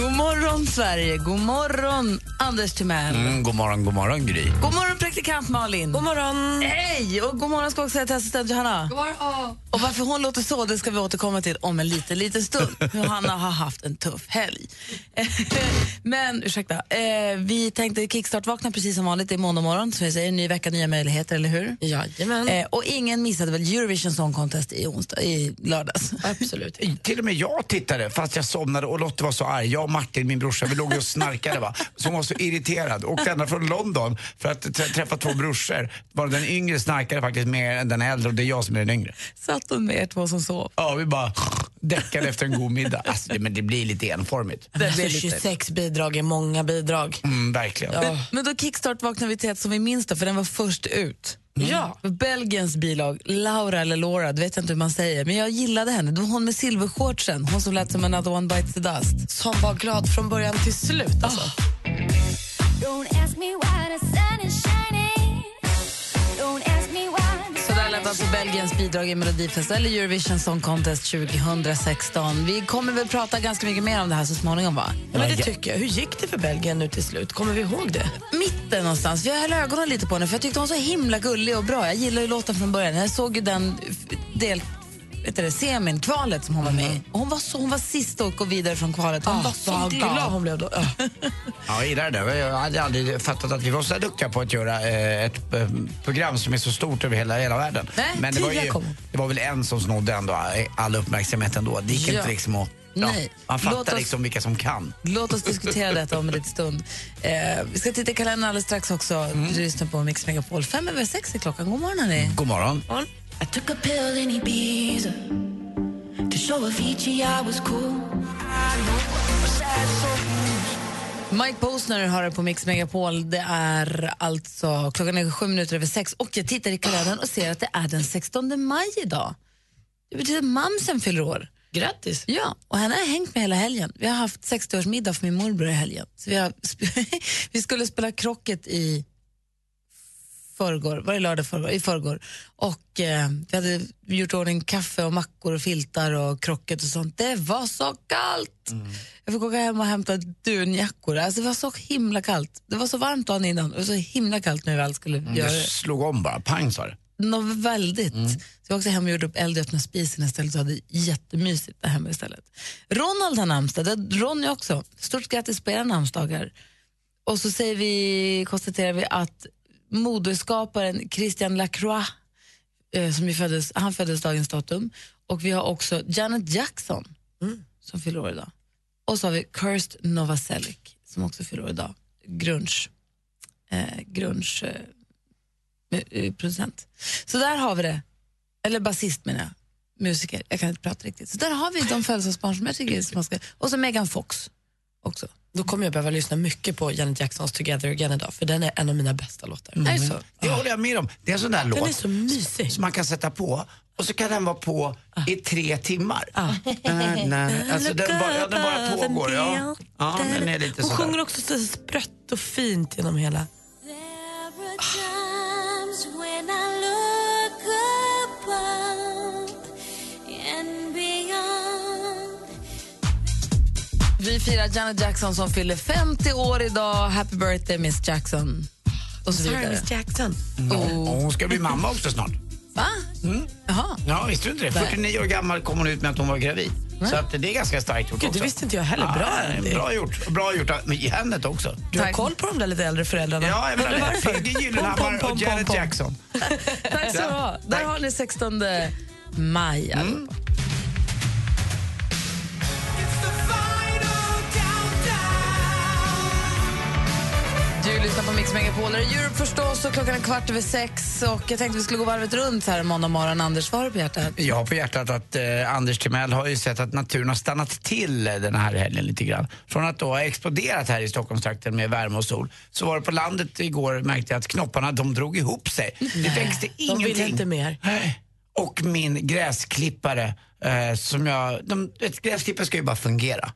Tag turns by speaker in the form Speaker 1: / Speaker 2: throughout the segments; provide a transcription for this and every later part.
Speaker 1: God morgon, Sverige. God morgon, Anders Timell.
Speaker 2: Mm, god morgon, god morgon Gry.
Speaker 1: God morgon, praktikant Malin. God morgon. Hej! Och god morgon ska jag också säga till assistent Johanna. God morgon. Och varför hon låter så det ska vi återkomma till om en liten, liten stund. Johanna har haft en tuff helg. Men ursäkta, eh, vi tänkte kickstart-vakna precis som vanligt. Det är måndag morgon, som vi säger. Ny vecka, nya möjligheter, eller hur?
Speaker 3: Jajamän.
Speaker 1: Eh, och ingen missade väl Eurovision Song Contest i, onsdag, i lördags?
Speaker 3: Absolut.
Speaker 2: Eh, Till och med jag tittade fast jag somnade och Lotte var så arg. Jag och Martin, min brorsa, vi låg ju och snarkade va. Så hon var så irriterad. Åkte ända från London för att trä- träffa två brorsor. Bara den yngre snarkade faktiskt mer än den äldre och det är jag som är den yngre.
Speaker 1: Satt hon med er två som sov?
Speaker 2: Ja, vi bara däckade efter en god middag. Alltså, det, men det blir lite enformigt.
Speaker 3: Alltså, 26 bidrag är många bidrag.
Speaker 2: Mm, verkligen.
Speaker 1: Men, men då kickstart vaknade vi till ett som vi minns det, för den var först ut.
Speaker 3: Ja.
Speaker 1: Belgiens bilag, Laura eller Laura, det vet jag inte hur man säger, men jag gillade henne. Det var hon med silvershortsen, hon som lät som another one bites the dust. Ah.
Speaker 3: Som var glad från början till slut. Alltså.
Speaker 4: Don't ask me why the sun is shining. Don't ask me why the
Speaker 1: Så där
Speaker 4: sun
Speaker 1: lät
Speaker 4: is
Speaker 1: alltså Belgiens bidrag i Melodifest eller Eurovision Song Contest 2016. Vi kommer väl prata ganska mycket mer om det här så småningom, va?
Speaker 3: Ja, men det tycker jag. Hur gick det för Belgien nu till slut? Kommer vi ihåg det?
Speaker 1: mitten någonstans. Jag höll ögonen lite på henne för jag tyckte hon var så himla gullig och bra. Jag gillar ju låten från början. Jag såg ju den f- del vet du det, semin, kvalet som hon var med i. Och Hon var, så, hon var sist och gå vidare från kvalet. Hon var så
Speaker 3: Mm. Ah, vad
Speaker 1: glad.
Speaker 3: glad hon blev då. Ja.
Speaker 2: Ja, jag gillar det. där. Jag hade aldrig fattat att vi var så här duktiga på att göra eh, ett eh, program som är så stort över hela, hela världen.
Speaker 1: Nej,
Speaker 2: Men det var,
Speaker 1: tio
Speaker 2: ju,
Speaker 1: kom.
Speaker 2: det var väl en som snodde ändå all uppmärksamhet ändå. Det gick inte liksom att... Ja,
Speaker 1: Nej.
Speaker 2: man fattar
Speaker 1: Låt oss-
Speaker 2: liksom vilka som kan.
Speaker 1: Låt oss diskutera detta om en liten stund. Eh, vi ska titta i kalendern alldeles strax också.
Speaker 3: Mm.
Speaker 1: Du lyssnar på Mix Megapol. Fem över sex är klockan. God morgon, hörni.
Speaker 2: God morgon.
Speaker 5: I took a pill in Ibiza to show Avicii I was cool.
Speaker 1: Mike Posner har det på Mix Megapol. Det är alltså klockan är sju minuter över sex och jag tittar i kalendern och ser att det är den 16 maj idag. Det betyder att mamsen fyller år.
Speaker 3: Grattis.
Speaker 1: Ja, och henne har jag hängt med hela helgen. Vi har haft 60-årsmiddag för min morbror i helgen. Så vi, har sp- vi skulle spela krocket i förrgår, var det lördag förrgår? I förrgår. Och eh, vi hade gjort i ordning kaffe och mackor och filtar och krocket och sånt. Det var så kallt! Jag fick åka hem och hämta dunjackor. Alltså det var så himla kallt. Det var så varmt dagen innan och så himla kallt när vi allt skulle göra
Speaker 2: Mm, Jag
Speaker 1: det.
Speaker 2: slog om bara. Pang sa det.
Speaker 1: Något väldigt. Så jag var också hem och gjorde upp eld i öppna spisen istället och hade jättemysigt där hemma istället. Ronald har namnsdag, det har Ronny också. Stort grattis på era namnsdagar. Och så säger vi, konstaterar vi att modeskaparen Christian Lacroix, eh, som ju föddes, han föddes dagens datum, och vi har också Janet Jackson som fyller år idag. Och så har vi Kirst Novoselic som också fyller år idag. Grunge. Eh, grunge eh, eh, producent. Så där har vi det. Eller basist menar jag. Musiker. Jag kan inte prata riktigt. Så där har vi de födelsedagsbarn som jag tycker är som man ska... Och så Megan Fox också.
Speaker 3: Då kommer jag behöva lyssna mycket på Janet Jacksons Together Again idag för den är en av mina bästa låtar.
Speaker 1: Är det så?
Speaker 2: Det håller jag med om. Det är en sån där
Speaker 3: Mm. Den är
Speaker 2: låt
Speaker 3: så mysig.
Speaker 2: som man kan sätta på och så kan den vara på i tre timmar. Na, na. Alltså den bara, ja, den bara pågår. Ja. ja, den är lite
Speaker 3: Hon sjunger
Speaker 2: sådär.
Speaker 3: också så sprött och fint genom hela.
Speaker 4: There are times when I look above and beyond.
Speaker 1: Vi firar Janet Jackson som fyller 50 år idag. Happy birthday Miss Jackson. Och så
Speaker 3: Sorry,
Speaker 1: vidare. Mm.
Speaker 3: Miss Jackson.
Speaker 2: Och hon ska bli mamma också snart.
Speaker 1: Va? Jaha.
Speaker 2: Mm. Ja, visste du inte det? 49 år gammal kom hon ut med att hon var gravid. Så att det är ganska starkt gjort
Speaker 3: Gud,
Speaker 2: också.
Speaker 3: det visste inte jag heller. Bra, Andy.
Speaker 2: ja, bra gjort. Bra gjort av- med Janet också.
Speaker 3: Du har
Speaker 1: Tack.
Speaker 3: koll på de där lite äldre föräldrarna.
Speaker 2: Ja, jag menar det.
Speaker 3: Varför?
Speaker 2: PG
Speaker 3: Pom,
Speaker 2: Gyllenhammar
Speaker 3: pom,
Speaker 2: och
Speaker 3: pom,
Speaker 2: Janet
Speaker 3: pom, pom.
Speaker 2: Jackson.
Speaker 1: Tack så du ha. Där
Speaker 2: Tack. Mm.
Speaker 1: har ni 16 maj. allihopa. Julius lyssnar på Mix Megapol. Det är Europe förstås och klockan är kvart över sex. Och jag tänkte vi skulle gå varvet runt så här måndag morgon. Anders, vad har du på hjärtat?
Speaker 2: Jag har på hjärtat att eh, Anders Timell har ju sett att naturen har stannat till eh, den här helgen lite grann. Från att då ha exploderat här i Stockholmstrakten med värme och sol så var det på landet igår märkte jag att knopparna de drog ihop sig. Det växte
Speaker 3: De
Speaker 2: ingenting.
Speaker 3: vill inte mer.
Speaker 2: Nej. Och min gräsklippare, eh, som jag... De, ett gräsklippare ska ju bara fungera.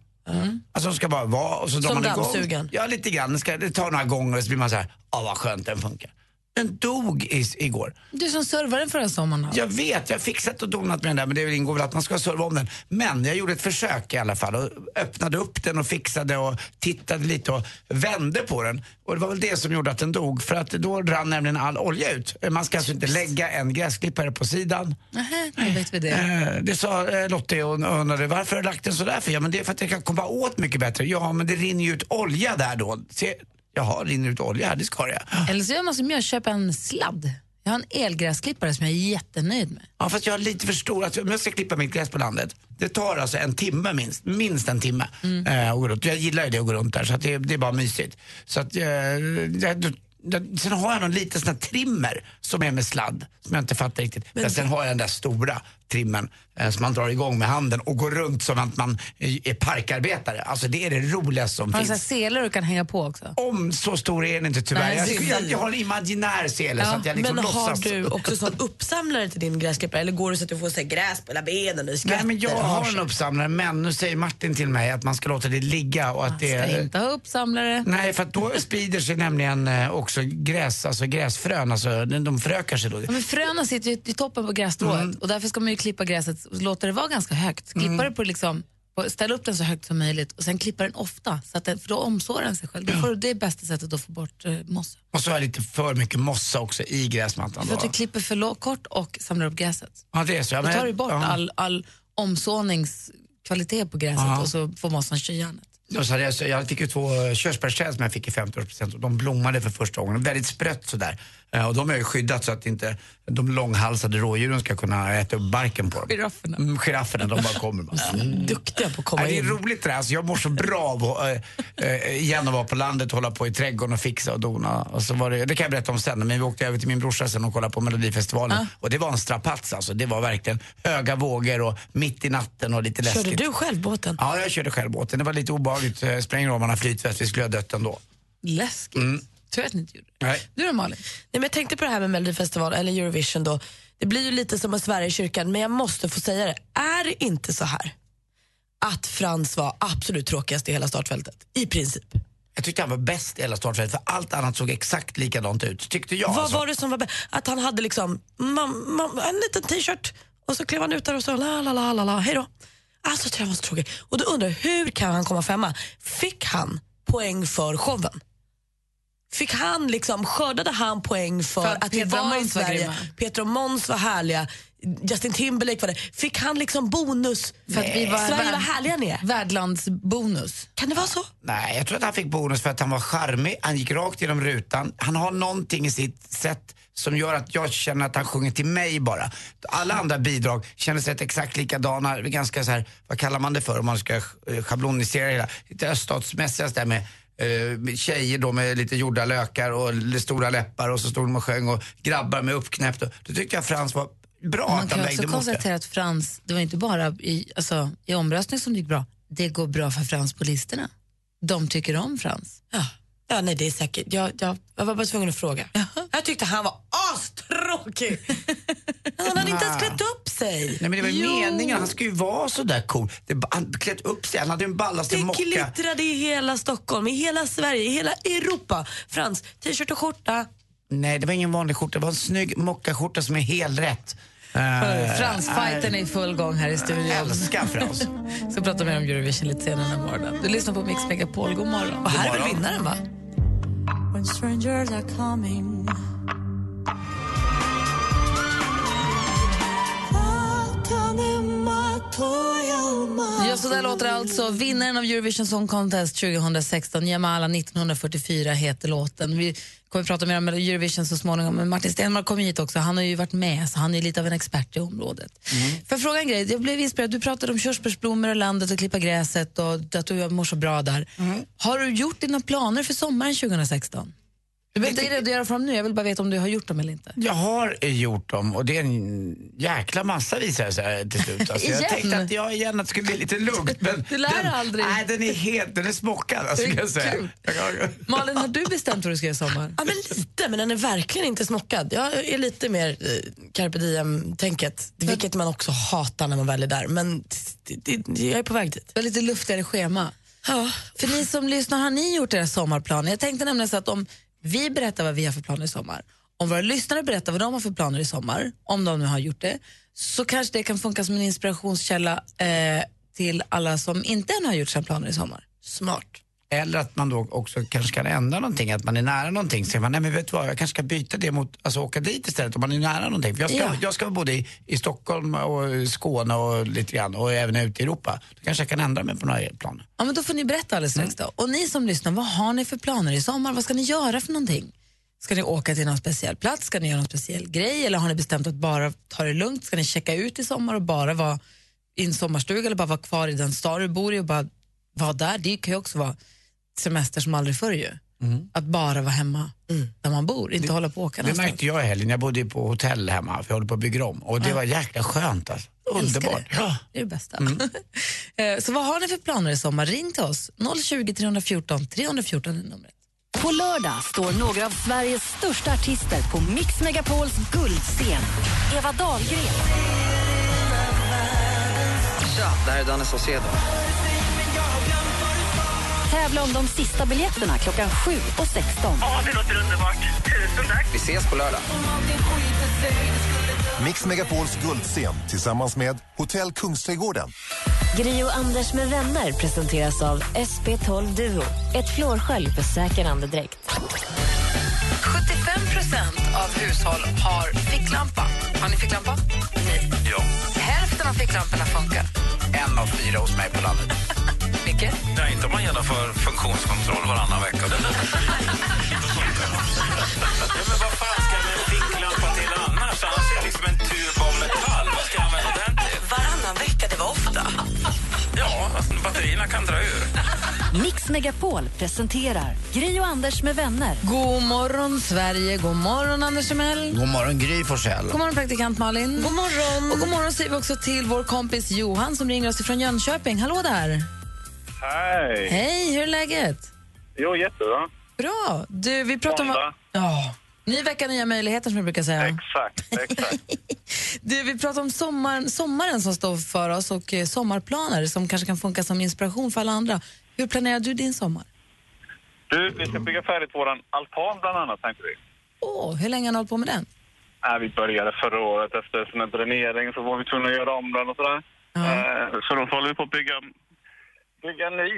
Speaker 2: Alltså de ska bara vara och så drar
Speaker 3: Mm. Som
Speaker 2: man igång.
Speaker 3: dammsugaren.
Speaker 2: Ja, lite grann. Det, ska, det tar några gånger och så blir man så här, ah vad skönt den funkar. Den dog i, igår.
Speaker 1: Du som servade den förra sommaren. Hans.
Speaker 2: Jag vet, jag har fixat och donat med den där men det ingår väl att man ska serva om den. Men jag gjorde ett försök i alla fall och öppnade upp den och fixade och tittade lite och vände på den. Och det var väl det som gjorde att den dog för att då rann nämligen all olja ut. Man ska alltså inte lägga en gräsklippare på sidan.
Speaker 1: Nähä, då vet vi det.
Speaker 2: Eh, Det sa eh, Lottie och och undrade varför har du lagt den sådär för? Ja men det är för att jag kan komma åt mycket bättre. Ja men det rinner ju ut olja där då. Se, jaha, rinner ut olja här? Det ska det ja.
Speaker 1: Eller så gör man som jag, köper en sladd. Jag har en elgräsklippare som jag är jättenöjd med.
Speaker 2: Ja, fast jag har lite för stor. Alltså, om jag ska klippa mitt gräs på landet, det tar alltså en timme minst. Minst en timme.
Speaker 1: Mm.
Speaker 2: Eh, att gå runt. Jag gillar ju det att gå runt där, så att det, det är bara mysigt. Så att, eh, jag, jag, sen har jag någon liten sån här trimmer som är med sladd, som jag inte fattar riktigt. Men, sen har jag den där stora trimmen eh, som man drar igång med handen och går runt som att man eh, är parkarbetare. Alltså det är det roligaste som
Speaker 1: Har du så här
Speaker 2: finns.
Speaker 1: selar du kan hänga på också?
Speaker 2: Om så stor är den inte tyvärr.
Speaker 1: Nej,
Speaker 2: jag,
Speaker 1: det-
Speaker 2: jag, jag har en imaginär sele så
Speaker 1: Ja,
Speaker 2: att jag liksom
Speaker 3: Men har
Speaker 2: låtsas.
Speaker 3: du också sån uppsamlare till din gräsklippare eller går det så att du får så här gräs på hela benen och skvätter?
Speaker 2: Nej, men jag
Speaker 3: och
Speaker 2: har
Speaker 3: sig?
Speaker 2: en uppsamlare, men nu säger Martin till mig att man ska låta det ligga och att det...
Speaker 1: Ska inte ha uppsamlare.
Speaker 2: Nej, för att då sprider sig nämligen eh, också gräs, alltså gräsfrön, alltså de de förökar sig då.
Speaker 1: Ja, Men fröna sitter ju i toppen på grässtrået
Speaker 2: Mm.
Speaker 1: och därför ska man ju klippa gräset och låta det vara ganska högt. Klippa det på liksom, på, ställ upp den så högt som möjligt och sen klippa den ofta, så att den, för då omsår den sig själv. Då får du, det är bästa sättet att få bort eh, mossa.
Speaker 2: Och så har jag lite för mycket mossa också i gräsmattan.
Speaker 1: För
Speaker 2: Då.
Speaker 1: att du klipper för lo- kort och samlar upp gräset.
Speaker 2: Ja, det är så. Ja,
Speaker 1: Då
Speaker 2: men-
Speaker 1: tar du bort
Speaker 2: ja.
Speaker 1: all, all omsåningskvalitet på gräset
Speaker 2: Ja.
Speaker 1: och så får mossan tjejjärnet.
Speaker 2: Och så hade jag, så jag fick ju två eh, körsbärsträd som jag fick i 50-årspresent och de blommade för första gången. Väldigt sprött sådär. Eh, Och de har jag ju skyddat så att inte de långhalsade rådjuren ska kunna äta upp barken på dem.
Speaker 1: Girafferna.
Speaker 2: Mm, girafferna, de bara kommer. Bara.
Speaker 3: Duktiga på att komma
Speaker 2: Nej, det är
Speaker 3: in.
Speaker 2: roligt det där. Alltså, jag mår så bra av att äh, igen att vara på landet, hålla på i trädgården och fixa och dona. Och så var det, det kan jag berätta om sen, men vi åkte över till min brorsa sen och kollade på Melodifestivalen. Och det var en strapats alltså. Det var verkligen höga vågor och mitt i natten och lite läskigt.
Speaker 3: Körde du själv båten?
Speaker 2: Ja, jag körde själv båten. Det var lite obehagligt. Eh, Spelar ingen roll om man har flytväst, vi skulle ha dött ändå. Mm.
Speaker 1: Läskigt. Tur att ni inte gjorde det.
Speaker 2: Nej.
Speaker 1: Du då Malin?
Speaker 3: Nej, men jag tänkte på det här med Melodifestivalen, eller Eurovision då. Det blir ju lite som att svära i kyrkan, men jag måste få säga det. Är det inte så här att Frans var absolut tråkigast i hela startfältet? I princip.
Speaker 2: Jag tyckte han var bäst i hela startfältet, för allt annat såg exakt likadant ut, tyckte jag.
Speaker 3: Vad
Speaker 2: alltså.
Speaker 3: var det som var bä- Att han hade liksom mam, mam, en liten t-shirt och så klev han ut där och sa la la la la la, hej då. Alltså tyckte jag var så tråkig. Och då undrar jag, hur kan han komma femma? Fick han poäng för showen? Fick han liksom, skördade han poäng för,
Speaker 1: För att
Speaker 3: att, vi
Speaker 1: Petra och
Speaker 3: var i
Speaker 1: Måns var
Speaker 3: Sverige?
Speaker 1: grymma.
Speaker 3: Peter och Måns var härliga, Justin Timberlake var det. Fick han liksom bonus?
Speaker 1: För att vi var-
Speaker 3: Sverige,
Speaker 1: var-
Speaker 3: vad härliga ni är.
Speaker 1: Värdlandsbonus.
Speaker 3: Kan det vara så?
Speaker 2: Nej, jag tror att han fick bonus för att han var charmig, han gick rakt genom rutan. Han har någonting i sitt sätt som gör att jag känner att han sjunger till mig bara. Alla andra bidrag kändes rätt exakt likadana, ganska så här, vad kallar man det för om man ska eh, schablonisera det hela? Lite öststatsmässiga så där med eh, med tjejer då med lite gjorda lökar och l- stora läppar och så stod de och sjöng och grabbar med uppknäppt. och- Då tyckte jag Frans var bra
Speaker 1: Man
Speaker 2: att han
Speaker 1: kan
Speaker 2: vägde
Speaker 1: också
Speaker 2: emot det.
Speaker 1: konstatera att Frans, det var inte bara i, alltså, i omröstningen som det gick bra, det går bra för Frans på listorna. De tycker om Frans.
Speaker 3: Ja. Ja, nej det är säkert. Jag, jag, jag var bara tvungen att fråga. Jag tyckte han var astråkig. han hade inte ens klätt upp sig.
Speaker 2: Nej men det var ju
Speaker 3: Jo,
Speaker 2: meningen, han skulle ju vara sådär cool. Det, han klätt upp sig, han hade en ballaste
Speaker 3: Det
Speaker 2: mocka.
Speaker 3: glittrade i hela Stockholm, i hela Sverige, i hela Europa. Frans, t-shirt och skjorta.
Speaker 2: Nej, det var ingen vanlig skjorta. Det var en snygg mockaskjorta som är helrätt. Eh,
Speaker 1: Frans-fajten är i full gång här i
Speaker 2: Jag
Speaker 1: studion.
Speaker 2: älskar Frans.
Speaker 1: Så pratar vi mer om Eurovision lite senare den här morgonen. Du lyssnar på Mix Megapol, god morgon.
Speaker 3: Och här är
Speaker 2: God
Speaker 3: väl
Speaker 2: morgon.
Speaker 3: vinnaren va?
Speaker 1: Ja, så där låter det alltså. Vinnaren av Eurovision Song Contest 2016, Jamala 1944 heter låten. Vi kommer att prata mer om Eurovision så småningom, men Martin Stenmarck kommer hit också. Han har ju varit med, så han är lite av en expert i området.
Speaker 2: Mm.
Speaker 1: För fråga en grej, jag blev inspirerad. Du pratade om körsbärsblommor och landet och klippa gräset och att du mår så bra där. Har du gjort dina planer för sommaren 2016? Du behöver inte redogöra för dem nu, jag vill bara veta om du har gjort dem eller inte.
Speaker 2: Jag har eh, gjort dem och det är en jäkla massa visar det sig här till slut. Alltså, jag
Speaker 1: Igen?
Speaker 2: tänkte att jag igen att det skulle bli lite lugnt. Men
Speaker 1: Du lär
Speaker 2: den,
Speaker 1: aldrig.
Speaker 2: Nej, den är helt, den är smockad. Alltså,
Speaker 1: Det är
Speaker 2: kan jag säga.
Speaker 1: kul. Malin, har du bestämt vad du ska göra i sommar?
Speaker 3: Ja, men lite, men den är verkligen inte smockad. Jag är lite mer eh, carpe diem-tänket, vilket man också hatar när man väl är där. Men det, det, jag är på väg dit.
Speaker 1: Du har lite luftigare schema.
Speaker 3: Ja.
Speaker 1: För ni som lyssnar, har ni gjort era sommarplaner? Jag tänkte nämligen så att om vi berättar vad vi har för planer i sommar, om våra lyssnare berättar vad de har för planer i sommar, om de nu har gjort det, så kanske det kan funka som en inspirationskälla eh, till alla som inte än har gjort sina planer i sommar.
Speaker 3: Smart.
Speaker 2: Eller att man då också kanske kan ändra någonting, att man är nära någonting. Så säger man, nej men vet du vad, jag kanske ska byta det mot, alltså åka dit istället om man är nära någonting. För jag ska,
Speaker 1: Ja.
Speaker 2: jag ska vara både i, i Stockholm och Skåne och lite grann och även ute i Europa. Då kanske jag kan ändra mig på några planer.
Speaker 1: Ja, men då får ni berätta alldeles strax.
Speaker 2: Mm.
Speaker 1: Då. Och ni som lyssnar, vad har ni för planer i sommar? Vad ska ni göra för någonting? Ska ni åka till någon speciell plats? Ska ni göra någon speciell grej? Eller har ni bestämt att bara ta det lugnt? Ska ni checka ut i sommar och bara vara i en sommarstuga eller bara vara kvar i den stad du bor i och bara vara där? Det kan ju också vara semester som aldrig förr ju. Att bara vara hemma där man bor, inte hålla på Mm. och åka
Speaker 2: Mm. Det
Speaker 1: någonstans.
Speaker 2: märkte jag i helgen, jag bodde ju på hotell hemma för jag håller på att bygga om. Och det var jäkla skönt alltså.
Speaker 1: Älskar
Speaker 2: Underbart.
Speaker 1: Det.
Speaker 2: Ja. Mm.
Speaker 1: det är det bästa. Eh, Så vad har ni för planer i sommar? Ring till oss. 020 314 314 är numret.
Speaker 6: På lördag står några av Sveriges största artister på Mix Megapols guldscen. Eva Dahlgren.
Speaker 7: Tja, det här är Danne Saucedo.
Speaker 6: Tävla om de sista biljetterna klockan 7 och 16.
Speaker 7: Vi ses på lördag.
Speaker 8: Mix Megapols guldscen tillsammans med Hotell Kungsträdgården.
Speaker 6: Gri och Anders med vänner presenteras av SP12 Duo. Ett flårskölj för säker andedräkt.
Speaker 1: 75 av hushåll har ficklampa. Har ni ficklampa? Nej.
Speaker 2: Ja.
Speaker 1: Hälften av ficklamporna funkar.
Speaker 2: En av fyra hos mig på landet.
Speaker 1: Mycket.
Speaker 2: Nej, inte om man genomför funktionskontroll varannan vecka.
Speaker 9: Men vad fan ska jag med en ficklampa till annars? Annars är det liksom en tub av metall. Vad ska jag använda den till?
Speaker 3: Varannan vecka, det var ofta.
Speaker 9: Ja, alltså, batterierna kan dra ur.
Speaker 6: Mix Megapol presenterar Gri och Anders med vänner.
Speaker 1: God morgon, Sverige. God morgon, Anders Timell.
Speaker 2: God morgon Gry Forssell.
Speaker 1: God morgon, praktikant Malin. God morgon. Och god morgon säger vi också till vår kompis Johan som ringer oss från Jönköping. Hallå där.
Speaker 9: Hej!
Speaker 1: Hej, hur är läget?
Speaker 9: Jo, jättebra.
Speaker 1: Bra. Du, vi pratar om...
Speaker 9: Måndag.
Speaker 1: Ja. Ny vecka, nya möjligheter som jag brukar säga.
Speaker 9: Exakt, exakt.
Speaker 1: Du, vi pratar om sommaren, sommaren som står för oss och eh, sommarplaner som kanske kan funka som inspiration för alla andra. Hur planerar du din sommar?
Speaker 9: Du, vi ska bygga färdigt våran altan bland annat, tänkte vi.
Speaker 1: Åh, hur länge har ni hållit på med den?
Speaker 9: Nej, vi började förra året efter sån här dränering så var vi tvungna att göra om den och sådär. Eh, Så då håller vi på att bygga, bygga en ny.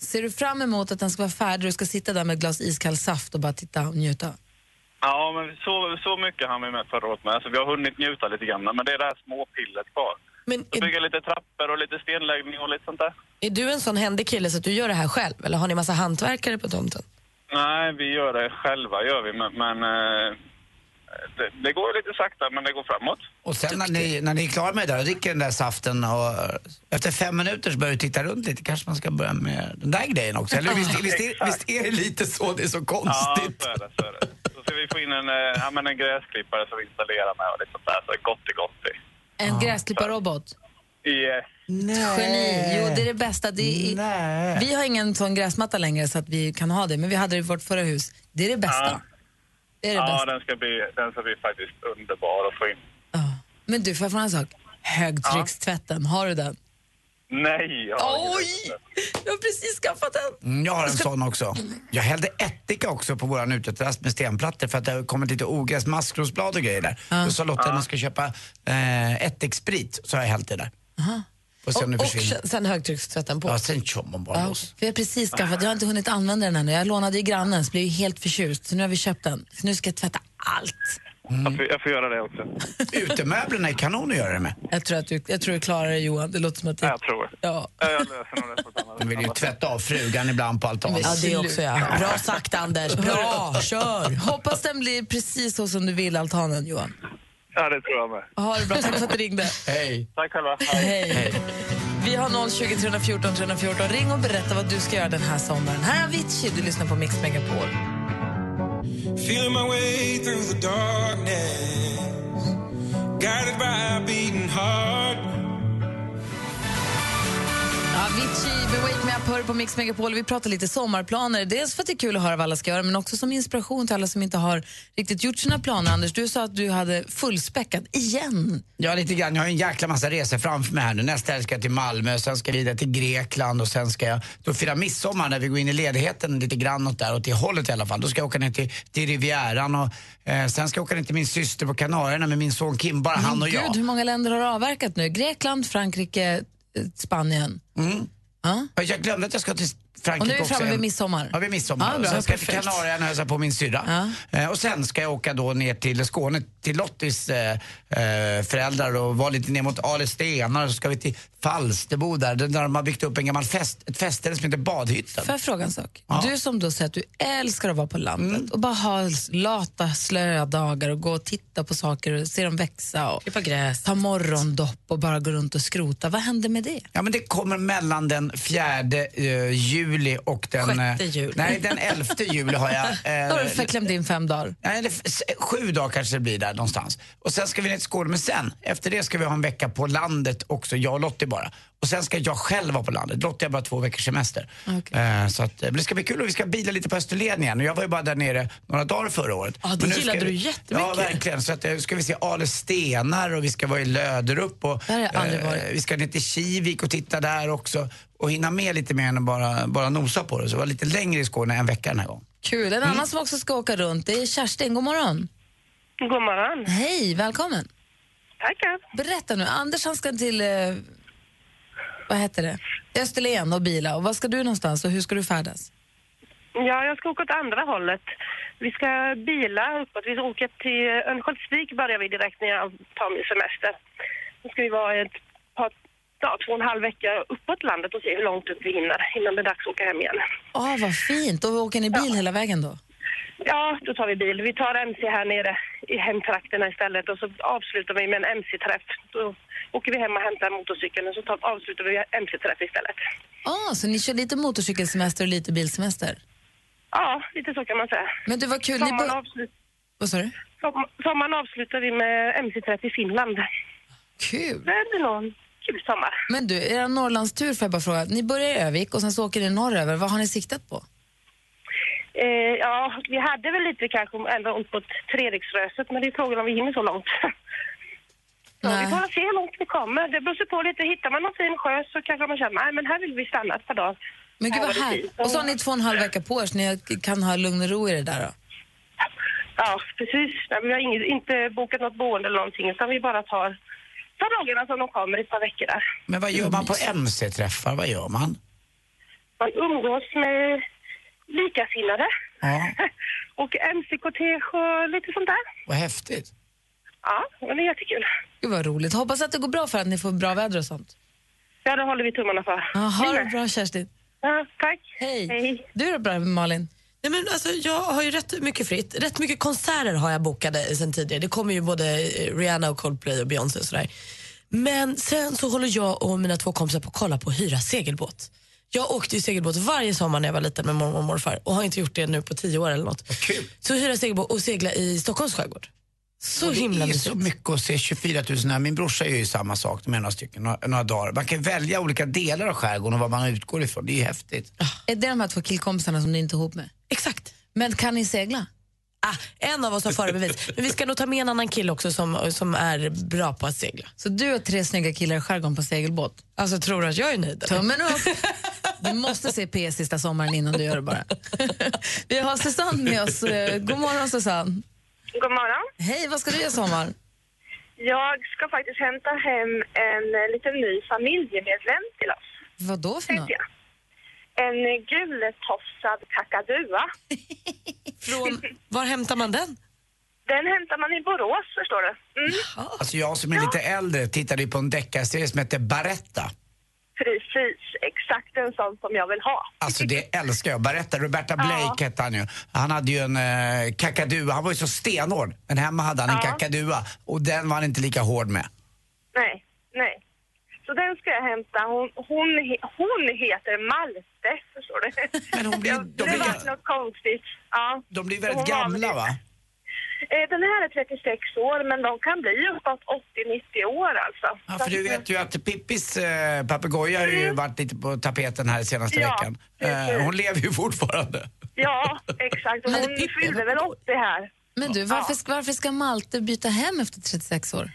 Speaker 1: Ser du fram emot att den ska vara färdig och du ska sitta där med ett glas iskall saft och bara titta och njuta?
Speaker 9: Ja, men så, så mycket hann vi med förra året med, så vi har hunnit njuta lite grann. Men det är det här småpillet kvar.
Speaker 3: Men
Speaker 9: Så
Speaker 3: är,
Speaker 9: bygga lite trappor och lite stenläggning och lite sånt där.
Speaker 3: är du en sån händig kille så att du gör det här själv? Eller har ni massa hantverkare på tomten?
Speaker 9: Nej, vi gör det själva, gör vi. Men, men eh, det, det går lite sakta, men det går framåt.
Speaker 2: Och sen när ni, när ni är klara med det där och dricker den där saften och eh, efter fem minuter så börjar du titta runt lite. Kanske man ska börja med den där grejen också. Eller visst, visst, är, visst är det lite så? Det är så
Speaker 9: Ja,
Speaker 2: konstigt.
Speaker 9: så är det. Så är det. Så ska vi få in en, eh, ja, men en gräsklippare som vi installerar med och lite sånt där. Så gott är gott. i. eh,
Speaker 1: En gräsklipparrobot?
Speaker 9: Yes.
Speaker 1: Geni. Jo, det är det bästa. Det är,
Speaker 2: Nej.
Speaker 1: vi har ingen sån gräsmatta längre så att vi kan ha det, men vi hade det i vårt förra hus. Det är det bästa.
Speaker 9: Ja.
Speaker 1: Det är det
Speaker 9: Ja,
Speaker 1: bästa.
Speaker 9: den ska, bli, den ska bli faktiskt underbar att få in.
Speaker 1: Ja. Men du, får jag fråga en sak? Högtryckstvätten, har du den?
Speaker 9: Nej! jag har ingen röst.
Speaker 1: Jag har precis skaffat den.
Speaker 2: Mm, Jag har en sån också. Jag hällde ättika också på våran uteterrass med stenplattor för att det har kommit lite ogräs, maskrosblad och grejer där. Då sa Lotta att man ska köpa eh, ättiksprit, så har jag hällt det där. Och sen nu
Speaker 3: Och
Speaker 2: försvinner.
Speaker 3: sen- sen högtryckstvätten på.
Speaker 2: Ja, sen kör man bara
Speaker 1: Ja,
Speaker 2: loss.
Speaker 1: för jag har precis skaffat, jag har inte hunnit använda den ännu. Jag lånade ju grannens, blev ju helt förtjust. Så nu har vi köpt den. Så nu ska jag tvätta allt.
Speaker 9: Jag, får, jag får göra det också.
Speaker 2: Mm. Utemöblerna är kanon att göra det med.
Speaker 1: Jag tror att du, jag tror du klarar det Johan. Det låter som att det...
Speaker 9: Ja, Jag tror det.
Speaker 1: Ja.
Speaker 9: Ja, Jag löser nog det på ett annat
Speaker 2: De vill ju
Speaker 9: annat sätt.
Speaker 2: tvätta av frugan ibland på altanen.
Speaker 3: Ja, det också ja. Bra sagt Anders, bra, kör!
Speaker 1: Hoppas den blir precis så som du vill, altanen Johan.
Speaker 9: Ja, det tror jag med.
Speaker 1: Ha det bra, tack för att du ringde.
Speaker 2: Hej!
Speaker 9: Tack själva.
Speaker 1: Hej. Vi har 020 314 314. Ring och berätta vad du ska göra den här sommaren. Här är Avicii, du lyssnar på Mix Megapol.
Speaker 7: Feeling my way through the darkness, guided by a beating heart.
Speaker 1: Avicii med Wake Me Up hör på Mix Megapol. Vi pratar lite sommarplaner. Dels för att det är kul att höra vad alla ska göra men också som inspiration till alla som inte har riktigt gjort sina planer. Anders, du sa att du hade fullspäckat igen.
Speaker 2: Ja, lite grann. Jag har en jäkla massa resor framför mig här nu. Nästa helg ska jag till Malmö, sen ska jag vidare till Grekland och sen ska jag då fira midsommar när vi går in i ledigheten lite grann åt där, åt det hållet i alla fall. Då ska jag åka ner till, till Rivieran och eh, sen ska jag åka ner till min syster på Kanarierna med min son Kim, bara han och
Speaker 1: Gud,
Speaker 2: jag.
Speaker 1: hur många länder har du avverkat nu? Grekland, Frankrike, eh, Spanien.
Speaker 2: Mm. Jag glömde att jag ska till
Speaker 1: Och nu
Speaker 2: Frankrike
Speaker 1: är vi
Speaker 2: också.
Speaker 1: framme vid
Speaker 2: en-
Speaker 1: midsommar.
Speaker 2: Ja, vid midsommar.
Speaker 1: Ja, bra.
Speaker 2: sen ska jag till
Speaker 1: Perfekt.
Speaker 2: Kanarieöarna och hälsa på min syrra. Eh, och sen ska jag åka då ner till Skåne, till Lottis eh, eh, föräldrar och vara lite ner mot Ale stenar. Så ska vi till Falsterbo där, där de har byggt upp en gammal fest, ett festställe som heter Badhytten.
Speaker 1: Får jag fråga en sak?
Speaker 2: Ja. Mm.
Speaker 1: Du som då säger att du älskar att vara på landet och bara ha s- lata, slöa dagar och gå och titta på saker och se dem växa och ta morgondopp och bara gå runt och skrota. Vad händer med det?
Speaker 2: Ja, men det kommer mellan den 4 eh, juli och den... eh,
Speaker 1: Sjätte juli.
Speaker 2: Nej, den 11 juli har jag... eh,
Speaker 1: Då har du förklämt in fem dagar.
Speaker 2: Nej, det, f- sju dagar kanske det blir där någonstans. Och sen ska vi ner till Skåne, men sen efter det ska vi ha en vecka på landet också, jag och Lottie bara. Och sen ska jag själv vara på landet. Lottie har bara två veckors semester. Eh, så att, eh, men det ska bli kul och vi ska bila lite på Österlen igen. Och jag var ju bara där nere några dagar förra året.
Speaker 3: Ja, det
Speaker 2: Men nu
Speaker 3: gillade
Speaker 2: ska vi-
Speaker 3: du jättemycket.
Speaker 2: Ja, verkligen. Så att, eh, ska vi se Ale stenar och vi ska vara i Löderup. Och, eh,
Speaker 1: Där har jag aldrig varit.
Speaker 2: vi ska ner till Kivik och titta där också. Och hinna med lite mer än att bara, bara nosa på det. Så det var lite längre i Skåne en vecka den här gången.
Speaker 1: Kul. En
Speaker 2: Mm.
Speaker 1: annan som också ska åka runt det är Kerstin. God morgon.
Speaker 10: God morgon.
Speaker 1: Hej, välkommen.
Speaker 10: Tackar.
Speaker 1: Berätta nu. Anders han ska till, eh, vad heter det, Österlen och bila. Och vad ska du någonstans och hur ska du färdas?
Speaker 10: Ja, jag ska åka åt andra hållet. Vi ska bila uppåt. Vi ska åka till Örnsköldsvik börjar vi direkt när jag tar min semester. Då ska vi vara ett par, ja, två och en halv vecka uppåt landet och se hur långt upp vi hinner innan det är dags att åka hem igen.
Speaker 1: Åh, Ah, vad fint. Och åker ni bil hela vägen då?
Speaker 10: Ja, då tar vi bil. Vi tar MC här nere i hemtrakterna istället och så avslutar vi med en MC-träff. Då åker vi hem och hämtar motorcykeln och så tar, avslutar vi MC-träff istället.
Speaker 1: Ah, så ni kör lite motorcykelsemester och lite bilsemester?
Speaker 10: Ja, lite så kan man säga.
Speaker 1: Men det var kul. Ni
Speaker 10: Sommaren,
Speaker 1: bo-
Speaker 10: avslut-
Speaker 1: Vad sa du?
Speaker 10: Som- sommaren avslutar vi med MC30 i Finland.
Speaker 1: Kul!
Speaker 10: Det blir nog en kul sommar.
Speaker 1: Men du, er Norrlandstur får jag bara fråga. Ni börjar i Övik och sen så åker ni norröver. Vad har ni siktat på?
Speaker 10: Eh, ja, vi hade väl lite kanske ändå ont på Treriksröset, men det är frågan om vi hinner så långt. Så vi får se hur långt vi kommer. Det beror sig på lite. Hittar man någon fin sjö så kanske man känner nej men här vill vi stanna ett par dagar.
Speaker 1: Men gud
Speaker 10: Här
Speaker 1: vad
Speaker 10: var det
Speaker 1: här.
Speaker 10: fint.
Speaker 1: Och så har ni två och en halv vecka på er så ni kan ha lugn och ro i det där då.
Speaker 10: Ja, precis. Nej, vi har inget, inte bokat något boende eller någonting, utan vi bara tar, tar dagarna som de kommer i ett par veckor där.
Speaker 2: Men vad gör man på MC-träffar? Vad gör man?
Speaker 10: Man umgås med likasinnade. och MC-kortege och lite sånt där.
Speaker 2: Vad häftigt.
Speaker 10: Ja, men det är jättekul.
Speaker 1: Gud vad roligt. Hoppas att det går bra för att ni får bra väder och sånt.
Speaker 10: Ja, det håller vi tummarna för.
Speaker 1: Ja, ha det bra Kerstin.
Speaker 10: Ja, tack.
Speaker 1: Hej. Du då bra Malin?
Speaker 3: Nej, men alltså, jag har ju rätt mycket fritt. Rätt mycket konserter har jag bokade sen tidigare. Det kommer ju både eh, Rihanna och Coldplay och Beyoncé och sådär. Men sen så håller jag och mina två kompisar på att kolla på att hyra segelbåt. Jag åkte ju segelbåt varje sommar när jag var liten med mormor och morfar och har inte gjort det nu på tio år eller något. Så hyra segelbåt och segla i Stockholms skärgård. Så
Speaker 2: Och det
Speaker 3: himla
Speaker 2: är
Speaker 3: mysigt.
Speaker 2: så mycket att se 24 000 här. Min brorsa gör ju samma sak, de är några stycken, några, några dagar. Man kan välja olika delar av skärgården och vad man utgår ifrån. Det är ju häftigt.
Speaker 1: Är det de här två killkompisarna som ni inte är ihop med?
Speaker 3: Exakt.
Speaker 1: Men kan ni segla?
Speaker 3: Ah, en av oss har förbevis. Men vi ska nog ta med en annan kille också som, som är bra på att segla.
Speaker 1: Så du och tre snygga killar i skärgården på segelbåt?
Speaker 3: Alltså tror du att jag är nöjd? eller?
Speaker 1: Tummen upp! Du måste se P sista sommaren innan du gör det bara. Vi har Susanne med oss. Eh, God morgon Susanne.
Speaker 11: God morgon.
Speaker 1: Hej, vad ska du göra i sommar?
Speaker 11: Jag ska faktiskt hämta hem en eh, liten ny familjemedlem till oss.
Speaker 1: Vad då för något?
Speaker 11: tänkte jag. En eh, gultofsad kakadua.
Speaker 3: Från, var hämtar man den?
Speaker 11: Den hämtar man i Borås, förstår du. Mm.
Speaker 2: Alltså jag som är lite äldre tittade ju på en deckarserie som hette Baretta.
Speaker 11: Precis, exakt en sån som jag vill ha.
Speaker 2: Alltså det älskar jag. Baretta, Roberta Blake hette han ju. Han hade ju en eh, kakadua. Han var ju så stenhård. Men hemma hade han en
Speaker 11: Ja.
Speaker 2: kakadua och den var han inte lika hård med.
Speaker 11: Nej, nej.
Speaker 10: Så den ska jag hämta. Hon, hon, he- hon heter Malte, förstår du.
Speaker 2: Men hon blir, de
Speaker 10: det var något konstigt. Ja.
Speaker 2: De blir
Speaker 10: Hon
Speaker 2: väldigt
Speaker 10: var-
Speaker 2: gamla va?
Speaker 10: Eh, Den här är 36 år, men de kan bli uppåt 80-90 år alltså.
Speaker 2: Ja, för du vet ju att Pippis äh, papegoja har ju varit lite på tapeten här senaste
Speaker 10: Mm. Ja,
Speaker 2: veckan. Eh, hon lever ju fortfarande.
Speaker 10: Ja, exakt. Och
Speaker 1: Men
Speaker 10: Hon
Speaker 1: Pippi-
Speaker 10: fyllde väl 80 här.
Speaker 1: Men du, varför, varför ska Malte byta hem efter 36 år?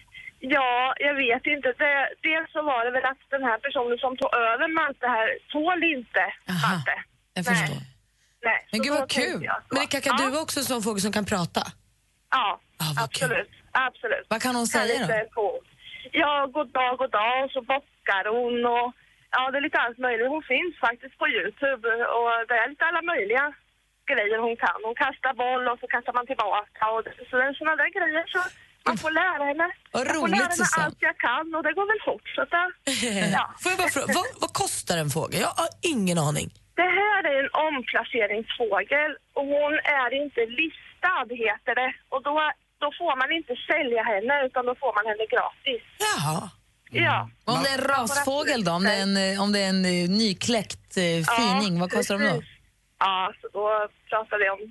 Speaker 10: Ja, jag vet inte. Det, dels så var det väl att den här personen som tog över Malte här tål inte Malte.
Speaker 1: Jag
Speaker 10: Nej.
Speaker 1: förstår.
Speaker 10: Nej.
Speaker 3: Men
Speaker 10: så
Speaker 3: gud
Speaker 10: då
Speaker 3: vad
Speaker 10: tänkte
Speaker 3: kul.
Speaker 10: jag så.
Speaker 3: Men är kakadua också en sån fågel som kan prata?
Speaker 10: Ja,
Speaker 3: Ah,
Speaker 10: absolut. absolut.
Speaker 1: Vad kan hon säga då?
Speaker 10: då? Ja, god dag, god dag och så bockar hon och ja, det är lite allt möjligt. Hon finns faktiskt på Youtube och det är lite alla möjliga grejer hon kan. Hon kastar boll och så kastar man tillbaka och det- så det är sådana där grejer så man får lära henne.
Speaker 3: Vad
Speaker 10: jag får
Speaker 3: roligt,
Speaker 10: lära henne
Speaker 3: Susanne.
Speaker 10: allt jag kan och det går väl fort så att det, ja.
Speaker 3: Får jag bara fråga, vad, vad kostar en fågel? Jag har ingen aning.
Speaker 10: Det här är en omplaceringsfågel och hon är inte listad heter det. Och då, då får man inte sälja henne utan då får man henne gratis.
Speaker 3: Jaha.
Speaker 10: Ja.
Speaker 1: Mm. Om det är en rasfågel då? Om det är en, eh, om det är en eh, nykläckt eh,
Speaker 10: Ja,
Speaker 1: fining, vad kostar de då?
Speaker 10: precis. Ja, så då pratar vi om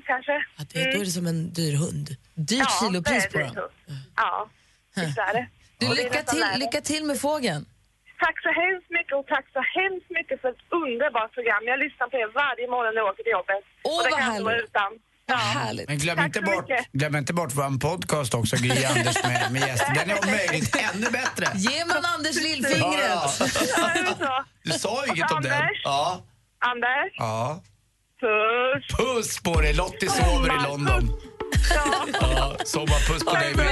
Speaker 10: 10-15 kanske. Ja,
Speaker 3: Det, Då är det som en dyr hund.
Speaker 1: Dyrt kilopris på
Speaker 10: det är
Speaker 1: dem.
Speaker 10: det. Ja, visst är det.
Speaker 1: Du,
Speaker 10: Och det är
Speaker 1: lycka,
Speaker 10: nästan
Speaker 1: till,
Speaker 10: värre.
Speaker 1: lycka till med fågeln.
Speaker 10: Tack så hemskt mycket och tack så hemskt mycket för ett underbart program. Jag lyssnar på er varje morgon när jag åker till jobbet.
Speaker 1: Åh,
Speaker 10: och det
Speaker 1: vad
Speaker 10: kan jag inte vara
Speaker 1: härligt.
Speaker 10: utan. Ja.
Speaker 2: Men glöm
Speaker 10: Tack
Speaker 2: inte,
Speaker 10: så
Speaker 2: bort,
Speaker 10: mycket.
Speaker 2: glöm inte bort vår podcast också, Gry Anders med, med gäster. Den är om möjligt ännu bättre.
Speaker 1: Ge man Anders lillfingret.
Speaker 2: Ja.
Speaker 10: Ja, det är väl så.
Speaker 2: Du sa ju
Speaker 10: Och
Speaker 2: inget om den.
Speaker 10: Anders?
Speaker 2: Ja.
Speaker 10: Anders,
Speaker 2: ja.
Speaker 10: Puss!
Speaker 2: Puss på dig! Lottie sover i London. Ja, sommarpuss på dig med.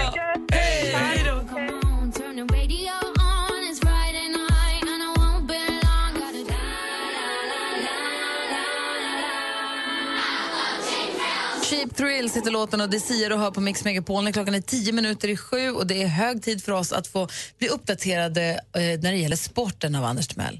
Speaker 4: Hey, hey, Come on, turn the radio on. It's Friday night, and I won't be long. Gotta la la la la la la.
Speaker 1: Cheap Thrills heter låten och det siar och hör på Mix Megapol. När Klockan är tio minuter i sju och det är hög tid för oss att få bli uppdaterade eh, när det gäller sporten av Anders Timell.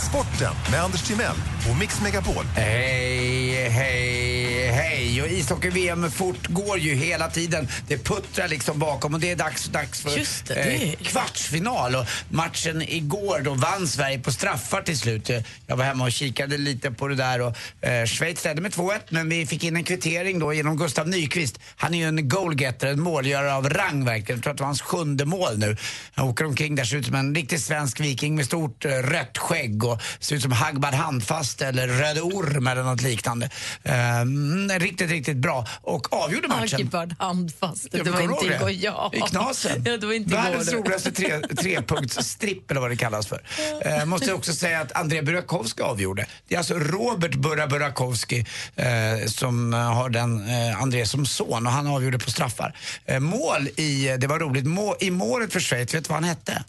Speaker 8: Sporten med Anders Timell och Mix Megapol.
Speaker 2: Hej, hej, hej. Och ishockey-VM fortgår ju hela tiden. Det puttrar liksom bakom och det är dags, dags för eh,
Speaker 3: Just det, det är-
Speaker 2: kvartsfinal. Och matchen igår då vann Sverige på straffar till slut. Eh, Jag var hemma och kikade lite på det där och eh, Schweiz ledde med 2-1 men vi fick in en kvittering då genom Gustav Nyqvist. Han är ju en goalgetter, en målgörare av rang verkligen. Jag tror att det var hans sjunde mål nu. Han åker omkring där, ser ut som en riktig svensk viking med stort eh, rött skägg och ser ut som Hagbard Handfast eller Röde Orm eller något liknande. Ehm, riktigt, riktigt bra och avgjorde matchen.
Speaker 1: Hagbard Handfast. Det
Speaker 2: Ja, men
Speaker 1: var
Speaker 2: kommer
Speaker 1: inte
Speaker 2: du ihåg
Speaker 1: igår.
Speaker 2: det?
Speaker 1: Ja.
Speaker 2: I Knasen.
Speaker 1: Ja, det var inte
Speaker 2: Världens
Speaker 1: igår.
Speaker 2: roligaste tre, trepunktsstripp eller vad det kallas för. Eh, måste jag också säga att André Burakovsky avgjorde. Det är alltså Robert Burra Burakovsky eh, som eh, har den eh, André som son och han avgjorde på straffar. Eh, mål i, eh, det var roligt, må, i målet för Schweiz, vet du vad han hette?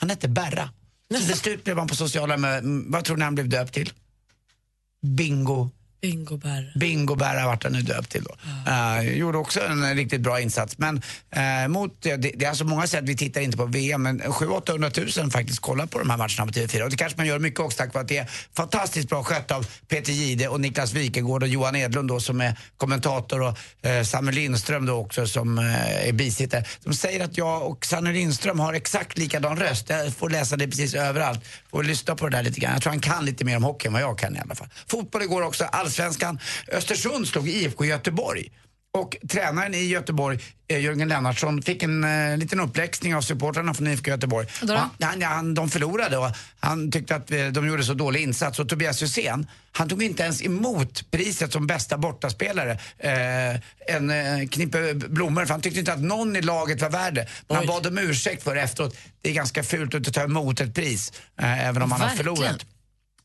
Speaker 2: Han hette Berra. Så till slut blev han på sociala mö- vad tror ni han blev döpt till? Bingo
Speaker 3: Bingo bär.
Speaker 2: Bingo Berra vart han nu döpt till då. Eh, gjorde också en eh, riktigt bra insats. Men eh, mot, det, det är alltså många säger att vi tittar inte på VM, men 700-800 000 faktiskt kollar på de här matcherna på TV4. Och det kanske man gör mycket också tack vare att det är fantastiskt bra skött av Peter Gide och Niklas Wikegård och Johan Edlund då som är kommentator och eh, Samuel Lindström då också som eh, är bisittare. De säger att jag och Samuel Lindström har exakt likadan röst. Jag får läsa det precis överallt. Får lyssna på det där lite grann. Jag tror han kan lite mer om hockey än vad jag kan i alla fall. Fotboll igår också, allsvenskan. Östersund slog IFK Göteborg. Och tränaren i Göteborg, eh, Jörgen Lennartsson, fick en eh, liten uppläxning av supportrarna från IFK Göteborg.
Speaker 1: Vadå?
Speaker 2: Han, han, han, de förlorade och han tyckte att eh, de gjorde så dålig insats. Och Tobias Hysén, han tog inte ens emot priset som bästa bortaspelare. Eh, en eh, knippe blommor, för han tyckte inte att någon i laget var värd det. Men han bad om ursäkt för det efteråt. Det är ganska fult att inte ta emot ett pris, eh, även om man
Speaker 1: Verkligen.
Speaker 2: har förlorat.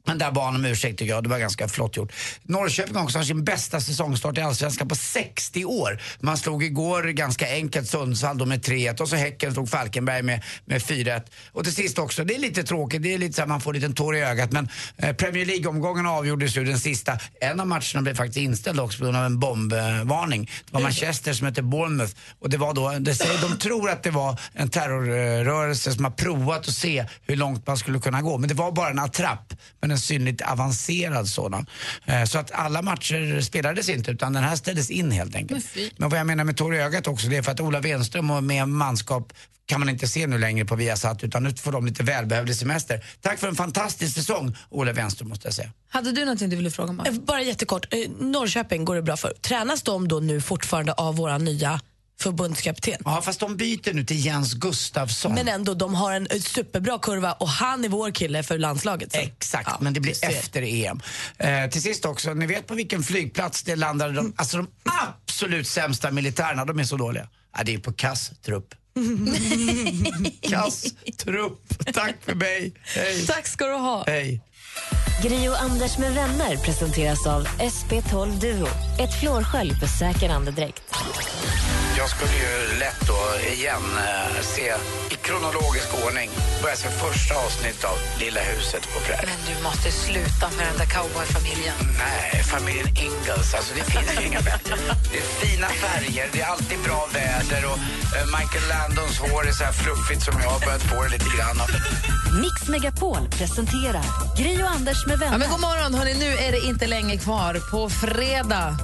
Speaker 2: Men där bad han om ursäkt tycker jag, det var ganska flott gjort. Norrköping också har sin bästa säsongstart i Allsvenskan på 60 år. Man slog igår ganska enkelt Sundsvall då med 3-1 och så Häcken slog Falkenberg med, med 4-1. Och till sist också, det är lite tråkigt, det är lite så här, man får en liten tår i ögat men eh, Premier League-omgången avgjordes ju den sista. En av matcherna blev faktiskt inställd också på grund av en bombvarning. Det var Manchester som hette Bournemouth och det var då, det säger, de tror att det var en terrorrörelse som har provat att se hur långt man skulle kunna gå men det var bara en attrapp. Men en synligt avancerad sådan. Eh, Så att alla matcher spelades inte utan den här ställdes in helt enkelt. Men vad jag menar med tår i ögat också det är för att Ola Wenström och med manskap kan man inte se nu längre på Viasat utan nu får de lite välbehövlig semester. Tack för en fantastisk säsong Ola Wenström måste jag säga.
Speaker 1: Hade du någonting du ville fråga om?
Speaker 3: Bara jättekort. Eh, Norrköping går det bra för. Tränas de då nu fortfarande av våra nya förbundskapten?
Speaker 2: Ja, fast de byter nu till Jens Gustafsson.
Speaker 3: Men ändå, de har en eh, superbra kurva och han är vår kille för landslaget. Så.
Speaker 2: Exakt, men det blir efter EM. Eh, till sist också, ni vet på vilken flygplats det landade de, alltså de absolut sämsta militärerna, de är så dåliga. Ja, det är på Kastrup. Kass trupp. Tack för mig. Hej.
Speaker 1: Tack ska du ha.
Speaker 2: Hej.
Speaker 6: Gri och Anders med vänner presenteras av SP12 Duo. Ett flårskölj för säker andedräkt.
Speaker 2: Jag skulle ju lätt då igen eh, se i kronologisk ordning börja se första avsnittet av Lilla huset på prärien.
Speaker 1: Men du måste sluta med den där cowboyfamiljen.
Speaker 2: Nej, familjen Ingalls. Alltså det finns ju inga bättre. Det är fina färger, det är alltid bra väder och eh, Michael Landons hår är så här fluffigt som jag har börjat få det lite grann. av.
Speaker 1: Ah,
Speaker 6: Mix Megapol presenterar Gri och Anders med vänner.
Speaker 1: Ja, men god morgon, hörni. Nu är det inte länge kvar. På fredag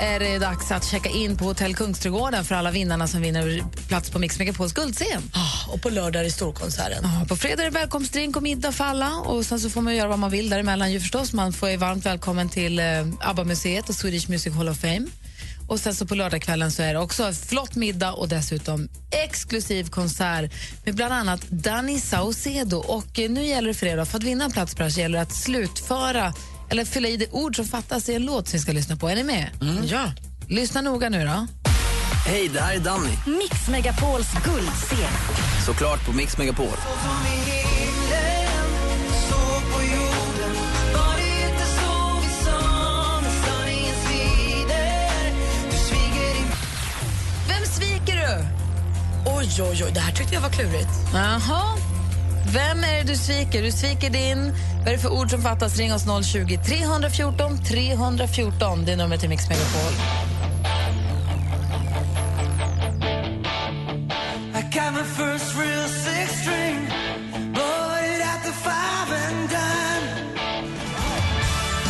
Speaker 1: är det dags att checka in på Hotell Kungsträdgården för alla vinnarna som vinner plats på Mix Megapols guldscen.
Speaker 3: Ah, Och på lördag är det storkonserten.
Speaker 1: Ja, På fredag är det välkomstdrink och middag för alla. Och sen så får man göra vad man vill däremellan. Ju förstås. Man får är varmt välkommen till eh, ABBA-museet och Swedish Music Hall of Fame. Och sen så på lördagskvällen så är det också en flott middag och dessutom exklusiv konsert med bland annat Danny Saucedo. Och eh, nu gäller det för er då, för att vinna en plats på det här så gäller det att slutföra eller fylla i det ord som fattas i en låt som vi ska lyssna på. Är ni med? Ja. Lyssna noga nu då.
Speaker 7: Hej, det här är Danny.
Speaker 6: Mix Megapols guldscen.
Speaker 7: Såklart på Mix Megapol.
Speaker 1: Vem sviker du?
Speaker 3: Oj, oj, oj. Det här tyckte jag var klurigt.
Speaker 1: Jaha. Vem är det du sviker? Du sviker din... Vad är det för ord som fattas? Ring oss 020 314 314. Det är numret till Mix Megapol.
Speaker 7: I got my first real six string. Bought it at the five and dime.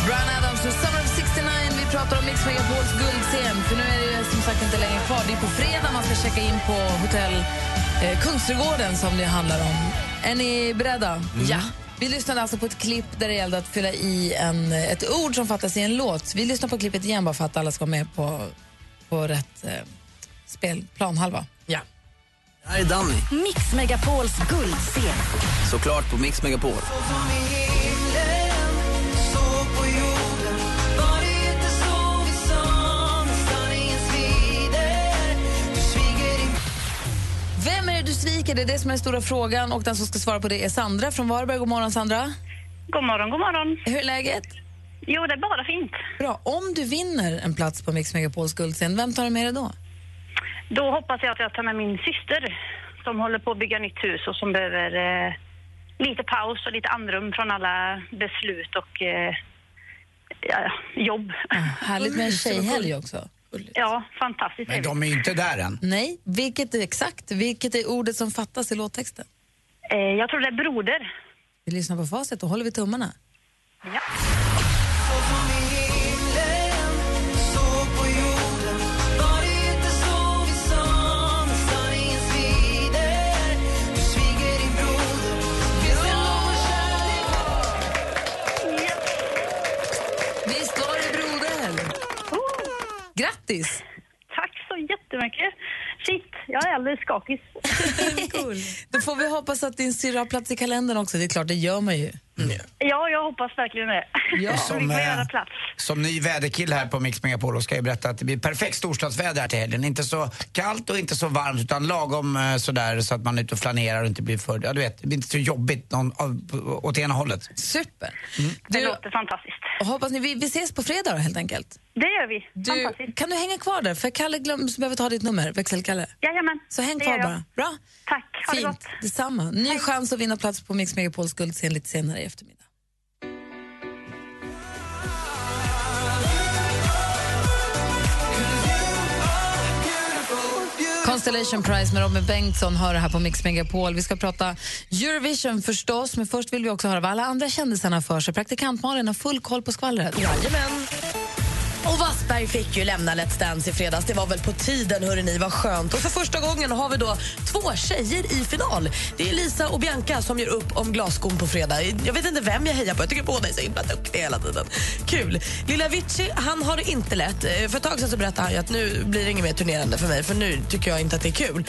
Speaker 1: Brian Adams och Summer of 69. Vi pratar om Mix Megapols guldscen. För nu är det som sagt inte längre kvar. Det är på fredag man ska checka in på hotell eh, Kungsträdgården som det handlar om. Är ni beredda? Ja. Vi lyssnade alltså på ett klipp där det gällde att fylla i en, ett ord som fattas i en låt. Vi lyssnar på klippet igen bara för att alla ska vara med på, på rätt eh, spel, planhalva.
Speaker 3: Ja.
Speaker 7: Det här är Danny.
Speaker 6: Mix Megapols guldscen.
Speaker 7: Såklart på Mix Megapol.
Speaker 1: Vem är det du sviker? Det är det som är den stora frågan. Och den som ska svara på det är Sandra från Varberg. God morgon, Sandra.
Speaker 12: God morgon, god morgon.
Speaker 1: Hur är läget?
Speaker 12: Jo, det är bara fint.
Speaker 1: Bra. Om du vinner en plats på Mix Megapols guldscen, vem tar du med dig då?
Speaker 12: Då hoppas jag att jag tar med min syster som håller på att bygga nytt hus och som behöver eh, lite paus och lite andrum från alla beslut och eh, ja, jobb.
Speaker 1: Härligt med en tjejhelg också.
Speaker 12: Ja, fantastiskt
Speaker 2: Men de är ju inte där än.
Speaker 1: Nej, vilket är exakt? Vilket är ordet som fattas i låttexten?
Speaker 12: Eh, jag tror det är broder.
Speaker 1: Vi lyssnar på facit och håller vi tummarna.
Speaker 12: Ja.
Speaker 1: Visst var det broder? Grattis!
Speaker 12: Tack så jättemycket. Shit, jag är alldeles skakig.
Speaker 1: Då får vi hoppas att din syrra har plats i kalendern också. Det är klart, det gör man ju.
Speaker 12: Ja, jag hoppas verkligen det.
Speaker 2: Ja.
Speaker 12: Så vi
Speaker 2: Mm. Som,
Speaker 12: får
Speaker 2: eh,
Speaker 12: göra plats.
Speaker 2: Som ny väderkille här på Mix Megapol och ska jag berätta att det blir perfekt storstadsväder här till helgen. Inte så kallt och inte så varmt utan lagom eh, sådär så att man är ute och flanerar och inte blir för, ja du vet, det blir inte så jobbigt någon, av, åt ena hållet. Mm.
Speaker 1: Super!
Speaker 12: Det låter fantastiskt.
Speaker 1: Och hoppas ni, vi, vi ses på fredag då, helt enkelt.
Speaker 12: Det gör vi.
Speaker 1: Du, kan du hänga kvar där? För Kalle glöm, som behöver ta ditt nummer, växelkalle.
Speaker 12: Jajamän.
Speaker 1: Så häng
Speaker 12: det
Speaker 1: kvar
Speaker 12: gör jag.
Speaker 1: bara. Bra?
Speaker 12: Tack, ha det
Speaker 1: Fint.
Speaker 12: gott.
Speaker 1: Detsamma. Ny chans att vinna plats på Mix Megapols guldscen lite senare i eftermiddag. Constellation Consolation Prize med Robin Bengtsson hör det här på Mix Megapol. Vi ska prata Eurovision förstås, men först vill vi också höra vad alla andra kändisarna har för sig. Praktikant Malin har full koll på skvallret.
Speaker 3: Jajamän. Och Wassberg fick ju lämna Let's Dance i fredags. Det var väl på tiden, hörrni, ni, vad skönt. Och för första gången har vi då två tjejer i final. Det är Lisa och Bianca som gör upp om glasskon på fredag. Jag vet inte vem jag hejar på, jag tycker båda är så himla duktiga hela tiden. Kul. Lilla Vici, han har det inte lätt. Eh, För ett tag sedan så berättade han ju att nu blir det inget mer turnerande för mig, för nu tycker jag inte att det är kul.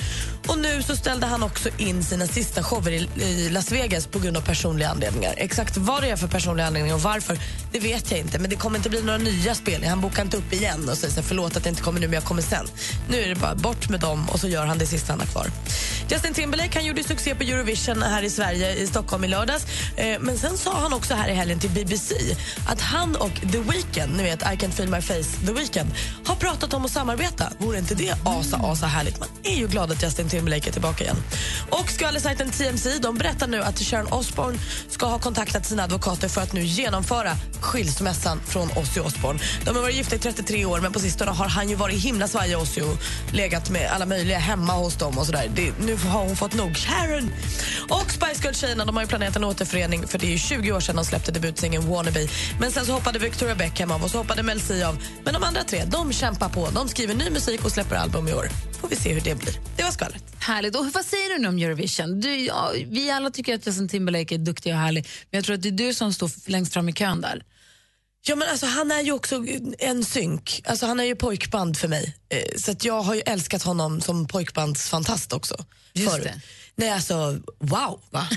Speaker 3: Och nu så ställde han också in sina sista shower i, i Las Vegas på grund av personliga anledningar. Exakt vad det är för personliga anledningar och varför, det vet jag inte. Men det kommer inte bli några nya spelningar. Han bokar inte upp igen och säger så här, förlåt att det inte kommer nu, men jag kommer sen. Nu är det bara bort med dem och så gör han det sista han har kvar. Justin Timberlake han gjorde succé på Eurovision här i Sverige, i Stockholm i lördags. Eh, Men sen sa han också här i helgen till BBC att han och The Weeknd, ni vet I can't feel my face, The Weeknd, har pratat om att samarbeta. Vore inte det asa, asa härligt? Man är ju glad att Justin Timberlake är tillbaka igen. Och skvallersajten TMZ de berättar nu att Sharon Osbourne ska ha kontaktat sina advokater för att nu genomföra skilsmässan från Ozzy Osbourne. De har varit gifta i 33 år men på sistone har han ju varit himla svajig Ozzy och legat med alla möjliga hemma hos dem och sådär. Det, nu har hon fått nog. Sharon! Och Spice Girls-tjejerna de har ju planerat en återförening för det är ju 20 år sedan de släppte debutsingeln Wannabe. Men sen så hoppade Victoria Beckham av och så hoppade Mel C av. Men de andra tre, de kämpar på. De skriver ny musik och släpper album i år. Får vi se hur det blir. Det var skvallret.
Speaker 1: Härligt. Och vad säger du nu om Eurovision? Du, ja, vi alla tycker att Justin Timberlake är duktig och härlig, men jag tror att det är du som står f- längst fram i kön där.
Speaker 3: Ja, men alltså, han är ju också en synk. Alltså, han är ju pojkband för mig. Eh, Så att jag har ju älskat honom som pojkbandsfantast också.
Speaker 1: Just
Speaker 3: förut.
Speaker 1: det.
Speaker 3: Nej, alltså wow. Va?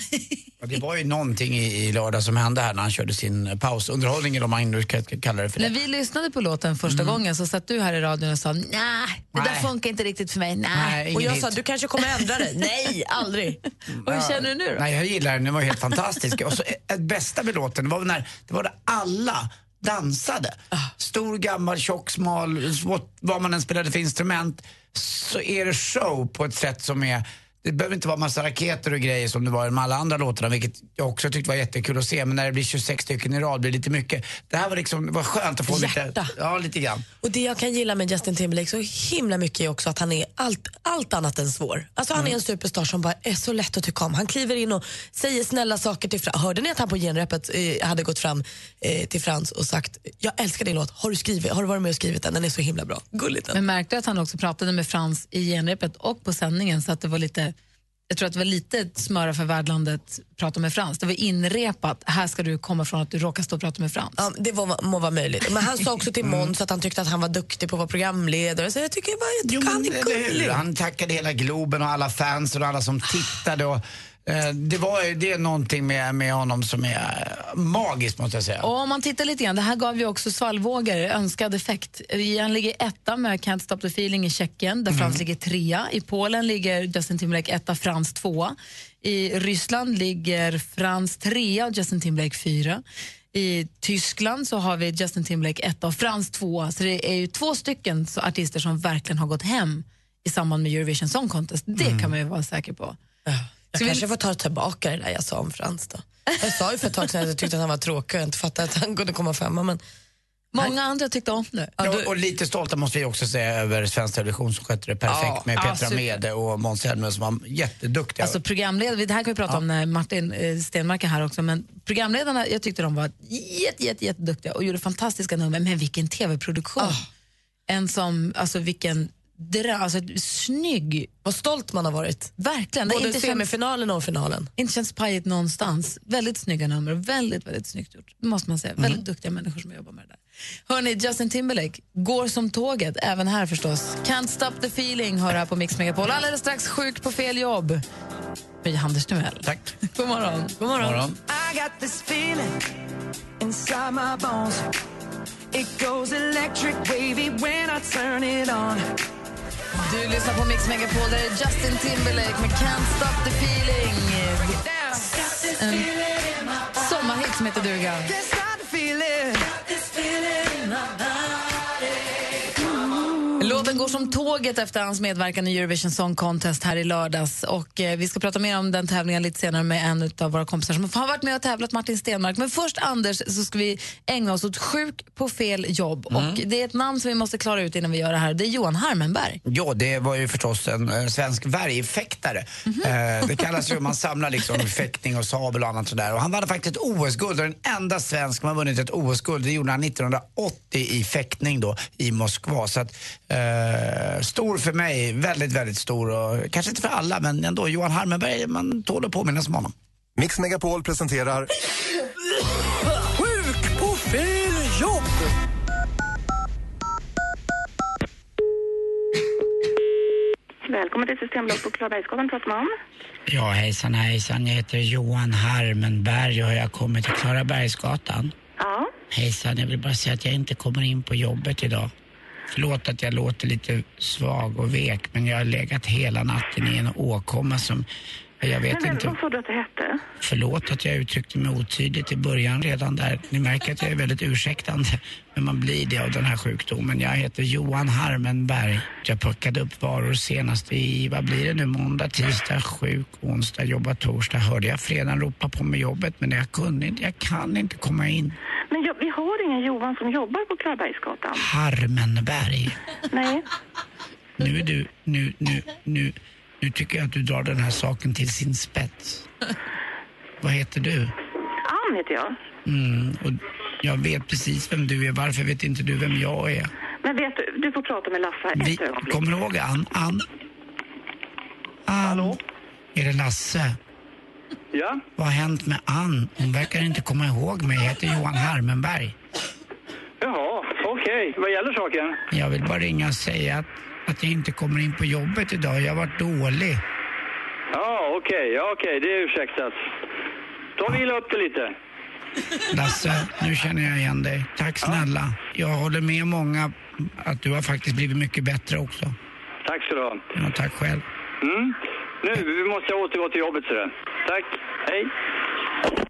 Speaker 2: Ja, Det var ju någonting i, i lördag som hände här när han körde sin eh, pausunderhållning, eller om man nu ska ska kalla det för det.
Speaker 1: När vi lyssnade på låten första gången så satt du här i radion och sa Mm. nej, det där funkar inte riktigt för mig. Nej.
Speaker 2: ingen
Speaker 1: och jag
Speaker 2: hit.
Speaker 1: sa du
Speaker 3: kanske kommer ändra dig. nej, aldrig.
Speaker 1: Och hur känner du nu då?
Speaker 2: Nej, jag gillar den, den var helt fantastisk. Och så ett- ett bästa med låten var väl när det var när alla dansade.
Speaker 1: Ah.
Speaker 2: Stor, gammal, tjock, smal, smått, vad man än spelade för instrument så är det show på ett sätt som är det behöver inte vara massa raketer och grejer som det var med alla andra låtarna, vilket jag också tyckte var jättekul att se. Men när det blir 26 stycken i rad blir det lite mycket. Det här var liksom, det var skönt att få lite...
Speaker 3: Hjärta.
Speaker 2: Ja, lite grann.
Speaker 3: Och det jag kan gilla med Justin Timberlake så himla mycket är också att han är allt, allt annat än svår. Alltså
Speaker 1: Mm.
Speaker 3: han är en superstar som bara är så lätt att tycka om. Han kliver in och säger snälla saker till Frans. Hörde ni att han på genrepet eh, hade gått fram eh, till Frans och sagt jag älskar din låt, har du, skrivit, har du varit med och skrivit den? Den är så himla bra. Gulligt.
Speaker 1: Men märkte du att han också pratade med Frans i genrepet och på sändningen så att det var lite jag tror att det var lite ett smöra för värdlandet prata med Frans. Det var inrepat, här ska du komma från att du råkar stå och prata med Frans.
Speaker 3: Ja, det var, må vara möjligt. Men han sa också till Måns att han tyckte att han var duktig på att vara programledare. Så jag tycker bara, jag tycker han är
Speaker 2: Eller hur?
Speaker 3: gullig.
Speaker 2: Han tackade hela Globen och alla fans och alla som tittade. Och, eh, det, var, ju- det är någonting med, med honom som är eh, magiskt måste jag säga.
Speaker 1: Och om man tittar lite grann, det här gav ju också svallvågor önskad effekt. Eh, Han ligger etta med Can't Stop The Feeling i Tjeckien,
Speaker 3: Mhm.
Speaker 1: där Frans ligger trea. I Polen ligger Justin Timberlake etta, Frans tvåa. I Ryssland ligger Frans trea och Justin Timberlake fyra. I Tyskland så har vi Justin Timberlake etta och Frans tvåa. Så det är ju två stycken så artister som verkligen har gått hem i samband med Eurovision Song Contest. Det kan man ju vara säker på.
Speaker 3: Mm. Jag kanske får ta tillbaka det där jag sa om Frans då. Jag sa ju för ett tag sedan att jag tyckte att han var tråkig och inte fattade att han kunde komma femma. Men
Speaker 1: Många andra tyckte om det.
Speaker 2: Ja, och, och lite stolta måste vi också säga över Svensk Television som skötte det perfekt
Speaker 1: Ja,
Speaker 2: med
Speaker 1: ja,
Speaker 2: Petra
Speaker 1: super.
Speaker 2: Mede och Måns Zelmerlöw som var jätteduktiga.
Speaker 1: Alltså programledare, det här kan vi prata om när Martin eh, Stenmarck är här också, men programledarna, jag tyckte de var jätte, jätte, jätteduktiga och gjorde fantastiska nummer, men vilken tv-produktion.
Speaker 3: Ah.
Speaker 1: En som, alltså vilken drö, alltså snygg.
Speaker 3: Vad stolt man har varit.
Speaker 1: Verkligen.
Speaker 3: Både
Speaker 1: känns-
Speaker 3: semifinalen och finalen.
Speaker 1: Inte känns pajigt någonstans. Väldigt snygga nummer och väldigt, väldigt snyggt gjort. Det måste man säga. Väldigt duktiga människor som jobbar med det där. Hörni, Justin Timberlake går som tåget, även här förstås. Can't stop the feeling hör här på Mix Megapol. Alldeles strax sjuk på fel jobb. Med Anders Timell.
Speaker 2: Tack.
Speaker 1: God morgon. God morgon.
Speaker 7: I got this feeling inside my bones. It goes electric wavy when I turn it on.
Speaker 1: Du lyssnar på Mix Megapol. Där är Justin Timberlake med Can't stop the feeling. En sommarhit som heter duga.
Speaker 7: This feeling.
Speaker 1: Låt Låten går som tåget efter hans medverkan i Eurovision Song Contest här i lördags. Och eh, vi ska prata mer om den tävlingen lite senare med en av våra kompisar som har varit med och tävlat, Martin Stenmark. Men först, Anders, så ska vi ägna oss åt sjuk på fel jobb.
Speaker 13: Mm.
Speaker 1: Och det är ett namn som vi måste klara ut innan vi gör det här. Det är Johan Harmenberg.
Speaker 13: Ja, det var ju förstås en eh, svensk värjfäktare. Eh, det kallas ju, man samlar liksom fäktning och sabel och annat sådär. Och han vann faktiskt ett OS-guld och den enda svensk som har vunnit ett OS-guld, det gjorde han 1980 i fäktning då i Moskva. Så att, eh, stor för mig, väldigt, väldigt stor. Och, kanske inte för alla, men ändå. Johan Harmenberg, man tål att påminnas om honom.
Speaker 8: Mix Megapol presenterar
Speaker 14: Sjuk på fel jobb!
Speaker 10: Välkommen till Systembolaget på Klarabergsgatan, pratar man om.
Speaker 2: Ja, hejsan hejsan. Jag heter Johan Harmenberg och jag har kommit till Klarabergsgatan.
Speaker 10: Ja.
Speaker 2: Hejsan, jag vill bara säga att jag inte kommer in på jobbet idag. Förlåt att jag låter lite svag och vek, men jag har legat hela natten i en åkomma som... Jag vet
Speaker 10: Men,
Speaker 2: inte.
Speaker 10: Vad sa du att det hette?
Speaker 2: Förlåt att jag uttryckte mig otydligt i början redan där. Ni märker att jag är väldigt ursäktande, men man blir det av den här sjukdomen. Jag heter Johan Harmenberg. Jag packade upp varor senast i, vad blir det nu, måndag, tisdag, sjuk, onsdag, jobba torsdag. Hörde jag fredagen ropa på mig jobbet, men jag kunde inte, jag kan inte komma in.
Speaker 10: Men jag, vi har ingen Johan som jobbar på Klarabergsgatan.
Speaker 2: Harmenberg.
Speaker 10: Nej.
Speaker 2: Nu är du, nu, nu, nu, nu tycker jag att du drar den här saken till sin spets. Vad heter du?
Speaker 10: Ann heter jag.
Speaker 2: Mm, och jag vet precis vem du är. Varför vet inte du vem jag är?
Speaker 10: Men vet du, du får prata med Lasse ett
Speaker 2: Vi,
Speaker 10: ögonblick.
Speaker 2: kommer du ihåg Ann? Ann? Ann? Hallå? Är det Lasse?
Speaker 15: Ja?
Speaker 2: Vad har hänt med Ann? Hon verkar inte komma ihåg mig. Jag heter Johan Harmenberg.
Speaker 15: Jaha, okej. Vad gäller saken?
Speaker 2: Jag vill bara ringa och säga att, att jag inte kommer in på jobbet idag. Jag har varit dålig.
Speaker 15: Ja, okej. Ja, okej. Det är ursäktat. Ta och vila upp det lite.
Speaker 2: Lasse, nu känner jag igen dig. Tack snälla. Jag håller med många att du har faktiskt blivit mycket bättre också.
Speaker 15: Tack ska du ha.
Speaker 2: Ja, tack själv.
Speaker 15: Mm. Nu vi måste jag återgå till jobbet, ser du. Tack. Hej.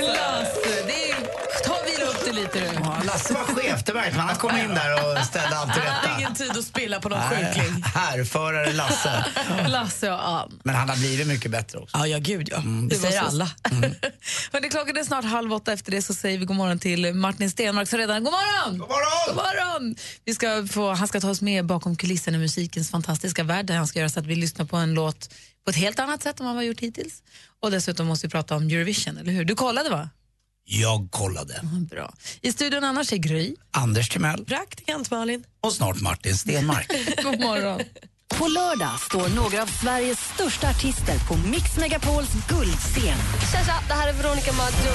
Speaker 1: Lasse, det är... Ta och vila upp det lite du.
Speaker 13: Ja, Lasse var chef, det märkte man. Han kom in där och ställde allt till
Speaker 3: Han har
Speaker 13: rätta.
Speaker 3: ingen tid att spilla på någon
Speaker 13: Nej,
Speaker 3: sjukling.
Speaker 13: Härförare Lasse.
Speaker 1: Lasse och Ann.
Speaker 13: Men han har blivit mycket bättre också. Mm.
Speaker 3: Ja, ja gud ja.
Speaker 1: Det säger alla. Hörrni, klockan är snart halv åtta. Efter det så säger vi god morgon till Martin Stenmark som redan... God morgon! God God
Speaker 13: morgon!
Speaker 1: morgon! Vi ska få, han ska ta oss med bakom kulisserna i musikens fantastiska värld där han ska göra så att vi lyssnar på en låt på ett helt annat sätt än vad vi har gjort hittills. Och dessutom måste vi prata om Eurovision, eller hur? Du kollade va?
Speaker 13: Jag kollade.
Speaker 1: Bra. I studion annars är Gry.
Speaker 13: Anders Timell
Speaker 3: Praktikant Malin.
Speaker 13: och snart Martin Stenmark.
Speaker 1: God morgon.
Speaker 6: På lördag står några av Sveriges största artister på Mix Megapols guldscen.
Speaker 16: Tja, tja, det här är Veronica Maggio.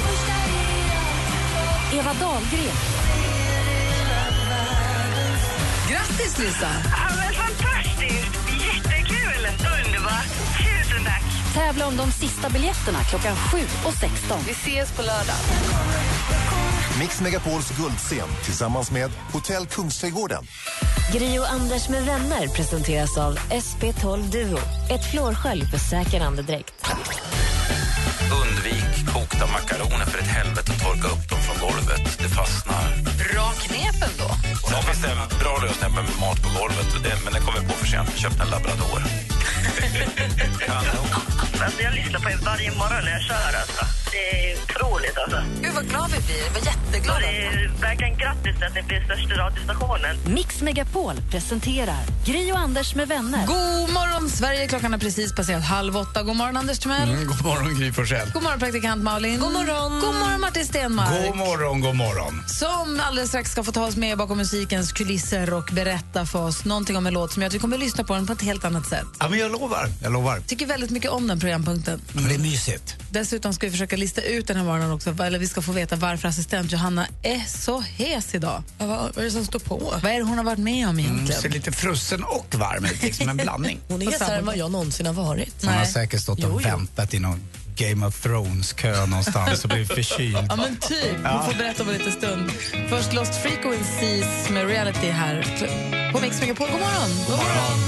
Speaker 6: Eva Dahlgren.
Speaker 1: Grattis Lisa!
Speaker 14: Ja, men fantastiskt! Jättekul! Underbart! Tusen tack!
Speaker 6: Tävla om de sista biljetterna klockan 7 och 16.
Speaker 16: Vi ses på lördag.
Speaker 8: Mix Megapols guldscen tillsammans med Hotell Kungsträdgården.
Speaker 6: Gri och Anders med vänner presenteras av SP12 Duo. Ett flårskölj för säker andedräkt.
Speaker 7: Undvik kokta makaroner för ett helvete och torka upp dem från golvet. Det fastnar.
Speaker 1: Bra knepen då.
Speaker 7: Sen finns det en bra lösning med mat på golvet, och det, men den kommer jag på för sent. Jag köpte en labrador. Kanon.
Speaker 14: Alltså, jag lyssnar på er varje morgon när jag kör. Alltså. Det är otroligt. Alltså.
Speaker 1: Gud, vad glad vi blir. Vad jätteglada.
Speaker 14: Det är verkligen grattis till att ni blir största radiostationen.
Speaker 6: Mix Megapol presenterar Gri och Anders med vänner.
Speaker 1: God morgon Sverige, klockan har precis passerat halv åtta. God morgon Anders Timell.
Speaker 13: Mm, god morgon Gry Forssell.
Speaker 1: God morgon praktikant Malin. God morgon. God morgon Martin Stenmark.
Speaker 13: God morgon, god morgon.
Speaker 1: Som alldeles strax ska få ta oss med bakom musikens kulisser och berätta för oss någonting om en låt som jag att vi kommer att lyssna på den på ett helt annat sätt.
Speaker 13: Ja, men jag lovar. Jag lovar.
Speaker 1: Tycker väldigt mycket om den programpunkten.
Speaker 13: Men det är mysigt.
Speaker 1: Dessutom ska vi försöka lista ut den här morgonen också, eller vi ska få veta varför assistent Johanna är så hes idag.
Speaker 3: Vad, vad är det som står på?
Speaker 1: Vad är det hon har varit med om
Speaker 13: Mm,
Speaker 1: egentligen?
Speaker 13: ser lite frusen och varm ut, liksom en blandning.
Speaker 3: Hon är
Speaker 1: På samma
Speaker 3: hetare än vad jag någonsin har varit.
Speaker 13: Han har säkert stått och
Speaker 3: Jo, jo.
Speaker 13: väntat i någon Game of Thrones-kö någonstans och blivit förkyld.
Speaker 1: Ja, men typ.
Speaker 13: Ja.
Speaker 1: Vi får berätta om en liten stund. Först Lost Frequencies med Reality här på Mix Megapol. God morgon! God morgon!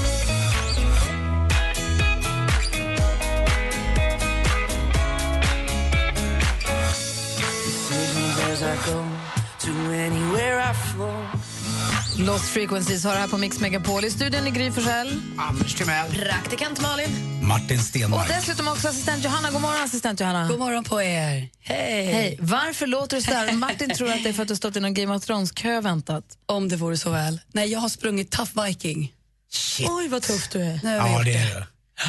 Speaker 14: Decisions as I go to anywhere I flow.
Speaker 1: Lost Frequencies har det här på Mix Megapol. I studion i Gry Forssell.
Speaker 13: Anders Timell.
Speaker 1: Praktikant Malin.
Speaker 13: Martin
Speaker 1: Och
Speaker 13: Stenmark.
Speaker 1: dessutom också assistent Johanna. God morgon, assistent Johanna.
Speaker 17: God morgon på er.
Speaker 1: Hej. Varför låter du så där? Martin tror att det är för att du stått i någon Game of Thrones-kö och väntat.
Speaker 17: Om det vore så väl. Nej, jag har sprungit Tough Viking.
Speaker 1: Oj, vad tuff du är.
Speaker 17: Nu har jag gjort det.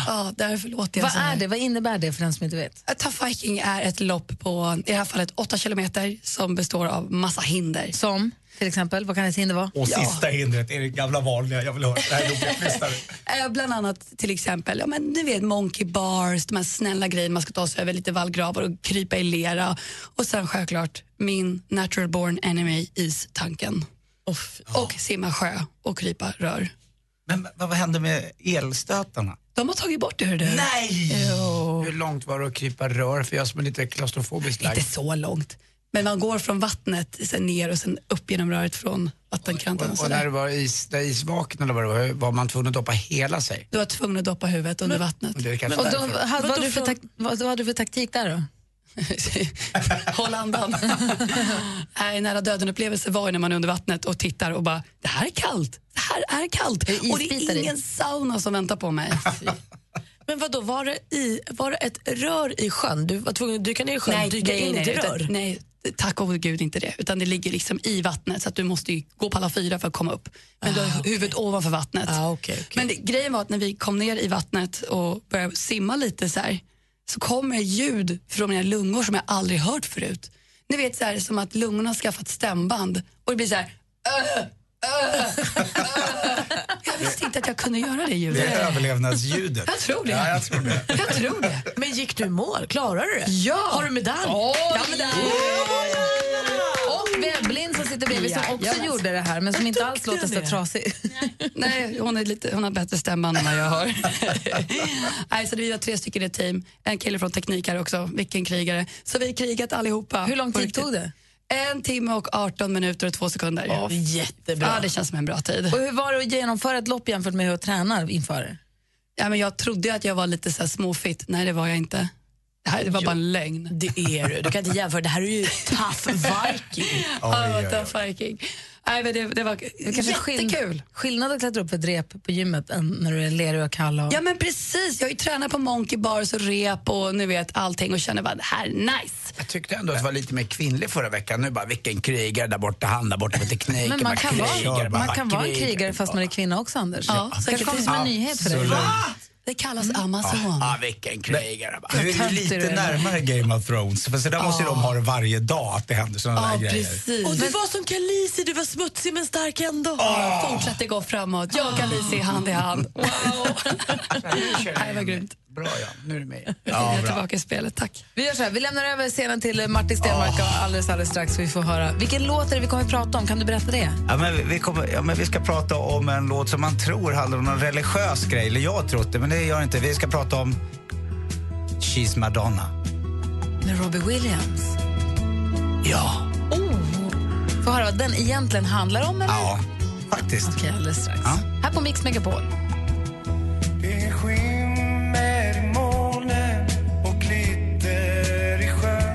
Speaker 17: Ja, därför låter jag
Speaker 1: Vad
Speaker 17: så alltså här.
Speaker 1: är det? Vad innebär det för den som inte vet?
Speaker 17: A Tough Viking är ett lopp på, i det här fallet, 8 kilometer som består av massa hinder.
Speaker 1: Som? Till exempel, vad kan ett hinder vara?
Speaker 13: Och sista hindret är det gamla vanliga. Jag vill höra. Det här är roligt. Lyssna nu.
Speaker 17: Eh, Bland annat till exempel, ja, men ni vet monkey bars, de här snälla grejerna man ska ta sig över lite vallgravar och krypa i lera. Och sen självklart min natural born enemy, istanken. Och simma sjö och krypa rör.
Speaker 13: Men vad, vad hände med elstötarna?
Speaker 17: De har tagit bort det, hördu.
Speaker 13: Nej! Hur långt var det att krypa rör? För jag som är lite klaustrofobisk lagd.
Speaker 17: Inte så långt. Men man går från vattnet sen ner och sen upp genom röret från vattenkanten. Och
Speaker 13: Och när det
Speaker 17: sådär.
Speaker 13: var is, där isvaken eller vad det var, var man tvungen att doppa hela sig?
Speaker 17: du var tvungen att doppa huvudet under vattnet.
Speaker 13: Och det är kanske
Speaker 1: Och då,
Speaker 13: därför.
Speaker 1: hade, vad,
Speaker 17: Vadå
Speaker 1: du för
Speaker 17: från-
Speaker 1: tak, vad, vad hade du för taktik där då?
Speaker 17: Håll andan. Nej, nära döden-upplevelse var ju när man är under vattnet och tittar och bara, det här är kallt. Det här är kallt. Och det
Speaker 3: isbitar
Speaker 17: är
Speaker 3: i?
Speaker 17: ingen sauna som väntar på mig.
Speaker 3: Men vad då var det, i, var det ett rör i sjön? Du var tvungen att dyka ner i sjön,
Speaker 17: nej,
Speaker 3: dyka
Speaker 17: nej,
Speaker 3: in
Speaker 17: nej,
Speaker 3: i ett rör?
Speaker 17: utan, nej, tack och gud inte det. Utan det ligger liksom i vattnet så att du måste ju gå på alla fyra för att komma upp. Men du
Speaker 5: Ah,
Speaker 17: har huvudet ovanför vattnet. Men det, grejen var att när vi kom ner i vattnet och började simma lite så här så kommer ljud från mina lungor som jag aldrig hört förut. Ni vet så här som att lungorna har skaffat stämband och det blir så här "Åh, åh, åh." Jag visste inte att jag kunde göra det
Speaker 13: Det
Speaker 17: ljudet.
Speaker 13: är överlevnadsljudet.
Speaker 17: Jag tror det.
Speaker 13: Ja, jag tror det.
Speaker 17: Jag tror det.
Speaker 3: Men gick du i mål? Klarade du det?
Speaker 17: Ja!
Speaker 3: Har du medalj?
Speaker 1: Ja,
Speaker 3: medalj!
Speaker 1: Och Webblin som sitter bredvid som också
Speaker 17: Jajamän.
Speaker 1: gjorde det här men som inte alls låter så trasig.
Speaker 17: Nej, hon, är lite, hon har bättre stämband än vad jag har. Nej, så vi var tre stycken i ett team. En kille från teknik här också. Vilken krigare. Så vi har krigat allihopa. Hur lång tid tog
Speaker 1: det?
Speaker 17: En timme och 18 minuter och två sekunder.
Speaker 1: Ja, jättebra.
Speaker 17: Ja, det känns som en bra tid.
Speaker 1: Och hur var det att genomföra ett lopp jämfört med hur jag tränar inför det?
Speaker 17: Ja, men jag trodde ju att jag var lite så här småfitt. Nej, det var jag inte. Det, här, det var bara en lögn.
Speaker 3: Det är du. Du kan inte jämföra. Det här är ju tough viking.
Speaker 17: Ja, det var tough viking. Nej, men det, det var
Speaker 1: Det kanske är skill-
Speaker 17: jättekul.
Speaker 1: Skillnad att klättra upp för ett rep på gymmet än när du är lerig och kall. Och...
Speaker 17: Ja men precis, jag har ju tränat på monkey bars och rep och nu vet allting och känner bara det här är nice.
Speaker 13: Jag tyckte ändå att det var lite mer kvinnlig förra veckan. Nu bara, vilken krigare där borta, han där borta med tekniken.
Speaker 1: Men man kan, vara,
Speaker 13: krigar,
Speaker 1: man
Speaker 13: bara,
Speaker 1: kan vara en
Speaker 13: krigar.
Speaker 1: krigare fast man är kvinna också, Anders.
Speaker 13: Ja,
Speaker 1: det kanske
Speaker 13: säkert.
Speaker 1: kommer som en nyhet för dig.
Speaker 13: Absolut.
Speaker 17: Det kallas Amazon.
Speaker 13: Ja, ah, vilken krigare. bara.
Speaker 1: Alltså, Men-
Speaker 13: Nu är
Speaker 1: Vad
Speaker 13: vi
Speaker 1: töntig du
Speaker 13: lite
Speaker 1: är.
Speaker 13: närmare Game of Thrones. För så där måste ju de ha det varje dag, att det händer sådana där grejer.
Speaker 3: Och du var som Khaleesi, du var smutsig men stark ändå.
Speaker 17: Fortsatte gå framåt. Jag och Khaleesi hand i hand. Wow! Nej, vad grymt.
Speaker 13: Bra ja, nu är du med.
Speaker 17: jag är tillbaka i spelet, tack.
Speaker 1: Vi gör så här, vi lämnar över scenen till eh, Martin Stenmarck
Speaker 13: Ah.
Speaker 1: och alldeles, alldeles strax så vi får höra. Vilken låt är det vi kommer att prata om? Kan du berätta det?
Speaker 13: Ja men, vi- vi kommer, ja, men vi ska prata om en låt som man tror handlar om någon religiös grej. Eller jag har trott det, men det gör det inte. Vi ska prata om She's Madonna.
Speaker 1: Med Robbie Williams.
Speaker 13: Ja.
Speaker 1: Oh. Får höra vad den egentligen handlar om? Eller?
Speaker 13: Ja, faktiskt.
Speaker 1: Okej, alldeles strax.
Speaker 13: Ja.
Speaker 1: Här på Mix Megapol.
Speaker 7: Det skimmer i molnen och glitter i sjön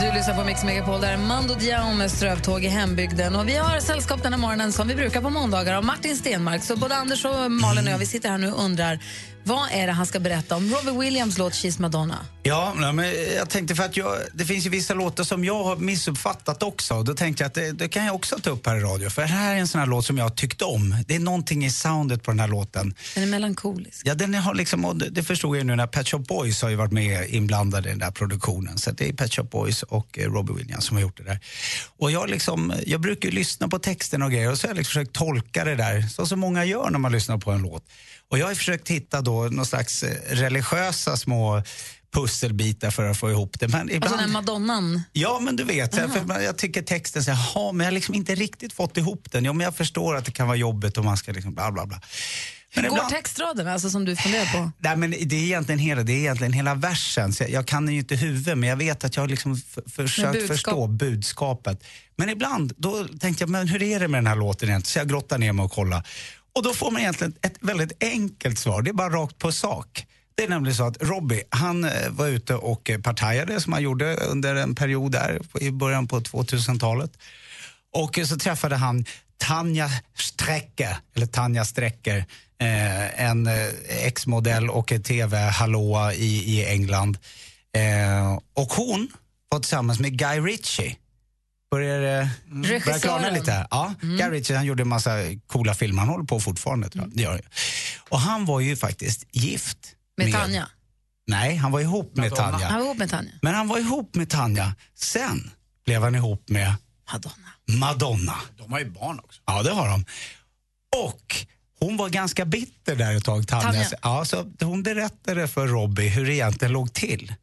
Speaker 1: Du lyssnar på Mix Megapol, där är Mando Diao med strövtåg i hembygden. Och vi har sällskap den här morgonen som vi brukar på måndagar av Martin Stenmark. Så både Anders och Malin och jag vi sitter här nu och undrar vad är det han ska berätta om Robbie Williams låt She's Madonna?
Speaker 13: Ja, nej, men jag tänkte för att jag, det finns ju vissa låtar som jag har missuppfattat också. Och Då tänkte jag att det, det kan jag också ta upp här i radio. För här är en sån här låt som jag tyckte om. Det är någonting i soundet på den här låten.
Speaker 1: Den är melankolisk.
Speaker 13: Ja, den har liksom, och det det förstod jag ju nu när Pet Shop Boys har ju varit med inblandade i den där produktionen. Så att det är Pet Shop Boys och eh, Robbie Williams som har gjort det där. Och jag, liksom, jag brukar ju lyssna på texten och grejer och så har jag liksom försökt tolka det där, så som många gör när man lyssnar på en låt. Och jag har ju försökt hitta då någon slags eh, religiösa små pusselbitar för att få ihop det. Men ibland...
Speaker 1: Alltså den här madonnan.
Speaker 13: Ja, men du vet. så här, För man- jag tycker texten så här, "Jaha, men jag har liksom inte riktigt fått ihop den. Ja, men jag förstår att det kan vara jobbigt och man ska liksom bla bla bla.
Speaker 1: Hur
Speaker 13: Men
Speaker 1: går
Speaker 13: ibland-
Speaker 1: textraderna alltså, som du funderar på?
Speaker 13: Nej, men det, är egentligen hela, det är egentligen hela versen. Så jag, jag kan den ju inte i huvudet, men jag vet att jag har liksom f- försökt
Speaker 1: budskap-
Speaker 13: förstå budskapet. Men ibland då tänkte jag, men hur är det med den här låten egentligen? Så jag grottar ner mig och kollar. Och då får man egentligen ett väldigt enkelt svar. Det är bara rakt på sak. Det är nämligen så att Robbie, han eh, var ute och eh, partajade som han gjorde under en period där i början på 2000-talet. Och eh, så träffade han Tanja Sträcker, eller Tanja Sträcker, eh, en eh, ex-modell och en tv-hallåa i, i England. Eh, och hon var tillsammans med Guy Ritchie. Börjar det
Speaker 1: Mm.
Speaker 13: börjar det klarna
Speaker 2: Regissören.
Speaker 13: lite? här? Ja, Guy Ritchie han gjorde en massa coola filmer, han håller på fortfarande.
Speaker 1: Mm.
Speaker 13: Tror jag. Det gör han ju. Och han var ju faktiskt gift.
Speaker 1: Med Tanja.
Speaker 13: Nej, han var ihop med Tanja.
Speaker 1: Han var ihop med Tanja.
Speaker 13: Men han var ihop med Tanja. Sen blev han ihop med
Speaker 1: Madonna.
Speaker 13: Madonna.
Speaker 2: De har ju barn också.
Speaker 13: Ja, det har de. Och hon var ganska bitter där ett tag, Tanja.
Speaker 2: Tanja.
Speaker 13: Ja, så hon berättade för Robbie hur det egentligen låg till.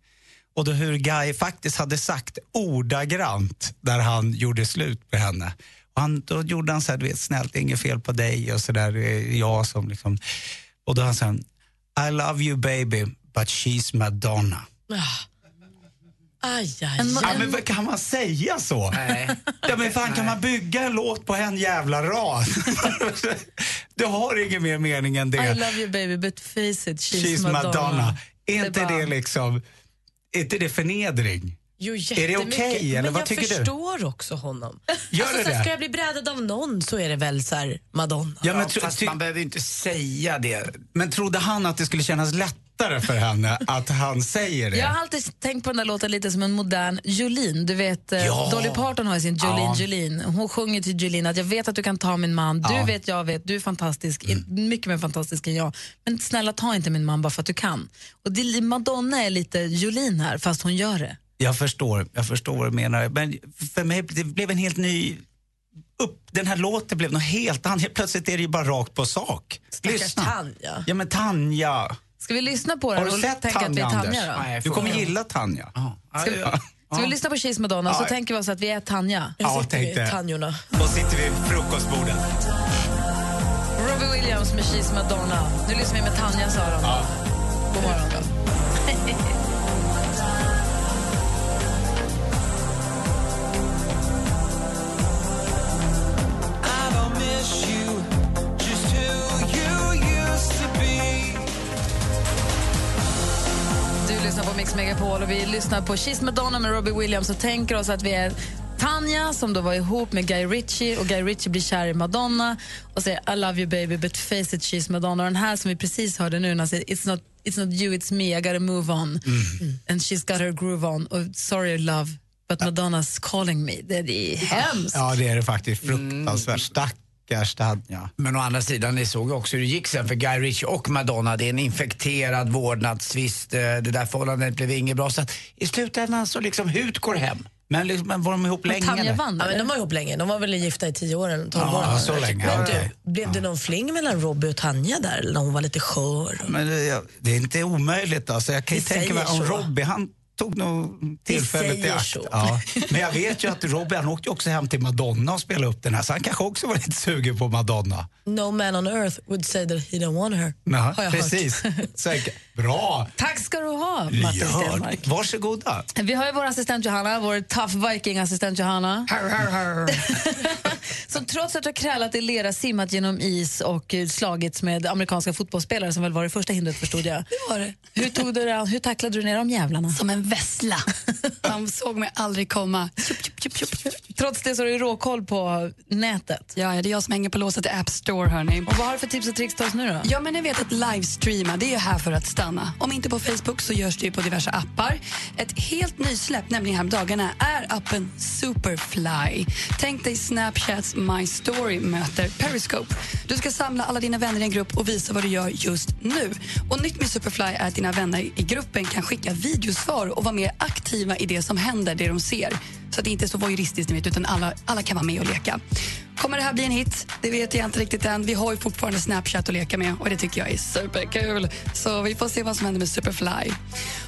Speaker 13: Och då hur Guy faktiskt hade sagt ordagrant när han gjorde slut med henne. Och han, då gjorde han så här, du vet, snällt, det är inget fel på dig och så där, det är jag som liksom... Och då han sa han, I love you baby, but she's Madonna.
Speaker 18: Ah. Aj, aj,
Speaker 13: Ja,
Speaker 18: aj.
Speaker 13: men vad kan man säga så? Ja, men fan, kan man bygga en låt på en jävla rad? du har ingen mer mening än det.
Speaker 1: I love you baby but face it, she's,
Speaker 13: She's Madonna.
Speaker 1: Madonna.
Speaker 13: Är inte det liksom... Är inte det förnedring?
Speaker 18: Jo,
Speaker 13: är det okej,
Speaker 18: jättemycket.
Speaker 13: eller
Speaker 18: Men
Speaker 13: vad
Speaker 18: jag
Speaker 13: tycker du?
Speaker 18: förstår också honom.
Speaker 13: Gör
Speaker 18: alltså,
Speaker 13: du
Speaker 18: så här,
Speaker 13: det?
Speaker 18: Ska jag bli brädad av någon så är det väl så här, Madonna.
Speaker 13: Ja, men tro-
Speaker 2: fast
Speaker 13: ty-
Speaker 2: man behöver ju inte säga det.
Speaker 13: Men trodde han att det skulle kännas lättare för henne att han säger det?
Speaker 1: Jag har alltid tänkt på den där låten lite som en modern Jolene. Du vet, eh,
Speaker 13: Ja.
Speaker 1: Dolly Parton har ju sin Jolene
Speaker 13: Ja.
Speaker 1: Jolene. Hon sjunger till Jolene att jag vet att du kan ta min man, du
Speaker 13: Ja. Mm.
Speaker 1: vet, jag vet, du är fantastisk, In- mycket mer fantastisk än jag. Men snälla ta inte min man bara för att du kan. Och det, Madonna är lite Jolene här, fast hon gör det.
Speaker 13: Jag förstår, jag förstår vad du menar. Men för mig det blev en helt ny... Upp, den här låten blev något helt annat. Helt Plötsligt är det ju bara rakt på sak.
Speaker 1: Stackars Tanja.
Speaker 13: Ja, men Tanja.
Speaker 1: Ska vi lyssna på den
Speaker 13: Har du
Speaker 1: och
Speaker 13: sett
Speaker 1: tänka att vi
Speaker 13: Tanja,
Speaker 1: är
Speaker 13: Anders?
Speaker 1: Tanja då?
Speaker 13: du kommer gilla Tanja.
Speaker 1: Ska vi, ska vi lyssna på She's Madonna så
Speaker 13: Ja.
Speaker 1: tänker vi oss att vi är Tanja?
Speaker 13: Ja, tänk det.
Speaker 18: Tanjorna.
Speaker 13: Och sitter vid frukostbordet.
Speaker 1: Robbie Williams med She's Madonna. Nu lyssnar vi med Tanja sa de. God morgon. Då.
Speaker 7: I don't miss you, just who you used to be.
Speaker 1: Du lyssnar på Mix Megapol och vi lyssnar på She's Madonna med Robbie Williams och tänker oss att vi är Tanja som då var ihop med Guy Ritchie och Guy Ritchie blir kär i Madonna och säger I love you baby but face it she's Madonna. Och den här som vi precis hörde nu när han säger it's not, it's not you it's me I gotta move on and she's got her groove on och sorry love but Madonna's calling me. Det är hemskt.
Speaker 13: Ja, det är det faktiskt.
Speaker 1: Mm.
Speaker 13: Fruktansvärt. Stackars Tanja.
Speaker 2: Men å andra sidan, ni såg ju också hur det gick sen för Guy Ritchie och Madonna. Det är en infekterad vårdnadstvist. eh, Det där förhållandet blev inget bra. Så att i slutändan så liksom hut går hem. Men, liksom, men var de ihop länge? eller?
Speaker 18: ja, men de var ihop länge. De var väl gifta i tio år eller tolv
Speaker 2: Ja,
Speaker 18: år.
Speaker 2: så länge.
Speaker 18: Men
Speaker 2: Okej.
Speaker 18: du, blev det någon fling mellan Robbie och Tanja där eller när hon var lite skör?
Speaker 13: Men det, jag- det är inte omöjligt. Alltså. Jag kan ju
Speaker 18: Vi
Speaker 13: tänka mig om
Speaker 18: säger så.
Speaker 13: Robbie, han tog nog tillfället i
Speaker 18: säger
Speaker 13: akt.
Speaker 18: så.
Speaker 13: Ja. Men jag vet ju att Robbie, han åkte ju också hem till Madonna och spelade upp den här, så han kanske också var lite sugen på Madonna.
Speaker 18: No man on earth would say that he don't want her.
Speaker 13: Naha,
Speaker 18: har jag
Speaker 13: precis.
Speaker 18: hört.
Speaker 13: Säkert. Bra!
Speaker 1: Tack ska du ha Martin
Speaker 13: Ja,
Speaker 1: Stenmarck.
Speaker 13: Varsågoda.
Speaker 1: Vi har ju vår assistent Johanna, vår tough viking-assistent Johanna. som trots att du har krälat i lera, simmat genom is och eh, slagits med amerikanska fotbollsspelare som väl var det första hindret förstod jag. Det var det. Hur, tog du det, an- hur tacklade du ner de jävlarna?
Speaker 17: Som en vessla. De såg mig aldrig komma.
Speaker 1: Trots det så har du råkoll på nätet.
Speaker 17: Ja, ja, Eh, det är jag som hänger på låset i App Store. Hörni.
Speaker 1: Och vad har du för tips och tricks till oss nu då?
Speaker 17: Ja, men ni vet att livestreama, det är ju här för att stanna. Om inte på Facebook så görs det ju på diverse appar. Ett helt nysläpp, nämligen häromdagarna, är appen Superfly. Tänk dig Snapchats My Story möter Periscope. Du ska samla alla dina vänner i en grupp och visa vad du gör just nu. Och nytt med Superfly är att dina vänner i gruppen kan skicka videosvar och vara mer aktiva i det som händer, det de ser. Så att det inte är så voyeuristiskt, ni vet, utan alla, alla kan vara med och leka. Kommer det här bli en hit? Det vet jag inte riktigt än. Vi har ju fortfarande Snapchat att leka med och det tycker jag är superkul. Så vi får se vad som händer med Superfly.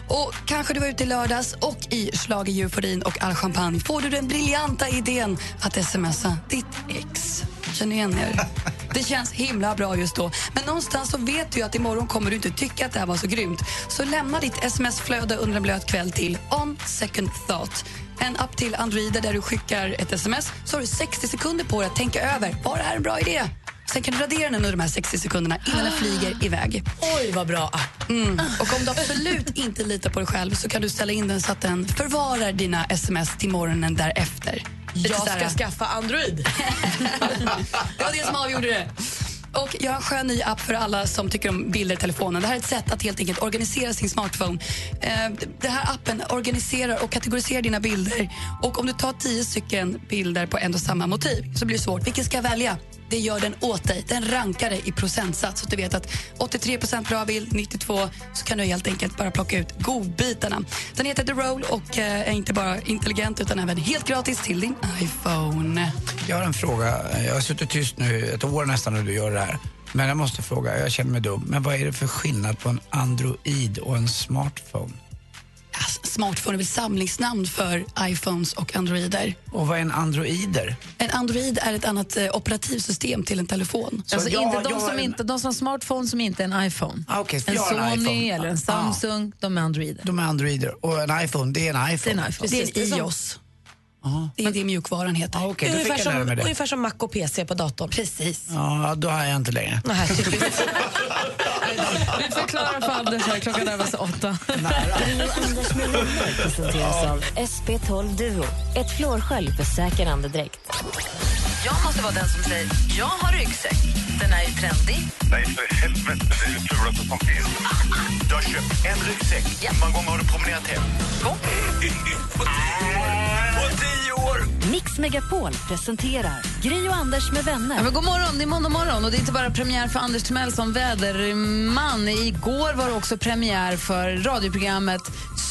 Speaker 17: Och kanske du var ute i lördags och i slag i euforin och all champagne får du den briljanta idén att smsa ditt ex. Känner igen er? Det känns himla bra just då. Men någonstans så vet du ju att imorgon kommer du inte tycka att det här var så grymt. Så lämna ditt sms-flöde under en blöt kväll till On Second Thought. En app till Androider där du skickar ett sms så har du 60 sekunder på dig att tänka över. Var det här en bra idé? Sen kan du radera den under de här 60 sekunderna innan den flyger iväg.
Speaker 18: Oj, vad bra Ah. app.
Speaker 17: Mm. Och om du absolut inte litar på dig själv så kan du ställa in den så att den förvarar dina sms till morgonen därefter. Lite
Speaker 18: Jag
Speaker 17: så här-
Speaker 18: ska skaffa Android.
Speaker 17: det var det som avgjorde det. Och jag har en skön ny app för alla som tycker om bilder i telefonen. Det här är ett sätt att helt enkelt organisera sin smartphone. Eh, d- Den här appen organiserar och kategoriserar dina bilder. Och om du tar tio stycken bilder på en och samma motiv så blir det svårt. Vilken ska jag välja? Det gör den åt dig. Den rankar dig i procentsats. Så att du vet att 83 bra bild, 92 så kan du helt enkelt bara plocka ut godbitarna. Den heter The Roll och eh, är inte bara intelligent utan även helt gratis till din iPhone.
Speaker 2: Jag har en fråga. Jag har suttit tyst nu ett år nästan när du gör det här. Men jag måste fråga, jag känner mig dum. Men vad är det för skillnad på en Android och en smartphone?
Speaker 17: Smartphone är väl samlingsnamn för iPhones och Androider.
Speaker 2: Och vad är en Androider?
Speaker 17: En Android är ett annat eh, operativsystem till en telefon.
Speaker 1: Alltså inte de, som inte, de som har smartphone som inte är en iPhone.
Speaker 2: Ah, okej, så
Speaker 1: en
Speaker 2: jag har
Speaker 1: Sony
Speaker 2: en iPhone.
Speaker 1: eller en
Speaker 2: Ah.
Speaker 1: Samsung, de är Androider.
Speaker 2: De är Androider. Och en iPhone, det är en iPhone?
Speaker 1: Det är en iPhone.
Speaker 2: Precis,
Speaker 1: Det är en
Speaker 2: som-
Speaker 1: iOS.
Speaker 2: Ja.
Speaker 17: Det är det mjukvaran heter.
Speaker 2: Ah, Okej, då fick
Speaker 18: ungefär,
Speaker 2: jag lära mig
Speaker 18: som,
Speaker 2: det.
Speaker 18: ungefär som Mac och PC på datorn.
Speaker 17: Precis.
Speaker 2: Ja, då har jag inte längre.
Speaker 18: Nej,
Speaker 1: Vi förklarar för Anders här, klockan närmar sig åtta.
Speaker 6: Gry och Anders med vänner presenteras av SP12 Duo. Ett flårskölj för säker andedräkt.
Speaker 1: Jag måste vara den som säger, jag har ryggsäck. Den är ju trendig.
Speaker 19: Nej, för helvete. Det är det fulaste som finns. Du har köpt en ryggsäck. Hur många gånger har du promenerat hem?
Speaker 1: Två.
Speaker 19: På tio år!
Speaker 6: Mix Megapol presenterar Gry och Anders med vänner.
Speaker 1: Ja, men god morgon, det är måndag morgon och det är inte bara premiär för Anders Timell som väderman. Igår var det också premiär för radioprogrammet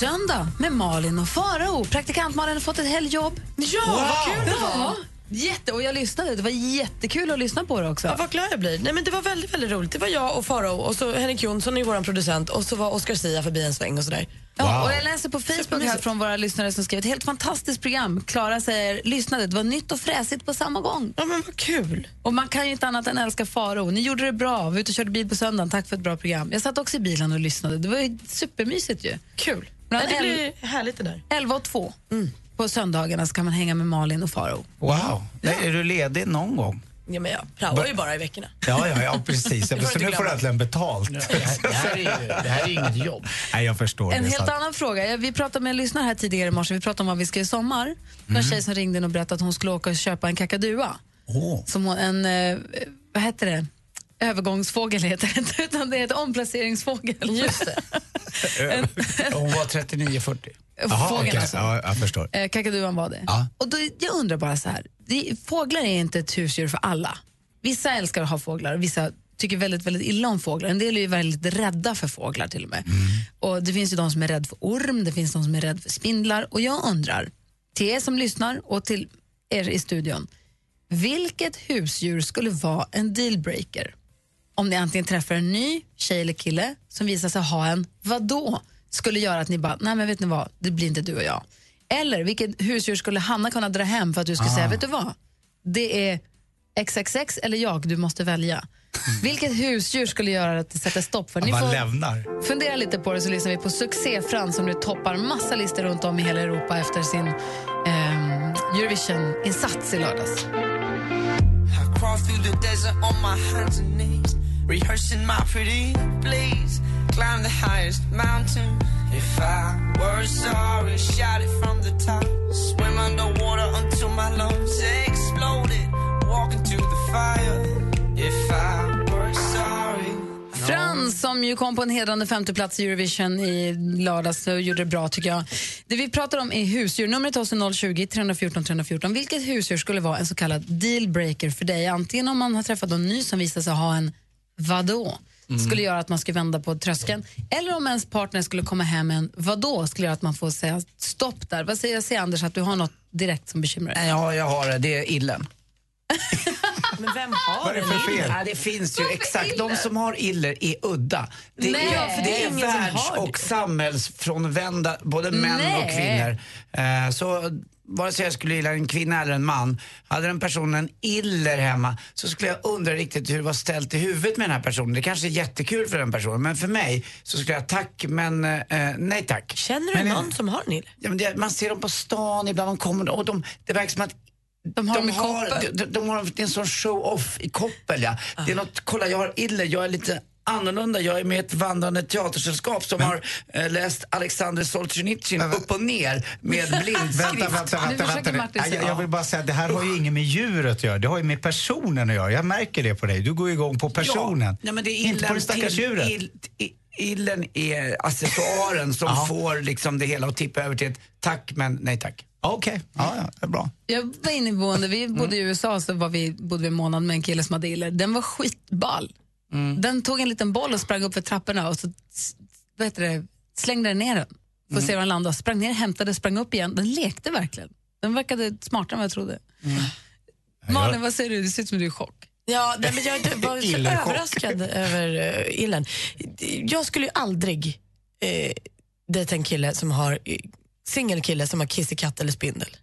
Speaker 1: Söndag med Malin och Farao. Praktikant Malin har fått ett helgjobb. Ja,
Speaker 3: vad kul det
Speaker 1: ja. Jätte, och jag lyssnade, det var jättekul att lyssna på det också.
Speaker 3: Ja, vad glad jag blir. Nej, men det var väldigt, väldigt roligt. Det var jag och Faro och så Henrik Jonsson är vår producent och så var Oscar Sia förbi en sväng och sådär.
Speaker 1: Ja, och jag läser på Facebook här från våra lyssnare som skrivit ett helt fantastiskt program. Klara säger, lyssnade, det var nytt och fräsigt på samma gång.
Speaker 3: Ja, men vad kul.
Speaker 1: Och man kan ju inte annat än älska Faro. Ni gjorde det bra, var ute och körde bil på söndagen, tack för ett bra program. Jag satt också i bilen och lyssnade, det var ju supermysigt ju.
Speaker 3: Kul.
Speaker 1: Bland
Speaker 3: Nej, det
Speaker 1: el-
Speaker 3: blir Mm. härligt det där.
Speaker 1: 11 och 2 på söndagarna så kan man hänga med Malin och Faro.
Speaker 2: Wow. Nej, Är du ledig någon gång?
Speaker 3: Ja, men jag praoar ju bara i veckorna.
Speaker 2: Ja, ja, ja precis.
Speaker 3: Det får du
Speaker 13: Så
Speaker 3: inte
Speaker 13: nu får du
Speaker 3: glömma.
Speaker 13: äntligen betalt.
Speaker 2: det här är ju- det här är ju inget jobb.
Speaker 13: Nej, jag förstår
Speaker 1: En
Speaker 13: det. så
Speaker 1: helt
Speaker 13: att-
Speaker 1: annan fråga. Ja, Vi pratade med en lyssnare här tidigare i morse. Vi pratade om vad vi ska göra i sommar. Det var en
Speaker 13: Mm.
Speaker 1: tjej som ringde in och berättade att hon skulle åka och köpa en kakadua.
Speaker 13: Åh.
Speaker 1: Som hon, en, eh, vad heter det? Övergångsfågel heter det inte, utan det är ett omplaceringsfågel. Just
Speaker 2: Hon var 39-40.
Speaker 1: Jaha, Fågeln okej. alltså.
Speaker 13: Ja, jag förstår.
Speaker 1: det. Kakaduan var det.
Speaker 13: Ja.
Speaker 1: Och då, jag undrar bara så här. Det, fåglar är inte ett husdjur för alla. Vissa älskar att ha fåglar och vissa tycker väldigt, väldigt illa om fåglar. En del är ju väldigt rädda för fåglar till och med. Och det finns ju de som är rädda för orm, det finns de som är rädda för spindlar. Och jag undrar, till er som lyssnar och till er i studion, vilket husdjur skulle vara en dealbreaker? Om ni antingen träffar en ny tjej eller kille som visar sig ha en vadå? Skulle göra att ni bara, nej men vet ni vad, det blir inte du och jag. Eller vilket husdjur skulle Hanna kunna dra hem för att du skulle
Speaker 20: Ah.
Speaker 1: säga, vet du vad? Det är XXX eller jag, du måste välja. Vilket husdjur skulle göra att det sätter stopp för?
Speaker 13: Att man lämnar.
Speaker 1: Fundera lite på det så lyssnar vi på Succé-Frans som nu toppar massa listor runt om i hela Europa efter sin ehm, Eurovision-insats i lördags.
Speaker 20: I crawl through the desert on my hands and knees, rehearsing my pretty please. Climb the highest mountain. If I were sorry, shout it from the top. Swim underwater until my lungs exploded. Walk into the fire. If I were sorry.
Speaker 1: Frans som ju kom på en hedrande femteplats i Eurovision i lördags och gjorde det bra tycker jag. Det vi pratar om är husdjur. Numret till oss är 020 314 314. Vilket husdjur skulle vara en så kallad dealbreaker för dig? Antingen om man har träffat någon ny som visar sig ha en vadå?
Speaker 20: Mm.
Speaker 1: skulle göra att man skulle vända på tröskeln. Eller om ens partner skulle komma hem med en vadå? skulle göra att man får säga stopp där. Vad säger jag, säger Anders, att du har något direkt som bekymrar dig?
Speaker 2: Ja, jag har det. Det är illen.
Speaker 3: Men vem har
Speaker 2: Vad är det för fel? Ja, det finns ju exakt. De som har iller är udda. Det
Speaker 3: Nej,
Speaker 2: är,
Speaker 3: för det är
Speaker 2: det är
Speaker 3: ingen som
Speaker 2: världs
Speaker 3: har
Speaker 2: och samhällsfrånvända, både män
Speaker 3: Nej.
Speaker 2: och kvinnor. Eh, så vare sig jag skulle gilla en kvinna eller en man, hade den personen iller hemma så skulle jag undra riktigt hur det var ställt i huvudet med den här personen. Det kanske är jättekul för den personen, men för mig så skulle jag tack, men eh, nej tack.
Speaker 3: Känner
Speaker 2: men,
Speaker 3: du någon som har en iller?
Speaker 2: Ja, men det, man ser dem på stan ibland, de kommer och de, det verkar som att
Speaker 1: de har dem i
Speaker 2: har,
Speaker 1: koppel.
Speaker 2: Ah. de, de, de har det är en sån show-off i koppel ja. Det är något, kolla jag har iller, jag är lite annorlunda. Jag är med i ett vandrande teatersällskap som har eh, läst Alexander Solzhenitsyn upp och ner med blindskrift.
Speaker 13: Vänta, vänta, vänta. vänta. Nej, jag, jag vill bara säga att det här har ju inget med djuret att göra. Det har ju med personen att göra. Jag märker det på dig. Du går igång på personen.
Speaker 2: Ja, nej, men det är
Speaker 13: Inte på det stackars
Speaker 2: till-
Speaker 13: djuret.
Speaker 2: ill- i- Illen är accessoaren som får liksom det hela att tippa över till ett tack men nej tack.
Speaker 13: Okej, ja, ja, det är bra.
Speaker 1: Jag var inneboende, vi bodde i USA så var vi, bodde vi en månad med en kille som hade iller. Den var skitball. Den tog en liten boll och sprang upp för trapporna och så s- vad heter det, slängde den ner den. Får se var den landade. Sprang ner, hämtade, sprang upp igen. Den lekte verkligen. Den verkade smartare än vad jag trodde.
Speaker 2: Mm.
Speaker 1: Malin, vad säger du? Det ser ut som du är i chock.
Speaker 3: Ja, nej, men jag var så
Speaker 1: Illerchock.
Speaker 3: överraskad över uh, illen. Jag skulle ju aldrig uh, dejta en kille som har eh, singelkille som har kissekatt eller spindel.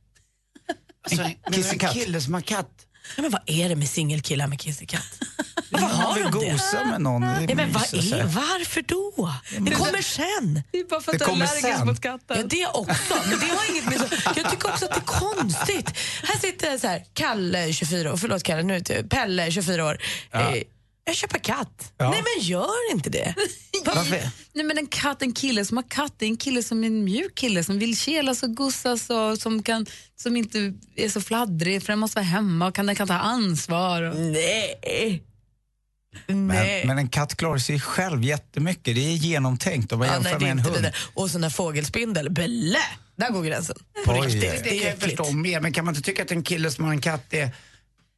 Speaker 2: Alltså, en,
Speaker 3: kissekatt?
Speaker 2: en kille som har katt?
Speaker 3: Ja, men vad är det med singelkillar med kissekatt? Vad har
Speaker 13: vill
Speaker 3: de det?
Speaker 13: gosa med någon. Det
Speaker 3: Ja, men vad
Speaker 13: myser så här.
Speaker 3: är, varför då? Det kommer sen.
Speaker 1: Det är bara
Speaker 13: för att Det du är kommer allergisk sen. mot
Speaker 1: katter.
Speaker 3: Ja, det också. Men det har inget med så. Jag tycker också att det är konstigt. Här sitter så här, Kalle, 24 år. Förlåt Kalle, nu till Pelle, 24 år.
Speaker 1: Ja.
Speaker 3: Eh, jag köper katt.
Speaker 1: Ja.
Speaker 3: Nej, men gör inte det.
Speaker 1: Varför? Nej, men en katt, en kille som har katt, det är en kille som är en mjuk kille som vill kelas och gussas och som, kan, som inte är så fladdrig för den måste vara hemma och kan, den kan ta ansvar. Och...
Speaker 13: Eh,
Speaker 3: Nej.
Speaker 13: Men, men en katt klarar sig själv jättemycket. Det är genomtänkt om man
Speaker 3: Ja,
Speaker 13: jämför
Speaker 3: nej, det
Speaker 13: med
Speaker 3: är
Speaker 13: en
Speaker 3: inte
Speaker 13: hund.
Speaker 3: det där. Och sån där fågelspindel, blä! Där går gränsen.
Speaker 2: På
Speaker 13: Oj.
Speaker 2: riktigt.
Speaker 13: Det
Speaker 2: Det kan jag förstå mer, men kan man inte tycka att en kille som har en katt är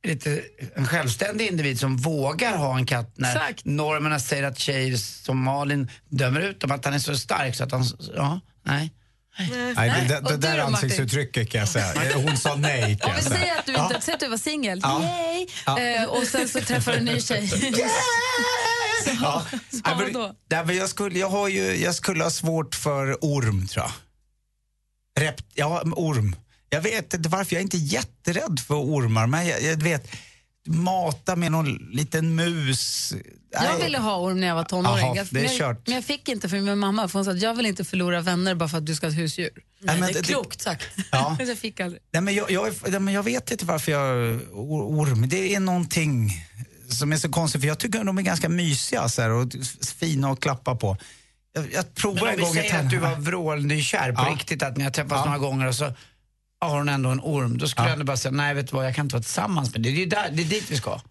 Speaker 2: lite en självständig individ som vågar ha en katt när normerna säger att tjejer som Malin dömer ut dem, att han är så stark så att han, ja, nej.
Speaker 13: Nej, det, det, det där ansiktsuttrycket kan jag säga. Hon sa nej kan
Speaker 1: Om vi
Speaker 13: jag
Speaker 1: säger att du inte
Speaker 13: Ja.
Speaker 1: säg att du var singel,
Speaker 13: Ja.
Speaker 1: yay!
Speaker 13: Ja.
Speaker 1: Eh, och sen så träffar du en ny tjej. Så,
Speaker 13: Ja.
Speaker 1: så vad då?
Speaker 13: Nej, men jag, skulle, jag, har ju, jag skulle ha svårt för orm, tror jag. Rept, ja, orm. Jag vet inte varför, jag är inte jätterädd för ormar, men jag, jag vet, mata med någon liten mus.
Speaker 1: Jag ville ha orm när jag var tonåring.
Speaker 13: Jaha,
Speaker 1: Jag-
Speaker 13: det är
Speaker 1: men, jag,
Speaker 13: kört.
Speaker 1: men jag fick inte för min mamma, för hon sa att jag vill inte förlora vänner bara för att du ska ha ett husdjur.
Speaker 13: Nej, men det är klokt
Speaker 3: sagt.
Speaker 13: Ja.
Speaker 1: Så jag fick aldrig.
Speaker 13: Nej, men jag, jag, är- nej, men jag vet inte varför jag... or- Orm, det är någonting som är så konstigt, för jag tycker de är ganska mysiga så här, och s- fina att klappa på. Jag, jag
Speaker 2: Men
Speaker 13: provar
Speaker 2: om
Speaker 13: en
Speaker 2: vi
Speaker 13: gång
Speaker 2: säger att du var vrålnykär på
Speaker 13: Ja.
Speaker 2: riktigt, att ni har träffats
Speaker 13: Ja.
Speaker 2: några gånger och så har hon ändå en orm, då skulle jag ändå bara säga nej vet du vad, jag kan inte vara tillsammans med dig. Det är ju där, det är dit vi ska.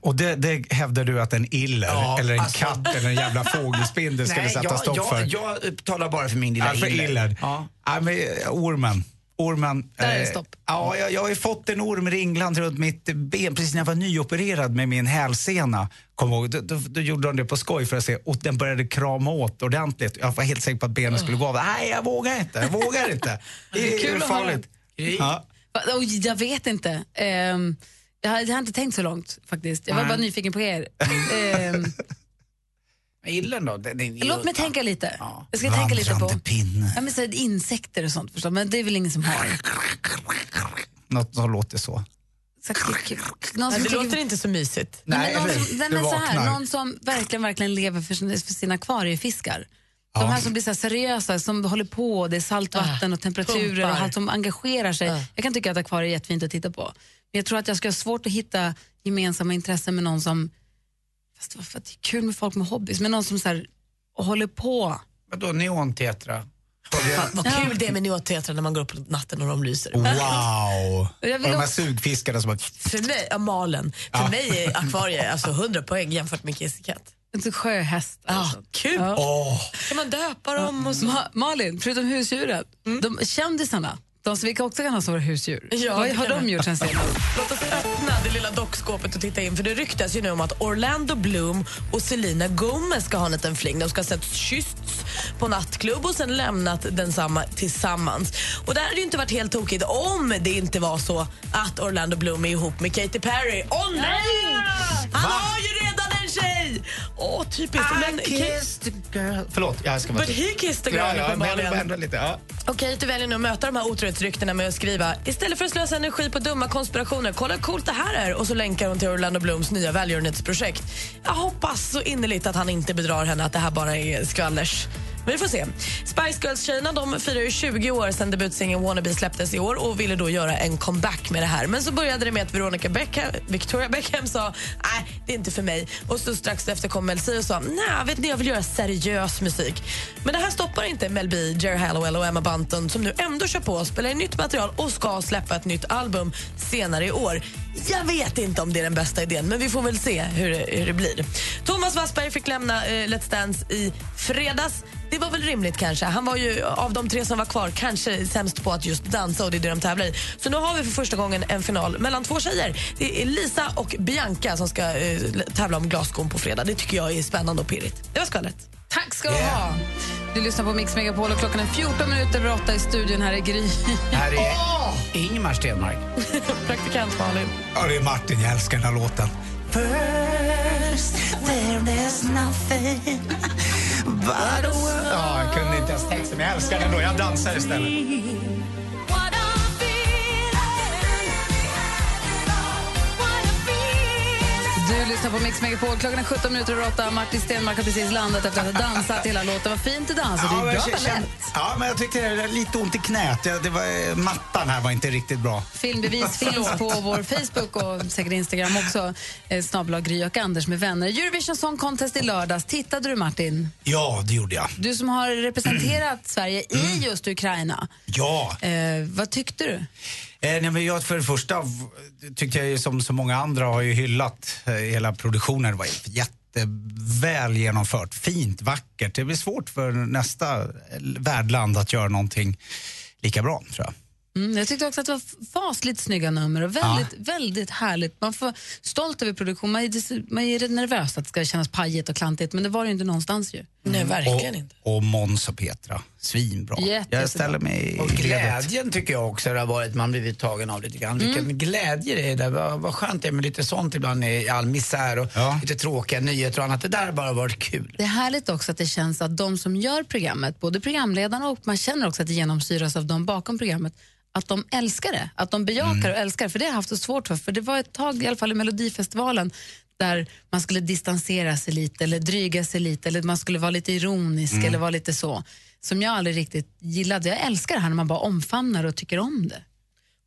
Speaker 13: Och det, det hävdar du att en iller,
Speaker 2: Ja,
Speaker 13: eller en
Speaker 2: alltså.
Speaker 13: katt eller en jävla fågelspindel ska vi
Speaker 2: Nej,
Speaker 13: sätta
Speaker 2: jag,
Speaker 13: stopp för?
Speaker 2: Jag, jag talar bara för min lilla
Speaker 13: Ja, för iller. Ja. men, eh, ormen. Ormen.
Speaker 2: Där är det
Speaker 13: eh,
Speaker 2: stopp.
Speaker 13: Ja, jag, jag har ju fått en orm ringland runt mitt ben precis när jag var nyopererad med min hälsena. Kom ihåg, då, då, då gjorde de det på skoj för att se. Och den började krama åt ordentligt. Jag var helt säker på att benen skulle gå av. Nej, jag vågar inte. Jag vågar inte.
Speaker 1: Det är
Speaker 13: Det är,
Speaker 1: kul att
Speaker 13: farligt.
Speaker 2: höra.
Speaker 13: Ja.
Speaker 1: Va- oj, Jag vet inte. Ehm, jag, har, jag har inte tänkt så långt faktiskt. Jag var
Speaker 2: Nej.
Speaker 1: bara nyfiken på er. Ehm,
Speaker 2: Illen då? Den, den,
Speaker 1: låt mig tänka lite. Jag ska tänka lite på ja, men så här, insekter och sånt förstås, men det är väl ingen som har.
Speaker 13: Något som låter så.
Speaker 1: Så här, klick, klick, klick. Någon
Speaker 3: Nej,
Speaker 1: som
Speaker 3: det
Speaker 1: klickar-
Speaker 3: låter inte så mysigt.
Speaker 1: Nej, men någon,
Speaker 13: eller
Speaker 1: som,
Speaker 13: hur?
Speaker 1: nej,
Speaker 13: Du
Speaker 1: men så
Speaker 13: vaknar.
Speaker 1: här, någon som verkligen, verkligen lever för sina, för sina akvariefiskar. De här som blir så här seriösa, som håller på, det är saltvatten och temperaturer och
Speaker 17: pumpar.
Speaker 1: allt som engagerar sig. Jag kan tycka att akvarier är jättefint att titta på. Men jag tror att jag ska ha svårt att hitta gemensamma intressen med någon som, fast varför att det är kul med folk med hobbys, men någon som så här, håller på.
Speaker 2: Vadå, neontetra?
Speaker 3: Fan, vad kul det är med neonteatrar när man går upp på natten och de lyser.
Speaker 13: Wow! Och
Speaker 3: Jag vill
Speaker 13: de här
Speaker 3: också-
Speaker 13: sugfiskarna som bara...
Speaker 3: För mig, ja, malen. För
Speaker 13: Ja.
Speaker 3: mig är akvarie alltså 100 poäng jämfört med kissekatt.
Speaker 1: En sjöhäst. alltså.
Speaker 3: Ja, kul! Kan man döpa dem och så?
Speaker 1: Ma- Malin, förutom husdjuren, de kändisarna, de som vi också kan ha som våra husdjur,
Speaker 3: Ja,
Speaker 1: vad
Speaker 3: det
Speaker 1: har
Speaker 3: kan
Speaker 1: de
Speaker 3: vi.
Speaker 1: gjort sen senast?
Speaker 3: Låt oss öppna det lilla dockskåpet och titta in. För Det ryktas ju nu om att Orlando Bloom och Selena Gomez ska ha en liten fling. De ska ha sett kyssts på nattklubb och sen lämnat densamma tillsammans. Och Det här hade ju inte varit helt tokigt om det inte var så att Orlando Bloom är ihop med Katy Perry. Åh nej! Han har ju redan en tjej! Åh, typiskt.
Speaker 2: I
Speaker 3: Men,
Speaker 2: kissed a girl. Förlåt, jag ska bara...
Speaker 3: But he kissed a girl,
Speaker 2: Ja, ja, men jag vill
Speaker 3: uppenbarligen.
Speaker 2: bara ändra lite. Ja.
Speaker 3: Okej, du väljer nu att möta de här otrohetsryktena med att skriva istället för att slösa energi på dumma konspirationer, kolla hur coolt det här är och så länkar hon till Orlando Blooms nya välgörenhetsprojekt. Jag hoppas så innerligt att han inte bedrar henne, att det här bara är skvallers. Vi får se. Spice Girls-tjejerna de firar ju 20 år sedan debutsingeln Wannabe släpptes i år och ville då göra en comeback med det här. Men så började det med att Veronica Beckham, Victoria Beckham sa nej, det är inte för mig. Och så strax efter kom Mel C och sa nej, vet ni, jag vill göra seriös musik. Men det här stoppar inte Mel B, Jerry Hallowell och Emma Bunton som nu ändå kör på, spelar in nytt material och ska släppa ett nytt album senare i år. Jag vet inte om det är den bästa idén, men vi får väl se hur det, hur det blir. Thomas Wassberg fick lämna eh, Let's Dance i fredags. Det var väl rimligt kanske. Han var ju av de tre som var kvar kanske sämst på att just dansa och det är det de tävlar i. Så nu har vi för första gången en final mellan två tjejer. Det är Lisa och Bianca som ska eh, tävla om glasskon på fredag. Det tycker jag är spännande och pirrigt. Det var skvallret.
Speaker 1: Tack ska du ha. Du lyssnar på Mix Megapol och klockan är 14 minuter över 8 i studion. Här är Gry.
Speaker 2: Här är Ingemar Stenmark.
Speaker 3: Praktikant Oh! Malin.
Speaker 13: Ja, det är Martin. Jag älskar den här låten.
Speaker 7: First, there is nothing but a world.
Speaker 13: Ja, jag kunde inte ens texten, men jag älskar den då. Jag dansar istället.
Speaker 1: Du lyssnar på Mix Megapol. Klockan är 17 minuter över 8. Martin Stenmarck har precis landat efter att ha dansat hela låten. Vad fint du dansade.
Speaker 13: Ja,
Speaker 1: Det är
Speaker 13: men
Speaker 1: bra
Speaker 13: jag känner-
Speaker 1: balett.
Speaker 13: ja, men jag tyckte det var lite ont i knät. Ja, Det var, eh, mattan här var inte riktigt bra.
Speaker 1: Filmbevis finns på vår Facebook och säkert Instagram också. Eh, Snabel-A Gry och Anders med vänner. Eurovision Song Contest i lördags. Tittade du Martin?
Speaker 13: Ja, det gjorde jag.
Speaker 1: Du som har representerat Sverige i just Ukraina.
Speaker 13: Ja.
Speaker 1: Eh, vad tyckte du?
Speaker 13: Eh, nej, men jag för det första v- tyckte jag ju som så många andra har ju hyllat eh, hela produktionen. Det var ju jätteväl genomfört, fint, vackert. Det blir svårt för nästa eh, värdland att göra någonting lika bra tror jag.
Speaker 1: Mm, jag tyckte också att det var f- fasligt snygga nummer och väldigt, väldigt härligt. Man får vara stolt över produktion. Man är, dis- man är rädd nervös att det ska kännas pajigt och klantigt, men det var det ju inte någonstans ju.
Speaker 3: Nej,
Speaker 13: Mm. och, Och Måns och Petra, svinbra.
Speaker 1: Jättebra.
Speaker 13: Jag ställer mig
Speaker 2: Och
Speaker 13: i ledet.
Speaker 2: glädjen tycker jag också det har varit, man blivit tagen av lite grann.
Speaker 13: Mm.
Speaker 2: Vilken glädje det är där. Vad, vad skönt det är med lite sånt ibland i all misär och lite tråkiga nyheter och annat. Det där har bara varit kul.
Speaker 1: Det är härligt också att det känns att de som gör programmet, både programledarna och man känner också att det genomsyras av de bakom programmet, att de älskar det, att de bejakar och älskar det. För det har jag haft så svårt för, för det var ett tag, i alla fall i Melodifestivalen, där man skulle distansera sig lite eller dryga sig lite eller man skulle vara lite ironisk
Speaker 5: Mm.
Speaker 1: eller vara lite så. Som jag aldrig riktigt gillade. Jag älskar det här när man bara omfamnar och tycker om det.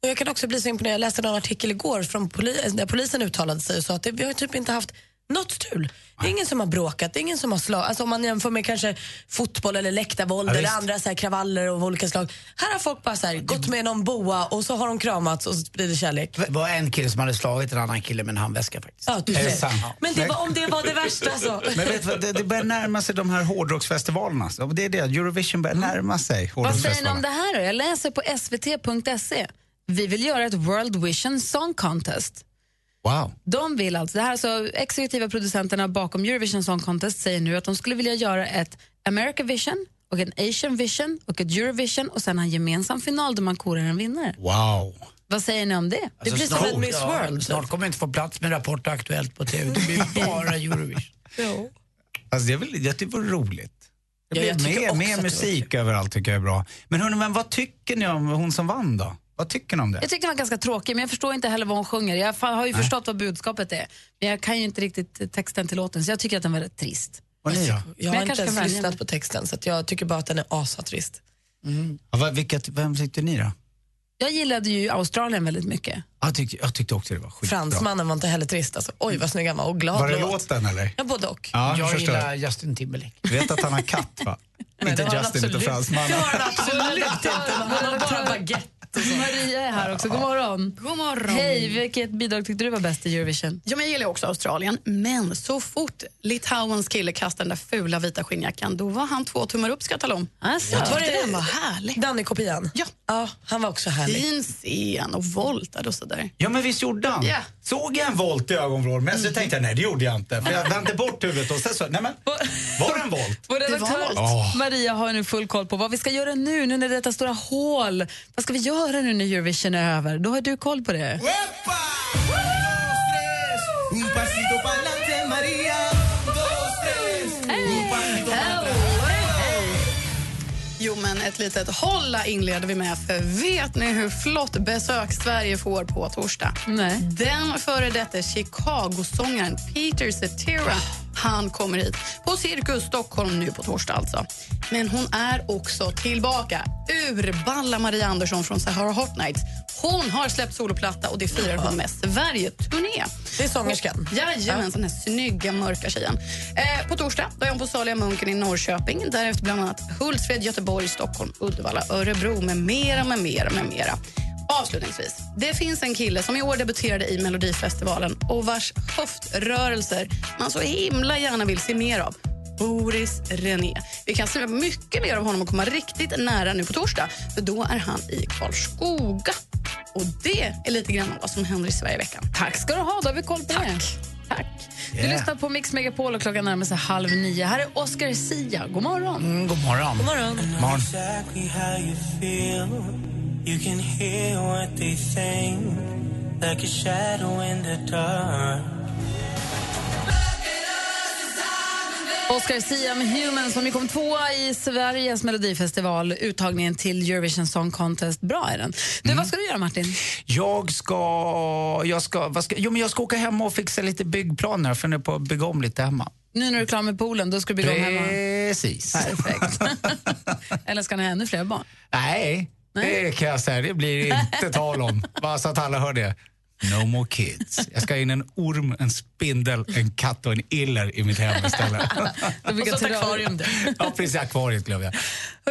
Speaker 3: Och jag kan också bli så imponerad. Jag läste en artikel igår från poli- där polisen uttalade sig och sa att det, vi har typ inte haft något strul. Det är ingen som har bråkat, det är ingen som har slagit. Alltså om man jämför med kanske fotboll eller läktarvåld
Speaker 1: Ja,
Speaker 3: eller
Speaker 1: visst.
Speaker 3: andra så här kravaller av olika slag. Här har folk bara så här, gått med någon boa och så har de kramats och så blir det kärlek.
Speaker 2: Det var en kille som hade slagit en annan kille med en handväska faktiskt.
Speaker 3: Ja, du
Speaker 2: Är det
Speaker 3: ser.
Speaker 2: sant?
Speaker 3: Men det var, om det var det värsta alltså. så.
Speaker 13: Men vet du vad, det, det börjar närma sig de här hårdrocksfestivalerna. Så Det är det, Eurovision börjar närma sig
Speaker 1: Mm. Vad säger ni om
Speaker 13: hårdrocksfestivalerna.
Speaker 1: det här då? Jag läser på svt.se. E. Vi vill göra ett World Vision Song Contest.
Speaker 13: Wow.
Speaker 1: De vill alltså, det här är alltså exekutiva producenterna bakom Eurovision Song Contest säger nu att de skulle vilja göra ett America Vision och en Asian Vision och ett Eurovision och sen en gemensam final där man korar en vinnare.
Speaker 13: Wow.
Speaker 1: Vad säger ni om det?
Speaker 2: Alltså, snart- ja, Snart kommer jag inte få plats med Rapport och Aktuellt på TV. Det blir bara Eurovision.
Speaker 13: Alltså, det är väl, jag tycker det var roligt.
Speaker 2: Ja,
Speaker 13: Det blir
Speaker 2: jag tycker
Speaker 13: mer,
Speaker 2: också att det
Speaker 13: mer
Speaker 2: var
Speaker 13: musik överallt tycker jag är bra. Men, hörni, men vad tycker ni om hon som vann då? Vad tycker ni om det?
Speaker 1: Jag tyckte den var ganska tråkig, men jag förstår inte heller vad hon sjunger. Jag fa- har ju
Speaker 13: Nej.
Speaker 1: förstått vad budskapet är, men jag kan ju inte riktigt eh, texten till låten, så jag tycker att den var rätt trist.
Speaker 13: Vad ni
Speaker 1: Men
Speaker 13: då?
Speaker 3: Alltså, Jag har
Speaker 1: jag
Speaker 3: inte
Speaker 1: kanske
Speaker 3: ens
Speaker 1: kan välja
Speaker 3: lyssnat
Speaker 1: mig.
Speaker 3: på texten så att jag tycker bara att den är asatrist.
Speaker 13: Ja, vad, vilka, vem tyckte ni då?
Speaker 1: Jag gillade ju Australien väldigt mycket.
Speaker 13: Jag tyckte, jag tyckte också det var skitbra.
Speaker 3: Fransmannen var inte heller trist alltså. Oj vad snygg han var och glad
Speaker 13: Var det
Speaker 3: låt.
Speaker 13: låten eller?
Speaker 3: Ja, både och.
Speaker 13: Ja, jag
Speaker 2: jag
Speaker 13: förstår.
Speaker 2: gillar Justin Timberlake.
Speaker 13: Du vet att han har katt va? inte
Speaker 2: det har han
Speaker 13: Justin, utan
Speaker 2: absolut.
Speaker 13: fransmannen.
Speaker 2: Det har han
Speaker 1: Absolut inte.
Speaker 3: Han har bara baguette.
Speaker 1: Maria är här också. God morgon.
Speaker 5: God morgon.
Speaker 1: Hej, vilket bidrag tyckte du var bäst i Eurovision?
Speaker 5: Ja, men jag gillar ju också Australien, men så fort Litauens kille kastade den där fula vita skinnjackan, då var han två tummar upp ska jag tala om.
Speaker 1: Alltså,
Speaker 5: jag tyckte
Speaker 3: Var det-
Speaker 5: den var härlig.
Speaker 3: Danny-kopian?
Speaker 5: Ja.
Speaker 3: ja. Han var också härlig.
Speaker 5: Fin scen och voltade och sådär.
Speaker 13: Ja men visst gjorde han?
Speaker 5: Ja.
Speaker 13: Såg jag en volt i ögonvrån? Men så
Speaker 2: Mm.
Speaker 13: tänkte jag nej det gjorde jag inte. För jag vände bort huvudet och sen så, nej men var det en volt?
Speaker 1: Vår redaktör
Speaker 13: Åh.
Speaker 1: Maria har nu full koll på vad vi ska göra nu, nu när detta stora hål. Vad ska vi göra nu när Eurovision är över? Då har du koll på det.
Speaker 7: Un pasito pa'lante, María. Dos, tres. Un pasito pa'lante.
Speaker 5: Jo, men ett litet hålla inleder vi med, för vet ni hur flott besök Sverige får på torsdag?
Speaker 1: Nej.
Speaker 5: Den före detta Chicago-sångaren Peter Cetera Han kommer hit på Cirkus Stockholm nu på torsdag. alltså. Men hon är också tillbaka. Urballa Maria Andersson från Sahara Hot Nights. Hon har släppt soloplatta och det firar hon med Sverige-turné.
Speaker 18: Det är sångerskan?
Speaker 5: Jajamän, den här snygga mörka tjejen. Eh, på torsdag då är hon på Salia Munken i Norrköping. Därefter bland annat Hultsfred, Göteborg, Stockholm, Uddevalla, Örebro med mera, med mera, med mera. Avslutningsvis, det finns en kille som i år debuterade i Melodifestivalen och vars höftrörelser man så himla gärna vill se mer av. Boris René. Vi kan se mycket mer av honom och komma riktigt nära nu på torsdag, för då är han i Karlskoga. Och det är lite grann vad som händer i Sverige i veckan.
Speaker 1: Tack ska du ha, då har vi koll på Tack. det. Tack. Du lyssnar på Mix Megapol och klockan närmar sig halv nio. Här är Oscar Sia. God morgon.
Speaker 2: Mm, god morgon.
Speaker 1: God morgon.
Speaker 2: God morgon.
Speaker 9: exactly how you feel. You can hear what they think, like a shadow in the dark.
Speaker 1: Oscar Sia med Human som ju kom tvåa i Sveriges melodifestival, uttagningen till Eurovision Song Contest. Bra är den. Du,
Speaker 2: Mm.
Speaker 1: vad ska du göra Martin?
Speaker 13: Jag ska, jag ska, vad ska, jo men jag ska åka hem och fixa lite byggplaner. Jag funderar på att bygga om lite hemma.
Speaker 1: Nu när du är klar med poolen, då ska du bygga om hemma?
Speaker 13: Precis.
Speaker 1: Perfekt. Eller ska ni ha ännu fler barn?
Speaker 13: Nej, det kan jag säga. Det blir inte tal om. Bara så att alla hör det. No more kids. Jag ska ha in en orm, en spindel, en katt och en iller i mitt hem istället.
Speaker 1: Då bygger
Speaker 13: Och så ett akvarium.
Speaker 1: du.
Speaker 13: Ja, precis. Akvariet glömde jag.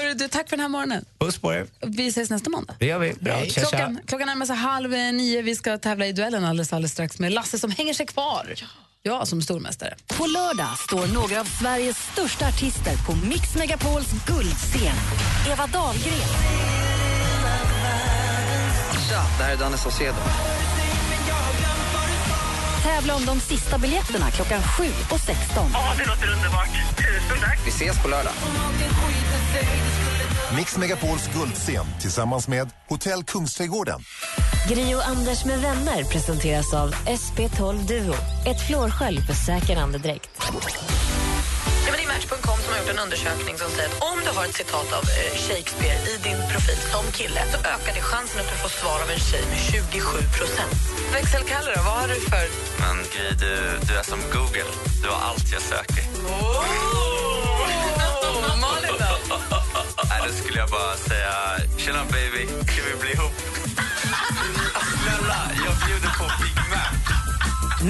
Speaker 1: Hörru, du, tack för den här morgonen.
Speaker 13: Puss på er.
Speaker 1: Vi ses nästa måndag.
Speaker 13: Det gör vi. Bra. Tja, tja.
Speaker 1: Klockan, klockan närmar sig halv eh, nio. Vi ska tävla i duellen alldeles, alldeles strax med Lasse som hänger sig kvar. Jag som stormästare.
Speaker 6: På lördag står några av Sveriges största artister på Mix Megapols guldscen. Eva Dahlgren,
Speaker 21: Tja, det här är Danne Saucedo.
Speaker 6: tävla om de sista biljetterna klockan 7 och 16.
Speaker 21: Ja, det låter underbart. Tusen tack. Vi ses på lördag.
Speaker 8: Mix Megapols guldscen tillsammans med Hotell Kungsträdgården.
Speaker 22: Gri och Anders med vänner presenteras av SP12 Duo. Ett flårskölj för säker andedräkt.
Speaker 18: Ja, men det är Match.com som har gjort en undersökning som säger att om du har ett citat av eh, Shakespeare i din profil som kille så ökar det chansen att du får svar av en tjej med 27 procent. Växelkalle då, vad har du för...
Speaker 23: Men Gry, du, du är som Google. Du har allt jag söker.
Speaker 18: Malin då?
Speaker 23: Nej, då skulle jag bara säga Tjena baby, ska vi bli ihop? Snälla, jag bjuder på Big Mac.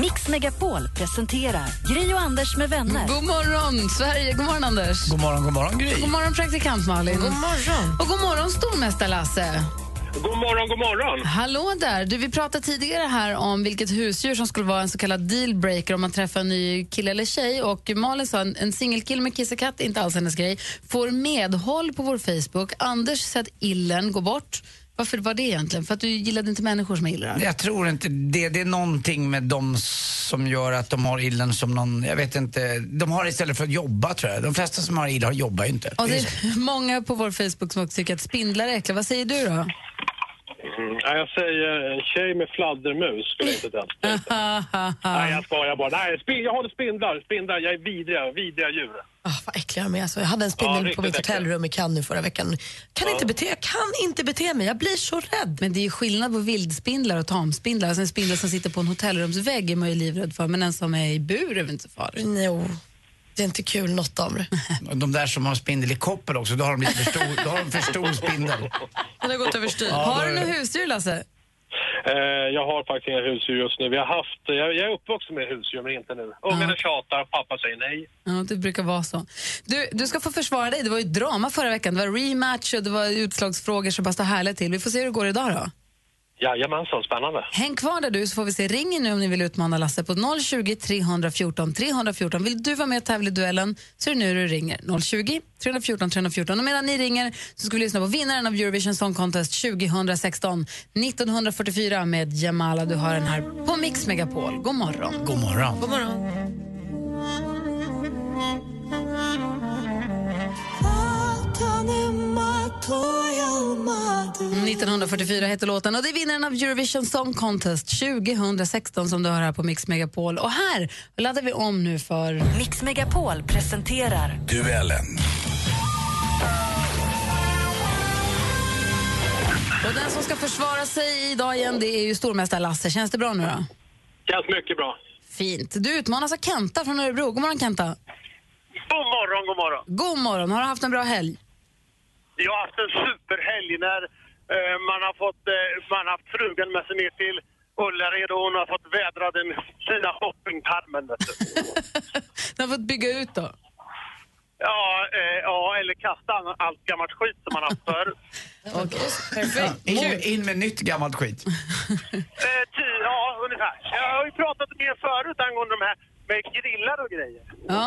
Speaker 6: Mix Megapol presenterar Gri och Anders med vänner.
Speaker 1: God morgon, Sverige. God morgon, Anders.
Speaker 2: God morgon, god morgon Gry.
Speaker 1: God morgon, praktikant Malin.
Speaker 2: God
Speaker 1: morgon. Och god morgon, stormästare Lasse.
Speaker 9: God morgon, god morgon!
Speaker 1: Hallå där. Du, vi pratade tidigare här om vilket husdjur som skulle vara en så kallad dealbreaker om man träffar en ny kille eller tjej. Och Malin sa en, en singelkille med kissekatt är inte alls hennes grej. Får medhåll på vår Facebook. Anders sa att illen går bort. Varför var det egentligen? För att du gillade inte människor som är illrar?
Speaker 2: Jag tror inte det. Det är någonting med dem som gör att de har illen som någon, jag vet inte, de har det istället för att jobba tror jag. De flesta som har illa har jobbar ju inte.
Speaker 1: Och det
Speaker 2: så.
Speaker 1: är många på vår Facebook som också tycker att spindlar är äckliga. Vad säger du då?
Speaker 9: Mm, nej, jag säger en tjej med fladdermus skulle inte den. Nej, jag skojar bara. Nej, spin, jag håller spindlar. Spindlar, jag är vidriga, vidriga djur.
Speaker 18: Vad äckliga de är. Alltså, jag hade en spindel
Speaker 9: riktigt
Speaker 18: på mitt
Speaker 9: äckliga.
Speaker 18: hotellrum i Cannes nu förra veckan. Kan inte bete, jag kan inte bete mig, jag blir så rädd.
Speaker 1: Men det är ju skillnad på vildspindlar och tamspindlar. Alltså en spindel som sitter på en hotellrumsvägg är man ju livrädd för, men en som är i bur är väl inte så farlig?
Speaker 18: Jo, oh. det är inte kul något av det.
Speaker 2: Och De där som har spindel i koppel också, då har de lite för stor, då har de för stor spindel.
Speaker 1: Det har gått överstyr.
Speaker 2: Ja,
Speaker 1: har
Speaker 2: då
Speaker 1: du
Speaker 2: är det.
Speaker 1: några husdjur, Lasse?
Speaker 9: Eh, jag har faktiskt inga husdjur just nu. Vi har haft, jag, jag är uppvuxen med husdjur, men inte nu. Ungarna tjatar, pappa säger nej.
Speaker 1: Ja, det brukar vara så. Du, du ska få försvara dig. Det var ju drama förra veckan. Det var rematch och det var utslagsfrågor som bara stod härligt till. Vi får se hur det går idag då.
Speaker 9: Jajamensan, spännande.
Speaker 1: Häng kvar där du så får vi se. Ring in nu om ni vill utmana Lasse på 020 314 314. Vill du vara med och tävla i duellen så är det nu du ringer. 020 314 314. Och medan ni ringer så ska vi lyssna på vinnaren av Eurovision Song Contest 2016, 1944 med Jamala. Du har den här på Mix Megapol. God morgon.
Speaker 2: God morgon.
Speaker 1: God morgon. Mm, 1944 heter låten och det är vinnaren av Eurovision Song Contest 2016 som du hör här på Mix Megapol. Och här laddar vi om nu för...
Speaker 6: Mix Megapol presenterar
Speaker 24: Duellen.
Speaker 1: Och den som ska försvara sig idag igen det är ju stormästare Lasse. Känns det bra nu då?
Speaker 9: Känns mycket bra.
Speaker 1: Fint. Du utmanas av Kenta från Örebro. God morgon Kenta.
Speaker 4: God morgon, god morgon.
Speaker 1: God morgon. Har du haft en bra helg?
Speaker 4: Jag har haft en superhelg när eh, man har fått eh, man har haft frugan med sig ner till Ullared och hon har fått vädra den fina shoppingtarmen. vet du.
Speaker 1: Du har fått bygga ut då.
Speaker 4: Ja, eh, ja, eller kasta an- allt gammalt skit som man haft förr.
Speaker 2: Ja, in, in med nytt gammalt skit.
Speaker 4: Eh, ty, ja, ungefär. Jag har ju pratat med er förut angående de här med grillar och grejer.
Speaker 1: Ja,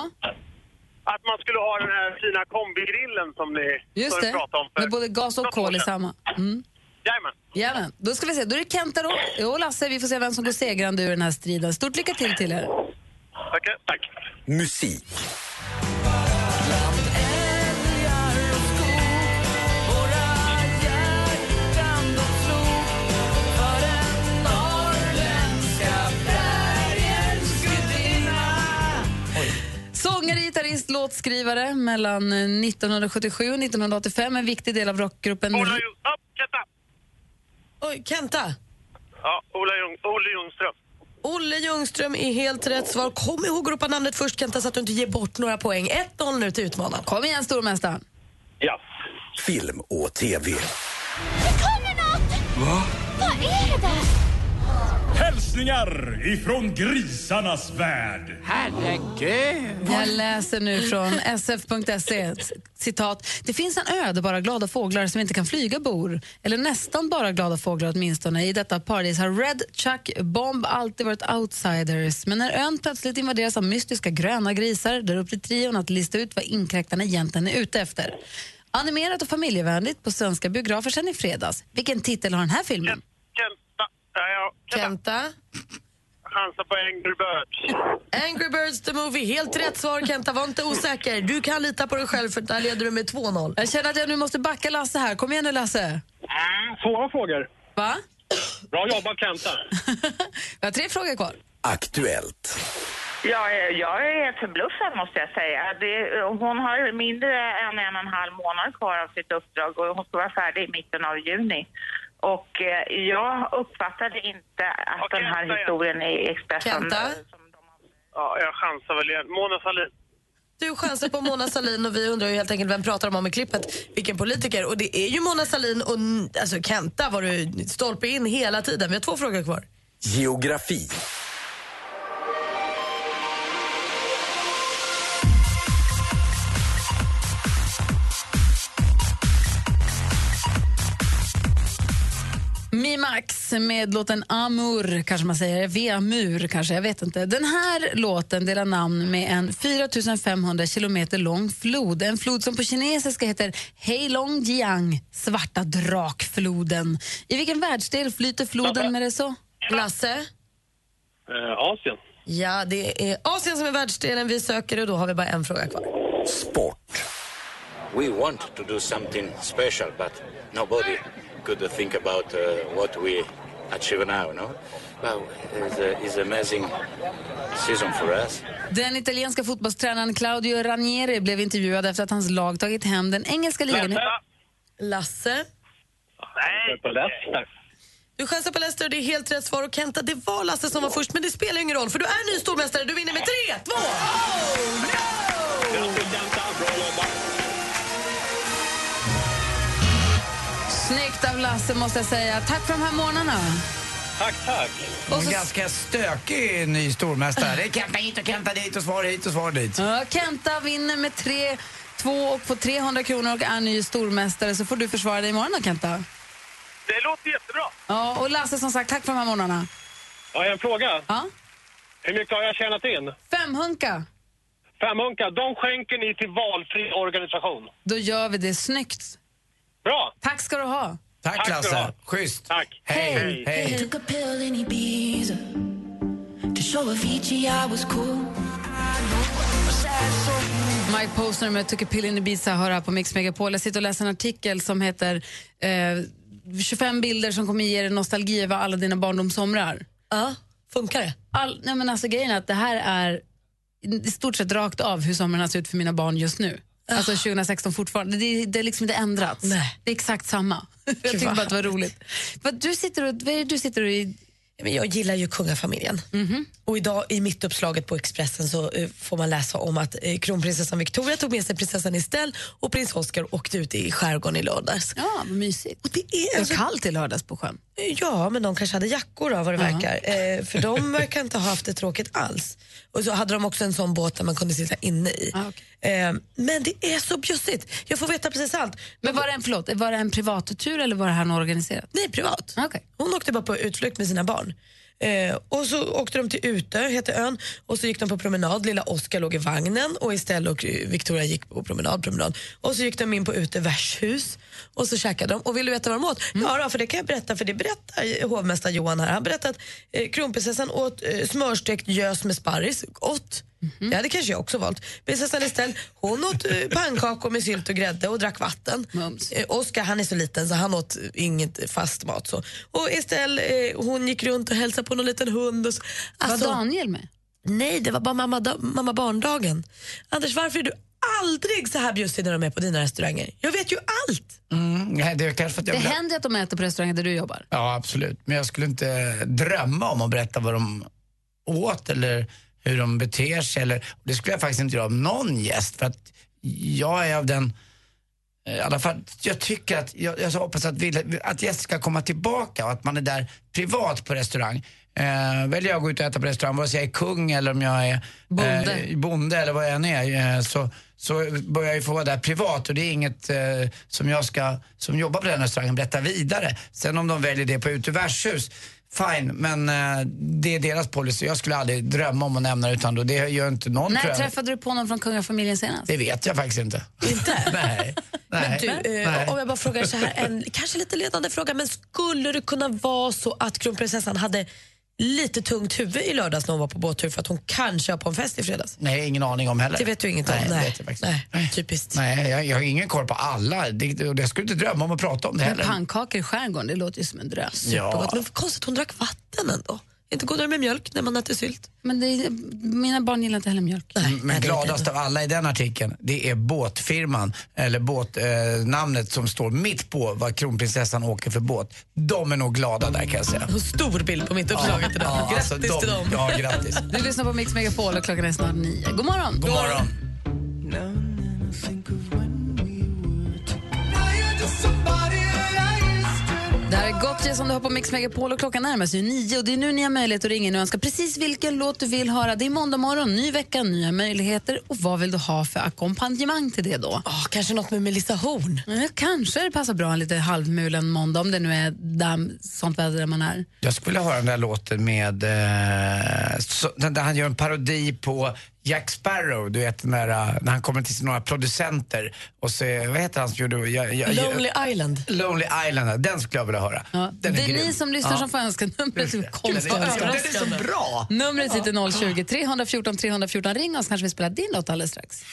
Speaker 4: Att man skulle ha den här fina kombigrillen som ni,
Speaker 1: just
Speaker 4: som ni
Speaker 1: det.
Speaker 4: pratade om
Speaker 1: Med både gas och
Speaker 4: något år
Speaker 1: kol i
Speaker 4: sedan.
Speaker 1: samma. Mm.
Speaker 4: Jajamän.
Speaker 1: Jajamän. Då ska vi se. Då är det Kenta då. och Lasse. Vi får se vem som går segrande ur den här striden. Stort lycka till till er.
Speaker 4: Tack, tack.
Speaker 25: Musik.
Speaker 1: Sångare, gitarrist, låtskrivare mellan 1977 och 1985. En viktig del av rockgruppen...
Speaker 4: Ola Ljung- ja, Kenta.
Speaker 3: Oj, Kenta.
Speaker 4: Ja, Ola Ljung, Olle Ljungström.
Speaker 3: Olle Ljungström är helt rätt svar. Kom ihåg att ropa namnet först Kenta så att du inte ger bort några poäng. 1-0 nu till utmanaren.
Speaker 1: Kom igen stormästaren.
Speaker 4: Ja.
Speaker 25: Film och TV.
Speaker 26: Det kommer något!
Speaker 25: Va?
Speaker 26: Vad är det?
Speaker 7: Hälsningar ifrån grisarnas värld. Herregud!
Speaker 1: Jag läser nu från sf.se. E. Citat. Det finns en ö där bara glada fåglar som inte kan flyga bor. Eller nästan bara glada fåglar åtminstone. I detta paradis har Red, Chuck, Bomb alltid varit outsiders. Men när ön plötsligt invaderas av mystiska gröna grisar där upp till trion att lista ut vad inkräktarna egentligen är ute efter. Animerat och familjevänligt på svenska biografer sedan i fredags. Vilken titel har den här filmen?
Speaker 4: Kenta. Ja, ja.
Speaker 3: Kenta.
Speaker 4: Chansa på Angry Birds.
Speaker 3: Angry Birds the Movie. Helt rätt svar Kenta. Var inte osäker. Du kan lita på dig själv för där leder du med 2-0.
Speaker 1: Jag känner att jag nu måste backa Lasse här. Kom igen nu Lasse.
Speaker 4: Svåra frågor.
Speaker 1: Va?
Speaker 4: Bra jobbat Kenta.
Speaker 1: Jag har tre frågor kvar.
Speaker 25: Aktuellt.
Speaker 10: Ja, eh, jag är förbluffad måste jag säga. Det, eh, hon har mindre än en och en halv månad kvar av sitt uppdrag och hon ska vara färdig i mitten av juni. Och eh, jag uppfattade inte att den här historien i Expressen...
Speaker 3: Kenta?
Speaker 4: Ja, jag chansar väl igen. Mona Sahlin.
Speaker 3: Du chansar på Mona Sahlin och vi undrar ju helt enkelt vem pratar de om i klippet? Vilken politiker? Och det är ju Mona Sahlin och n- alltså Kenta var du stolpe in hela tiden. Vi har två frågor kvar.
Speaker 25: Geografi.
Speaker 1: Mimax med låten Amur, kanske man säger. Vemur, kanske. Jag vet inte. Den här låten delar namn med en 4500 kilometer lång flod. En flod som på kinesiska heter Heilongjiang, Svarta drakfloden. I vilken världsdel flyter floden med det så?
Speaker 3: Lasse?
Speaker 4: Eh, Asien.
Speaker 3: Ja, det är Asien som är världsdelen vi söker och då har vi bara en fråga kvar.
Speaker 13: We wanted to do something special, but nobody could think about uh, what we achieve now, no? Well, it's, a, it's amazing season for us.
Speaker 1: Den italienska fotbollstränaren Claudio Ranieri blev intervjuad efter att hans lag tagit hem den engelska ligan. i- Lasse?
Speaker 4: Nej. På Leicester.
Speaker 3: Du chansar på Leicester och det är helt rätt svar. Och Kenta, det var Lasse som var först, men det spelar ju ingen roll för du är ny stormästare. Du vinner med 3-2!
Speaker 1: Snyggt av Lasse, måste jag säga. Tack för de här morgnarna.
Speaker 4: Tack, tack.
Speaker 2: Och en ganska stökig ny stormästare. Det är Kenta hit och Kenta dit och svar hit och svar dit.
Speaker 1: Ja, Kenta vinner med 3-2 och får 300 kronor och är ny stormästare. Så får du försvara dig imorgon då, Kenta.
Speaker 4: Det låter jättebra.
Speaker 1: Ja, och Lasse, som sagt, tack för de här morgnarna.
Speaker 4: Har jag en fråga?
Speaker 1: Ja.
Speaker 4: Hur mycket har jag tjänat in?
Speaker 1: Femhunka,
Speaker 4: Femhunka, de skänker ni till valfri organisation.
Speaker 1: då gör vi det snyggt.
Speaker 4: Bra!
Speaker 1: Tack ska du ha.
Speaker 2: Tack,
Speaker 4: Tack ska du
Speaker 2: Lasse.
Speaker 4: ha.
Speaker 2: Schysst.
Speaker 4: Tack.
Speaker 2: Hej.
Speaker 26: I
Speaker 2: Hej.
Speaker 26: took a pill in Ibiza to show Avicii I was cool.
Speaker 1: Mike Posner med Took a pill in Ibiza hör här på Mix Megapol. Jag sitter och läser en artikel som heter eh, 25 bilder som kommer ge dig nostalgi över alla dina barndomssomrar.
Speaker 3: Ja, funkar det?
Speaker 1: All, nej men alltså, grejen är att det här är i stort sett rakt av hur somrarna ser ut för mina barn just nu. Alltså
Speaker 3: Ah.
Speaker 1: 2016 fortfarande. Det, det är liksom inte ändrats. Det är exakt samma. Jag tyckte bara att det var roligt. Vad, du sitter och, vad är det du sitter och i-
Speaker 3: Men jag gillar ju kungafamiljen. Och idag i mittuppslaget på Expressen så eh, får man läsa om att eh, kronprinsessan Victoria tog med sig prinsessan Estelle och prins Oscar åkte ut i skärgården i lördags.
Speaker 27: Ja, vad mysigt.
Speaker 3: Och det är
Speaker 1: Det är kallt i lördags på sjön.
Speaker 3: Eh, Ja, men de kanske hade jackor av vad det verkar. Eh, för de verkar inte ha haft det tråkigt alls. Och så hade de också en sån båt där man kunde sitta inne i. eh, men det är så bjussigt. Jag får veta precis allt.
Speaker 1: Men var det en, förlåt, var det en privattur eller var det här något organiserat?
Speaker 3: Nej, privat. Hon åkte bara på utflykt med sina barn. Eh, och så åkte de till Utö, heter ön, och så gick de på promenad. Lilla Oskar låg i vagnen och Estelle och eh, Victoria gick på promenad, promenad. Och så gick de in på Utö värdshus och så käkade de. Och vill du veta vad de åt? Ja, då, för det kan jag berätta, för det berättar hovmästare Johan här. Han berättade att eh, kronprinsessan åt eh, smörstekt gös med sparris. Gott! Det hade kanske jag också valt. Prinsessan Estelle, hon åt eh, pannkakor med sylt och grädde och drack vatten. Eh, Oscar, han är så liten så han åt eh, inget fast mat. Så. Och Estelle, eh, hon gick runt och hälsade på någon liten hund. Och så. Alltså-
Speaker 1: var Daniel med?
Speaker 3: Nej, det var bara mamma, da- mamma barndagen. Anders, varför är du aldrig så här bjussig när de är på dina restauranger? Jag vet ju allt!
Speaker 2: Mm, nej, det är kanske för att
Speaker 1: Det
Speaker 2: jag vill-
Speaker 1: händer ju att de äter på restauranger där du jobbar.
Speaker 2: Ja, absolut. Men jag skulle inte drömma om att berätta vad de åt eller hur de beter sig. Eller, det skulle jag faktiskt inte göra av någon gäst. För att jag är av den... Eh, I alla fall, jag tycker att... Jag, jag så hoppas att, vill, att gäster ska komma tillbaka och att man är där privat på restaurang. Eh, väljer jag att gå ut och äta på restaurang, vare sig jag är kung eller om jag är
Speaker 1: Bonde.
Speaker 2: eh, bonde eller vad jag än är, eh, så, så börjar jag ju få vara där privat och det är inget eh, som jag ska, som jobbar på den restaurangen, berätta vidare. Sen om de väljer det på ute värdshus, fine, men eh, det är deras policy. Jag skulle aldrig drömma om att nämna det utan då, det gör inte någon tror
Speaker 1: När
Speaker 2: jag.
Speaker 1: träffade du på någon från kungafamiljen senast?
Speaker 2: Det vet jag faktiskt inte. Inte? nej. nej.
Speaker 3: Men du, eh,
Speaker 2: nej.
Speaker 3: om jag bara frågar så här, en kanske lite ledande fråga, men skulle det kunna vara så att kronprinsessan hade lite tungt huvud i lördags när hon var på båttur för att hon kanske var på en fest i fredags?
Speaker 2: Nej, ingen aning om heller.
Speaker 3: Det vet du inget om,
Speaker 2: nej,
Speaker 3: nej.
Speaker 2: Det vet jag faktiskt. nej.
Speaker 3: Typiskt.
Speaker 2: Nej, jag, jag har ingen koll på alla. Det, och jag skulle inte drömma om att prata om det
Speaker 1: Men
Speaker 2: heller.
Speaker 1: pannkakor i skärgården, det låter ju som en dröm.
Speaker 2: Ja.
Speaker 3: Men konstigt, hon drack vatten ändå. Inte godare med mjölk när man äter sylt.
Speaker 1: Men det, är- mina barn gillar inte heller mjölk.
Speaker 2: Mm, Men gladast av alla i den artikeln, det är båtfirman, eller båtnamnet eh, namnet som står mitt på vad kronprinsessan åker för båt. De är nog glada där kan jag säga.
Speaker 3: Stor bild på mitt uppslag idag.
Speaker 2: alltså,
Speaker 3: Grattis till dem.
Speaker 2: Ja, grattis.
Speaker 1: Du lyssnar på Mix Megapol och klockan är snart nio. God morgon!
Speaker 2: God morgon.
Speaker 1: Det här är Gotje som du har på Mix Megapol och klockan närmar sig ju nio och det är nu ni har möjlighet att ringa in och önska precis vilken låt du vill höra. Det är måndag morgon, ny vecka, nya möjligheter och vad vill du ha för ackompanjemang till det då?
Speaker 3: kanske något med Melissa Horn?
Speaker 1: Ja, kanske det passar bra en lite halvmulen måndag om det nu är damm, sånt väder där man är.
Speaker 2: Jag skulle vilja höra den där låten med, eh, så, den där han gör en parodi på Jack Sparrow, du vet den där, eh, när han kommer till några producenter och så, är- vad heter han som gjorde... Jag, jag,
Speaker 3: Lonely Island.
Speaker 2: Lonely Island, den skulle jag vilja höra.
Speaker 1: Ja. Det
Speaker 2: Den
Speaker 1: är
Speaker 2: grym.
Speaker 1: ni som lyssnar
Speaker 2: Ja.
Speaker 1: som får önska numret. till konstigt.
Speaker 2: Den är- den är så bra!
Speaker 1: Numret sitter 020 314 314. Ring oss kanske vi spelar din låt alldeles strax.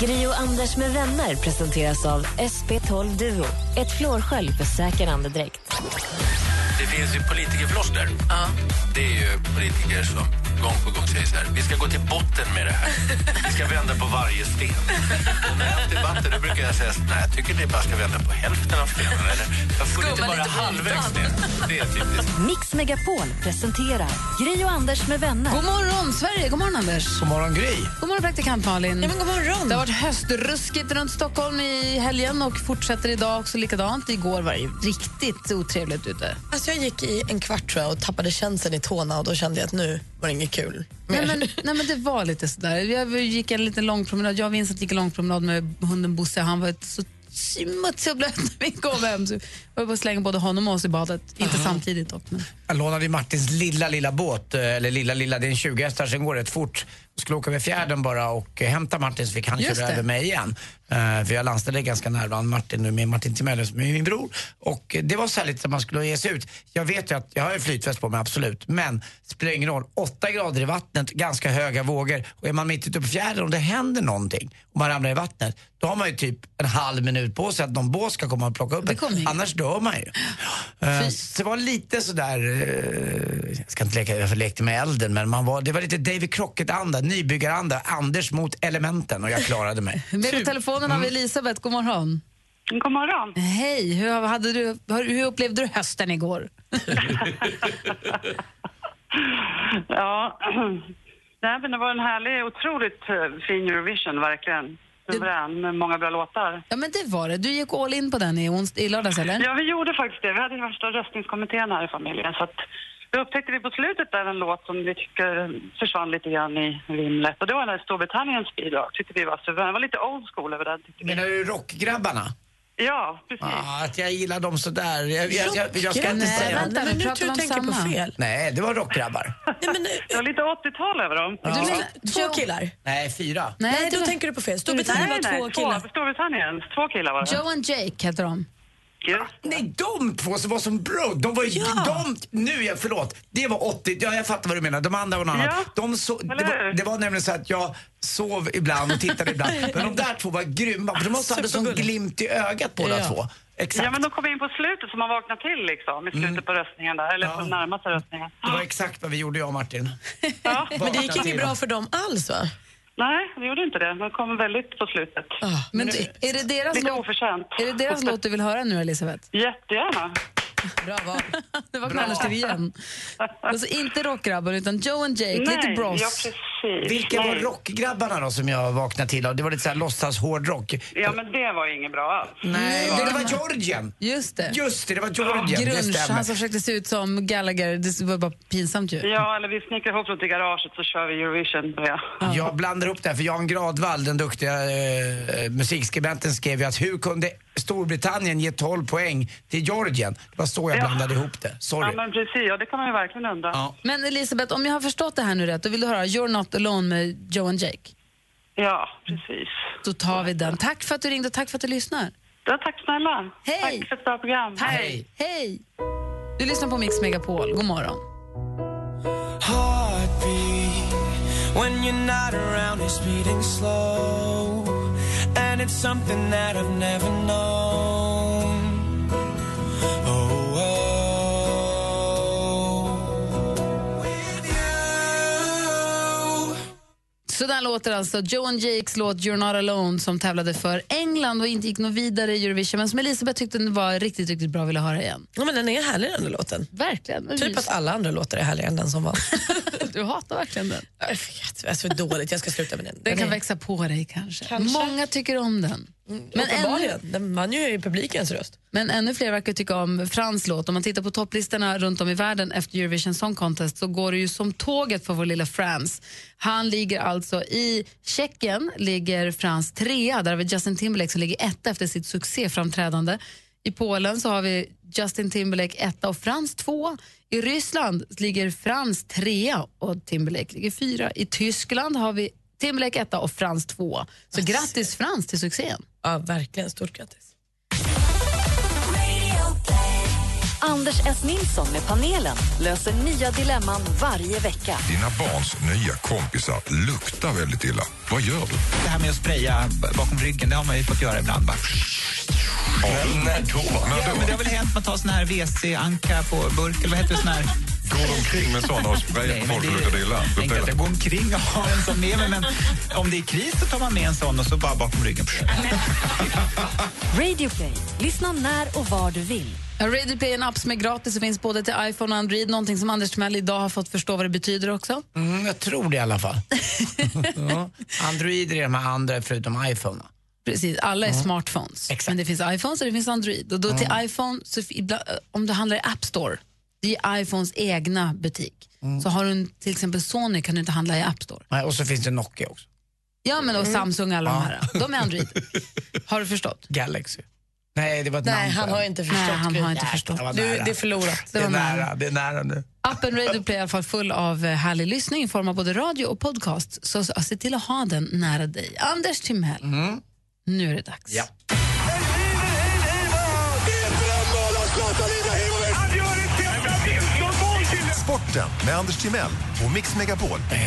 Speaker 22: Gri och Anders med vänner presenteras av SP12 Duo. Ett flårskölj för säker andedräkt.
Speaker 7: Det finns ju politikerfloskler. Det är ju politiker som gång på gång säger så här. Vi ska gå till botten med det här. Vi ska vända på varje sten. Och när jag har haft debatter då brukar jag säga så här, nej, jag tycker ni bara ska vända på hälften av stenen. Eller, jag får inte bara halvvägs ner. Det är typiskt.
Speaker 6: Mix Megapol presenterar Gri och Anders med vänner.
Speaker 1: God morgon, Sverige! God morgon, Anders!
Speaker 2: God morgon, Gry!
Speaker 1: God morgon, praktikant Malin!
Speaker 3: Ja, men god morgon.
Speaker 1: Det har varit höstruskigt runt Stockholm i helgen och fortsätter idag också likadant. Igår var det ju riktigt otrevligt ute.
Speaker 3: Alltså jag gick i en kvart tror jag, och tappade känseln i tårna och då kände jag att nu var det inget kul.
Speaker 1: Nej men, nej men det var lite sådär. Jag gick en liten lång promenad. Jag och Vincent gick en lång promenad med hunden Bosse. Han var ett så smutsig och blöt när vi kom hem. Så jag var på att slänga både honom och oss i badet. Inte samtidigt dock. Men.
Speaker 2: Jag lånade ju Martins lilla, lilla båt. eh, Eller lilla, lilla, det är en 20 hästar, sen går det rätt fort. Jag skulle åka över fjärden bara och eh, hämta Martin så fick han
Speaker 1: Just
Speaker 2: köra
Speaker 1: det.
Speaker 2: över mig igen. Eh, för jag landställde ganska nära varandra, Martin nu med Martin Timell som är min bror. Och eh, det var så här lite som man skulle ge sig ut. Jag vet ju att, jag har ju flytväst på mig absolut, men det spelar ingen roll. Åtta grader i vattnet, ganska höga vågor. Och är man mitt ute på fjärden och det händer någonting och man ramlar i vattnet, då har man ju typ en halv minut på sig att någon båt ska komma och plocka upp en. Annars dör man ju. Eh, Så det var lite sådär, eh, jag ska inte leka, jag lekte med elden, men man var, det var lite David Crockett-anda, nybyggaranda, Anders mot elementen och jag klarade mig.
Speaker 1: Med på telefonen har vi Elisabeth. God morgon.
Speaker 28: God morgon.
Speaker 1: Hej. Hur, hade du, hur upplevde du hösten igår?
Speaker 28: Ja. Nej, men det var en härlig, otroligt eh, fin Eurovision, verkligen. Suverän, med många bra låtar.
Speaker 1: Ja, men det var det. Du gick all in på den i, ons- i lördags, eller?
Speaker 28: Ja, vi gjorde faktiskt det. Vi hade den värsta röstningskommittén här i familjen. Så att då upptäckte vi på slutet där en låt som vi tycker försvann lite grann i vimlet. Och det var den här Storbritanniens bidrag, tyckte vi var suverän. Det var lite old school över den. tyckte vi.
Speaker 2: Menar du rockgrabbarna?
Speaker 28: Ja, precis.
Speaker 2: Ah, att jag gillar dem sådär. Jag, jag, jag, jag ska inte
Speaker 28: Nej,
Speaker 2: säga
Speaker 28: vänta, nu
Speaker 2: något.
Speaker 28: Men nu pratar tror vi om jag tänker på samma. fel.
Speaker 2: Nej, det var rockgrabbar.
Speaker 28: Det var lite 80-tal över dem.
Speaker 2: Du menar
Speaker 3: eh, två killar?
Speaker 2: Nej, fyra.
Speaker 3: Nej, då tänker du på fel. Storbritannien var två killar.
Speaker 28: Storbritannien, två killar var det.
Speaker 1: Joe and Jake heter de.
Speaker 2: Nej, de två som var som bro, de var ju... De, nu, jag, förlåt, det var 80, ja, jag fattar vad du menar. De andra var något annat.
Speaker 28: Ja,
Speaker 2: De så, det,
Speaker 28: eller
Speaker 2: var,
Speaker 28: hur?
Speaker 2: det var nämligen så att jag sov ibland och tittade ibland. Men de där två var grymma, för de måste ha hade sån
Speaker 28: Supergulliga.
Speaker 2: glimt i ögat båda
Speaker 28: Ja.
Speaker 2: två. Exakt. Mm.
Speaker 28: Ja, men de kom in på slutet så man vaknade till liksom i slutet på röstningen där, eller på närmaste röstningen.
Speaker 2: Det var exakt vad vi gjorde, jag och Martin.
Speaker 3: Men det gick inte bra för dem alls va?
Speaker 28: Nej, det gjorde inte det. De kom väldigt på slutet.
Speaker 1: Men är det deras
Speaker 28: Lite
Speaker 1: låt-
Speaker 28: oförtjänt.
Speaker 1: Är det deras låt du vill höra nu, Elisabeth?
Speaker 28: Jättegärna.
Speaker 1: Bra val. Det var knallerstyr igen. Alltså inte rockgrabbar, utan Joe and Jake, lite Bros.
Speaker 2: Vilka var rockgrabbarna då som jag vaknade till av? Det var lite såhär låtsas hårdrock.
Speaker 28: Ja, men det var ju inget bra alls.
Speaker 2: Nej, det var Georgien.
Speaker 1: Just det.
Speaker 2: Just det, det var Georgien. det
Speaker 1: Grunge,
Speaker 2: stämmer.
Speaker 1: han som försökte se ut som Gallagher. Det var bara pinsamt ju.
Speaker 28: Ja, eller vi snickrar ihop något i garaget så kör vi Eurovision. Ja.
Speaker 2: Jag blandar upp det här för Jan Gradvall, den duktiga eh, musikskribenten, skrev ju att hur kunde Storbritannien ge 12 poäng till Georgien? Det var så jag
Speaker 28: Ja.
Speaker 2: blandade ihop det.
Speaker 28: ja,
Speaker 2: Sorry.
Speaker 28: men precis. Ja, det kan man ju verkligen undra.
Speaker 2: Ja.
Speaker 1: Men Elisabeth, om jag har förstått det här nu rätt, då vill du höra You're Not Alone med Joe and Jake.
Speaker 28: Ja, precis.
Speaker 1: Då tar vi den. Tack för att du ringde och tack för att du lyssnar.
Speaker 28: Ja, tack snälla.
Speaker 1: Hej.
Speaker 28: Tack för ett bra program.
Speaker 1: Hej. Hej! Du lyssnar på Mix Megapol. God morgon.
Speaker 29: heartbeat when you're not around is beating slow and it's something that I've never known oh, oh. with you
Speaker 1: Så där låter alltså Joe and Jakes låt You're Not Alone som tävlade för England och inte gick något vidare i Eurovision men som Elisabeth tyckte den var riktigt, riktigt bra och ville höra igen.
Speaker 3: Ja, men den är härlig den där låten.
Speaker 1: Verkligen.
Speaker 3: Typ att alla andra låtar är härligare än den som vann.
Speaker 1: Du hatar verkligen den.
Speaker 3: Jag vet, det är så dåligt. Jag ska sluta med den.
Speaker 1: Den kan
Speaker 3: är-
Speaker 1: växa på dig kanske. Många tycker om den.
Speaker 3: Men
Speaker 1: Men
Speaker 3: Mm,
Speaker 1: ännu,
Speaker 3: uppenbarligen. Den vann ju i publikens röst.
Speaker 1: men ännu fler verkar tycka om Frans låt. Om man tittar på topplistorna runt om i världen efter Eurovision Song Contest så går det ju som tåget för vår lilla Frans. Han ligger alltså i Tjeckien, ligger Frans trea. Där har vi Justin Timberlake som ligger etta efter sitt succéframträdande. I Polen så har vi Justin Timberlake etta och Frans tvåa. I Ryssland ligger Frans trea och Timberlake ligger fyra. I Tyskland har vi Timberlake etta och Frans tvåa. Så grattis Frans till succén.
Speaker 3: Ja, verkligen. Stort grattis.
Speaker 6: Anders S. Nilsson med panelen löser nya dilemman varje vecka.
Speaker 15: Dina barns nya kompisar luktar väldigt illa. Vad gör du?
Speaker 13: Det här med att spraya bakom ryggen, det har man ju fått göra ibland. Bara.
Speaker 15: när då?
Speaker 13: Ja, men det har väl hänt att man tar sån här WC-anka på burk, eller vad heter det? Sån här...
Speaker 15: Går de omkring med såna och sprayar på folk och luktar det illa?
Speaker 13: Jag tänkte att jag går omkring och har en sån med mig, men om det är kris så tar man med en sån och så bara bakom ryggen.
Speaker 6: Radio Play. Lyssna när och var du vill.
Speaker 1: Ja, Radio Play är en app som är gratis och finns både till iPhone och Android. Någonting som Anders Timell idag har fått förstå vad det betyder också.
Speaker 2: Mm, jag tror det i alla fall. ja. Androider är de här andra förutom iPhone. Mm.
Speaker 1: Precis, alla är smartphones. Men det finns iPhones och det finns Android. Och då till iPhone, så f- ibland, eh, om du handlar i App Store, det är iPhones egna butik.
Speaker 2: Mm.
Speaker 1: Så har du en, till exempel Sony kan du inte handla i App Store.
Speaker 2: Nej, och så finns det Nokia också.
Speaker 1: Ja, men och
Speaker 2: Mm.
Speaker 1: Samsung alla de
Speaker 2: Ja.
Speaker 1: här. De är Android. Har du förstått?
Speaker 2: Galaxy. Nej, det var ett
Speaker 1: Nej,
Speaker 2: namn på
Speaker 1: han
Speaker 2: den.
Speaker 1: har inte förstått, Nej, han Gry. har inte
Speaker 2: Nej,
Speaker 1: förstått.
Speaker 2: det var
Speaker 1: Du,
Speaker 2: nära.
Speaker 1: det är förlorat.
Speaker 2: Det,
Speaker 1: Det
Speaker 2: är
Speaker 1: var
Speaker 2: nära.
Speaker 1: nära.
Speaker 2: det är nära nu.
Speaker 1: Appen Radio Play är i alla fall full av eh, härlig lyssning i form av både radio och podcast. Så, så se till att ha den nära dig. Anders Timell,
Speaker 2: Mm.
Speaker 1: nu är det dags.
Speaker 15: Ja.
Speaker 8: Sporten med Anders Timell och Mix Megapol.
Speaker 2: Hej,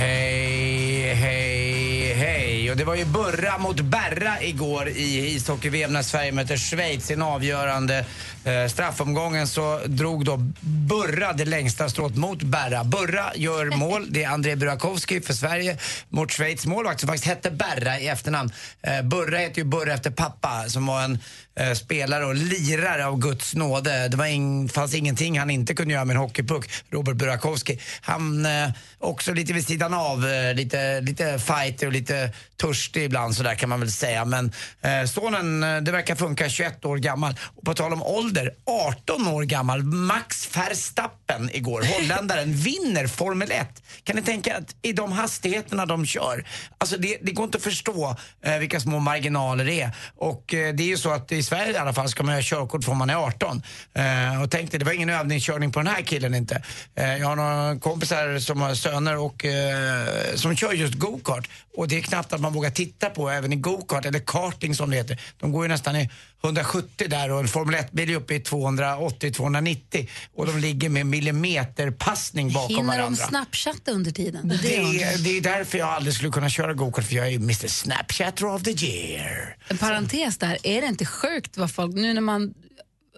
Speaker 2: hej, hej, hej. Och det var ju Burra mot Berra igår i ishockey-VM när Sverige möter Schweiz i den avgörande eh, straffomgången så drog då Burra det längsta strået mot Berra. Burra gör mål. Det är André Burakovsky för Sverige mot Schweiz målvakt som faktiskt hette Berra i efternamn. Eh, Burra heter ju Burra efter pappa som var en eh, spelare och lirare av Guds nåde. Eh, Det var in, fanns ingenting han inte kunde göra med en hockeypuck, Robert Burakovsky. Han eh, också lite vid sidan av, eh, lite, lite fighter och lite törstig ibland sådär kan man väl säga. Men eh, sonen, eh, det verkar funka, 21 år gammal. Och på tal om ålder, 18 år gammal, Max Verstappen igår, holländaren, vinner Formel 1. Kan ni tänka er att i de hastigheterna de kör, alltså det, det går inte att förstå eh, vilka små marginaler det är. Och eh, det är ju så att i Sverige i alla fall ska man ha körkort från man är 18. Eh, och tänkte, det var ingen övningskörning på den här killen inte. Eh, jag har några kompisar som har söner och eh, som kör just go-kart. Och det är knappt att man vågar titta på även i go-kart eller karting som det heter. De går ju nästan i 170 där och en Formel 1-bil är uppe i 280-290 och de ligger med millimeterpassning bakom
Speaker 1: Hinner de
Speaker 2: varandra.
Speaker 1: snapchatta under tiden? Det är det
Speaker 2: Det
Speaker 1: de gör.
Speaker 2: är, det är därför jag aldrig skulle kunna köra gokart för jag är ju Mr Snapchatter of the year.
Speaker 1: En parentes där, är det inte sjukt vad folk, nu när man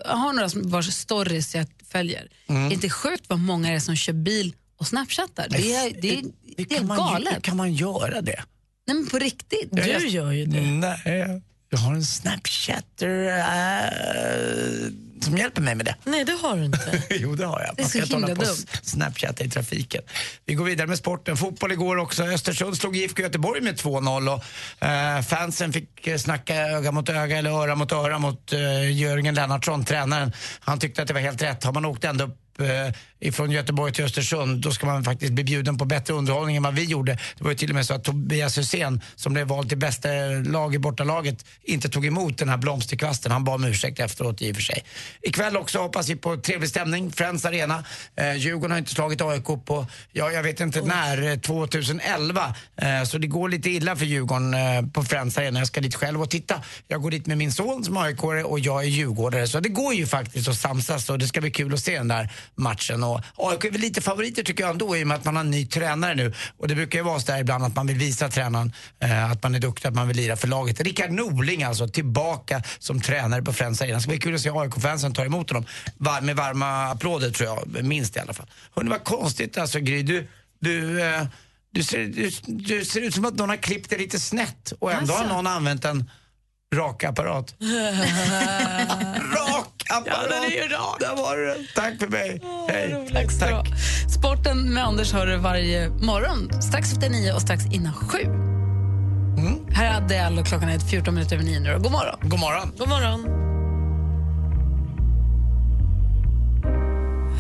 Speaker 1: har några som- vars stories jag följer,
Speaker 2: Mm.
Speaker 1: är det inte sjukt vad många det är som kör bil och snapchattar? Det är, det är, det är
Speaker 2: kan man ju-
Speaker 1: galet.
Speaker 2: hur kan man göra det?
Speaker 1: Nej men på riktigt.
Speaker 2: Jag-
Speaker 18: ju det.
Speaker 2: Nej, jag har en Snapchatter
Speaker 13: äh.
Speaker 2: eh, som hjälper mig med det.
Speaker 18: Nej, det har du inte.
Speaker 2: jo, det har jag.
Speaker 18: Det är
Speaker 2: Man
Speaker 18: så
Speaker 2: ska inte
Speaker 18: himla
Speaker 2: hålla på och
Speaker 18: dumt.
Speaker 2: snapchatta i trafiken. Vi går vidare med sporten. Fotboll igår också. Östersund slog IFK Göteborg med 2-0 och eh, fansen fick eh, snacka öga mot öga eller öra mot öra mot eh, Jörgen Lennartsson, tränaren. Han tyckte att det var helt rätt. Har man åkt ända upp eh, ifrån Göteborg till Östersund, då ska man faktiskt bli bjuden på bättre underhållning än vad vi gjorde. Det var ju till och med så att Tobias Hysén, som blev vald till bästa lag i bortalaget, inte tog emot den här blomsterkvasten. Han bad om ursäkt efteråt i och för sig. Ikväll också hoppas vi på trevlig stämning, Friends Arena. Eh, Djurgården har inte slagit AIK på, ja, jag vet inte när, eh, 2011. Eh, så det går lite illa för Djurgården eh, på Friends Arena. Jag ska dit själv och titta. Jag går dit med min son som aik och jag är djurgårdare. Så det går ju faktiskt att samsas och det ska bli kul att se den där matchen. Och AIK är väl lite favoriter tycker jag ändå i och med att man har en ny tränare nu. Och det brukar ju vara så där ibland att man vill visa tränaren eh, att man är duktig, att man vill lira för laget. Rickard Norling alltså, tillbaka som tränare på Friends Arena. Det ska bli kul att se AIK-fansen ta emot honom. Var- Med varma applåder tror jag, minst i alla fall. Hörrni, vad konstigt alltså Gry. Du, du, eh, du, ser, du, du ser ut som att någon har klippt dig lite snett och ändå har
Speaker 18: Alltså.
Speaker 2: någon använt en rakapparat. rak apparat! Ja, den är ju rak. Där var du den. Tack för mig. Hej. Tack, tack.
Speaker 1: Sporten med Anders hör du varje morgon, strax efter nio och strax innan sju. Här är Adele och klockan är 14 minuter över nio nu. då. God morgon.
Speaker 2: Mm. God morgon.
Speaker 18: God morgon.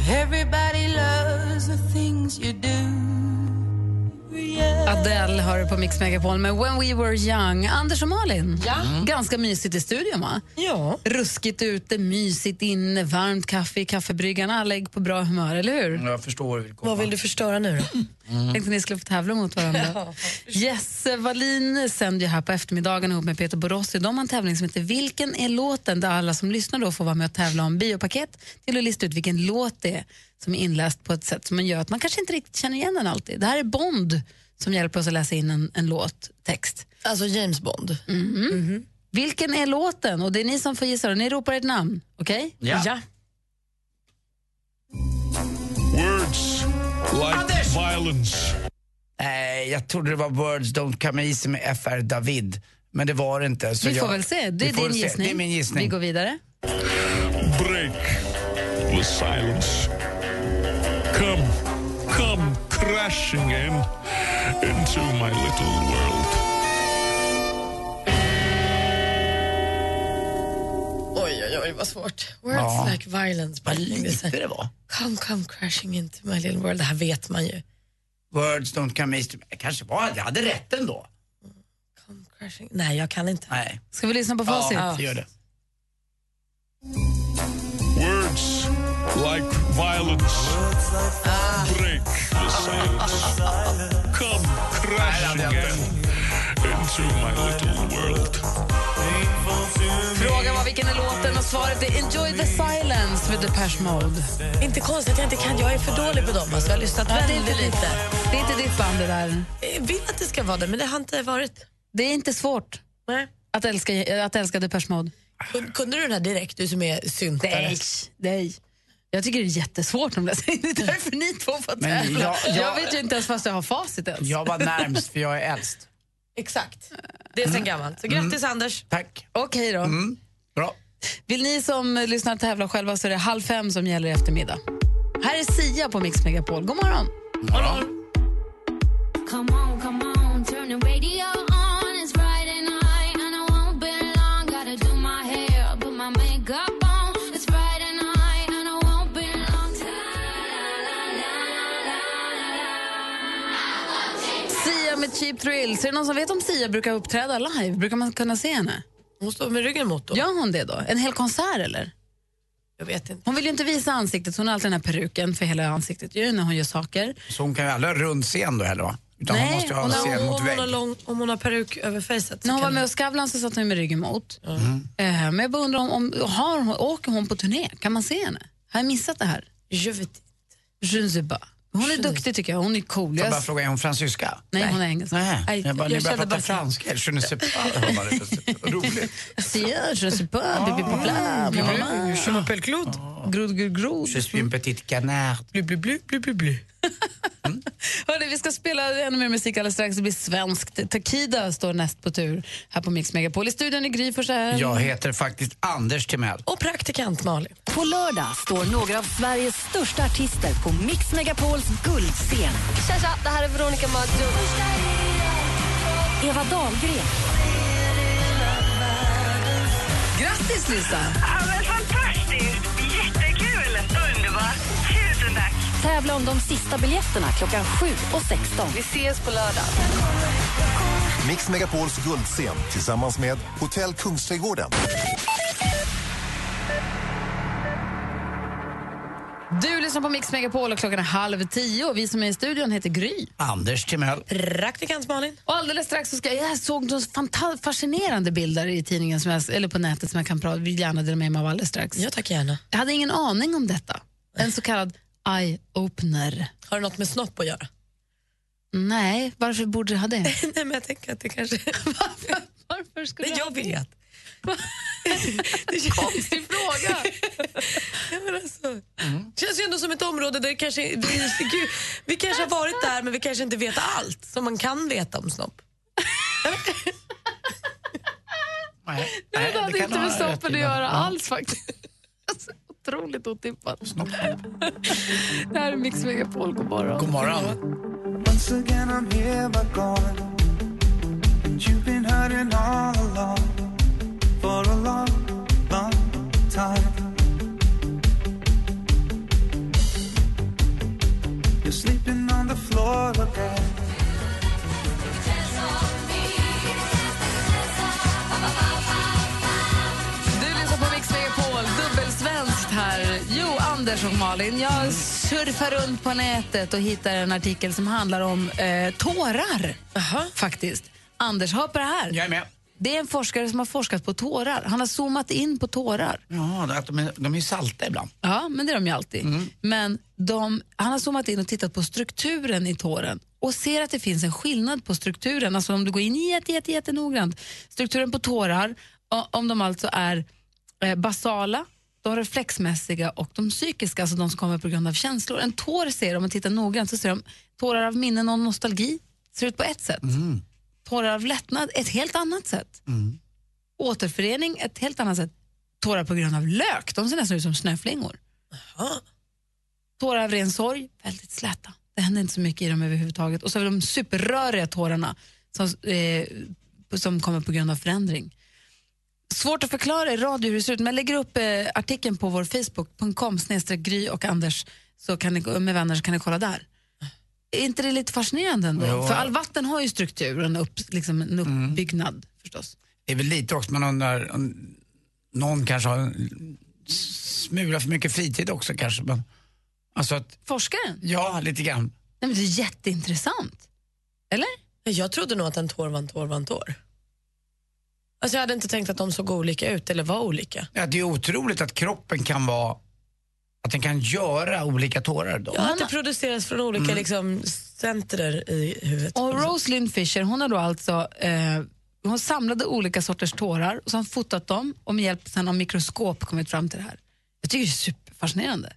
Speaker 7: Everybody loves the things you do.
Speaker 1: Adele hör du på Mix Megapol med When We Were Young. Anders och Malin, Mm. ganska mysigt i studion va?
Speaker 18: Ja.
Speaker 1: Ruskigt ute, mysigt inne, varmt kaffe i kaffebryggan. Alla är på bra humör, eller hur?
Speaker 2: Jag förstår var du vill komma.
Speaker 18: Vad vill du förstöra nu då?
Speaker 1: Tänkte ni skulle få tävla mot varandra. Jesse Wallin sänder ju här på eftermiddagen ihop med Peter Borossi. De har en tävling som heter Vilken är låten? Där alla som lyssnar då får vara med och tävla om biopaket till att lista ut vilken låt det är som är inläst på ett sätt som man gör att man kanske inte riktigt känner igen den alltid. Det här är Bond som hjälper oss att läsa in en, en låttext.
Speaker 18: Alltså James Bond.
Speaker 1: Mhm. Vilken är låten? Och det är ni som får gissa. då. Ni ropar ett namn, okej?
Speaker 7: Ja.
Speaker 18: ja.
Speaker 2: Words like violence. Nej, jag trodde det var Words Don't Come Easy med FR David. Men det var det inte. Så
Speaker 1: Vi
Speaker 2: jag,
Speaker 1: får väl se. Det
Speaker 2: Vi
Speaker 1: är
Speaker 2: får
Speaker 1: din
Speaker 2: väl se.
Speaker 1: gissning.
Speaker 2: Det är min gissning.
Speaker 1: Vi går vidare.
Speaker 10: Break the silence. Come, come crashing in into my little world.
Speaker 18: Oj, oj, oj, vad svårt. Words
Speaker 10: Ja.
Speaker 18: like violence.
Speaker 2: Vad lite det var.
Speaker 18: Come, come crashing into my little world. Det här vet man ju.
Speaker 2: Words Don't Come Easy. Jag kanske var, jag hade rätt ändå.
Speaker 18: Crashing. Nej, jag kan inte.
Speaker 2: Nej.
Speaker 1: Ska vi lyssna på facit?
Speaker 2: Ja, gör det.
Speaker 10: Words like violence. Break the silence. Come crashing in into to my little world.
Speaker 1: Frågan var vilken är låten och svaret är Enjoy the silence med Depeche Mode.
Speaker 18: Inte konstigt att jag inte kan. Jag är för dålig på dem. Alltså, jag har lyssnat
Speaker 1: Ja, det är
Speaker 18: väldigt
Speaker 1: inte-
Speaker 18: lite.
Speaker 1: Det är inte ditt band det där.
Speaker 18: Jag vill att det ska vara det, men det har inte varit.
Speaker 1: Det är inte svårt
Speaker 18: Nej.
Speaker 1: att älska, att älska Depeche Mode.
Speaker 18: Kun- Kunde du den här direkt, du som är syntare?
Speaker 1: Nej, nej. Jag tycker det är jättesvårt om det. Det är därför ni två får
Speaker 2: Men
Speaker 1: tävla.
Speaker 2: jag-
Speaker 1: jag,
Speaker 2: jag-
Speaker 1: vet ju inte ens fast jag har facit ens.
Speaker 2: Jag var närmst för jag är äldst.
Speaker 18: Exakt. Det är sen gammalt. Så grattis, Anders.
Speaker 2: Tack.
Speaker 1: Mm. Okej då.
Speaker 2: Mm. Bra.
Speaker 1: Vill ni som eh, lyssnar tävla själva så är det halv fem som gäller i eftermiddag. Här är Sia på Mix Megapol. God morgon!
Speaker 20: Come on, come on, turn the radio on. It's Friday night, and I won't be long. Gotta do my hair, put my makeup on. It's Friday night, and I won't be long.
Speaker 1: Sia med Cheap Thrills. Är det någon som vet om Sia brukar uppträda live? Brukar man kunna se henne?
Speaker 18: Hon står med ryggen mot då.
Speaker 1: Gör hon det då? En hel konsert eller?
Speaker 18: Jag vet inte.
Speaker 1: Hon vill ju inte visa ansiktet. Hon har alltid den här peruken för hela ansiktet ju när hon gör saker.
Speaker 2: Så hon kan ju aldrig ha rund scen då heller va? Utan hon
Speaker 1: Nej,
Speaker 2: måste ju ha
Speaker 1: hon har-
Speaker 2: scen mot
Speaker 1: hon
Speaker 2: vägg.
Speaker 1: har
Speaker 18: Lång, om hon har peruk över fejset.
Speaker 1: När hon var med och Skavlan så satt hon med ryggen mot. Eh, Men jag bara undrar om, om har hon, åker hon på turné? Kan man se henne? Har jag missat det här?
Speaker 18: Jag vet inte.
Speaker 1: Je ne sais pas. Hon är duktig tycker jag. Hon är cool.
Speaker 2: Får jag
Speaker 1: Jag-
Speaker 2: bara fråga, är hon fransyska?
Speaker 1: Nej, hon är engelsk.
Speaker 2: Nej, jag bara, ni börjar prata franska. Je ne sais pas. Hon bara,
Speaker 1: Sia, je ne sais pas, bibi
Speaker 2: Ah.
Speaker 1: bla, bla, bla, bla.
Speaker 2: Je m'appelle Claude.
Speaker 1: Grod, grod, grod.
Speaker 2: Je suis une petite canard.
Speaker 18: Blu, blu, blu, blu, blu, blu.
Speaker 1: Hörrni, vi ska spela ännu mer musik alldeles strax. Det blir svenskt. Takida står näst på tur här på Mix Megapol. I studion är Gry Forssell.
Speaker 2: Jag heter faktiskt Anders Timell.
Speaker 18: Och praktikant Malin.
Speaker 6: På lördag står några av Sveriges största artister på Mix Megapols guldscen.
Speaker 5: Tja, tja, det här är Veronica Maggio.
Speaker 6: Eva Dahlgren.
Speaker 1: Grattis, Lisa!
Speaker 5: Ja, men fantastiskt! Jättekul! Underbart! Tusen tack!
Speaker 6: Tävla om de sista biljetterna klockan 7 och 16.
Speaker 5: Vi ses på lördag.
Speaker 8: Mix Megapols guldscen tillsammans med Hotell Kungsträdgården.
Speaker 1: Du lyssnar på Mix Megapol och klockan är halv tio. Och vi som är i studion heter Gry.
Speaker 2: Anders Timell.
Speaker 18: Praktikant Malin.
Speaker 1: Och alldeles strax så ska jag, jag såg några fanta- fascinerande bilder i tidningen som jag, eller på nätet som jag kan prata, vill gärna dela med mig av alldeles strax.
Speaker 18: Jag tackar gärna.
Speaker 1: Jag hade ingen aning om detta. En så kallad eye-opener.
Speaker 18: Har det något med snopp att göra?
Speaker 1: Nej, varför borde jag ha det?
Speaker 18: Nej, men jag tänker att det kanske...
Speaker 1: varför, varför skulle
Speaker 18: Nej, jag vet.
Speaker 1: Konstig fråga.
Speaker 18: Ja, men alltså, Det känns ju ändå som ett område där det kanske, vi, gud, vi kanske har varit där men vi kanske inte vet allt som man kan veta om snopp.
Speaker 2: Nej,
Speaker 1: Nej, det hade
Speaker 2: kan
Speaker 1: inte
Speaker 2: du
Speaker 1: med
Speaker 2: ha rätt
Speaker 1: snoppen
Speaker 2: i,
Speaker 1: att
Speaker 2: va?
Speaker 1: göra
Speaker 2: Ja.
Speaker 1: alls faktiskt. Alltså, otroligt otippat. det här är Mix Megapol, god morgon.
Speaker 2: God morgon.
Speaker 7: Once again, I'm here but gone. And you've been hurting all along for a long, long time. You're sleeping on the floor again.
Speaker 1: Du lyssnar på Mix Megapol, dubbelsvenskt här. Jo, Anders och Malin,
Speaker 2: Mm.
Speaker 1: jag surfar runt på nätet och hittar en artikel som handlar om eh, tårar. Faktiskt. Anders, hör på det här.
Speaker 2: Jag är med.
Speaker 1: Det är en forskare som har forskat på tårar. Han har zoomat in på tårar.
Speaker 2: Ja, att de är, de är salta ibland.
Speaker 1: Ja, men det är de ju alltid. Men de, han har zoomat in och tittat på strukturen i tåren och ser att det finns en skillnad på strukturen. Alltså om du går in jätte, jätte, jättenoggrant. Strukturen på tårar, o- om de alltså är eh, basala, de reflexmässiga och de psykiska, alltså de som kommer på grund av känslor. En tår ser, om man tittar noggrant, så ser de tårar av minnen och nostalgi ser ut på ett sätt.
Speaker 5: 嗯
Speaker 1: Tårar av lättnad, ett helt annat sätt. Återförening, ett helt annat sätt. Tårar på grund av lök, de ser nästan ut som snöflingor. Tårar av ren sorg, väldigt släta. Det händer inte så mycket i dem överhuvudtaget. Och så har vi de superröriga tårarna som, eh, som kommer på grund av förändring. Svårt att förklara i radio hur det ser ut, men jag lägger upp eh, artikeln på vår facebook.com snedstreck gry och Anders så kan ni, gå- med vänner så kan ni kolla där. Är inte det lite fascinerande ändå?
Speaker 2: Jo.
Speaker 1: För all vatten har ju struktur och en, upp, liksom en uppbyggnad förstås.
Speaker 2: Det är väl lite också man undrar, om någon kanske har en smula för mycket fritid också kanske. Men, alltså att,
Speaker 1: Forskaren?
Speaker 2: ja, lite grann.
Speaker 1: Nej, men det är jätteintressant. Eller?
Speaker 3: Jag trodde nog att en tår var en tår var en tår. Alltså jag hade inte tänkt att de såg olika ut eller var olika.
Speaker 2: Ja, det är otroligt att kroppen kan vara... Att den kan göra olika tårar. Då.
Speaker 3: Ja, att det produceras från olika
Speaker 2: Mm.
Speaker 3: liksom, centrer i huvudet.
Speaker 1: Och Rosalind Fisher, hon har då alltså eh, hon samlade olika sorters tårar och så har hon fotat dem och med hjälp sen av mikroskop kommit fram till det här. Jag tycker det är superfascinerande.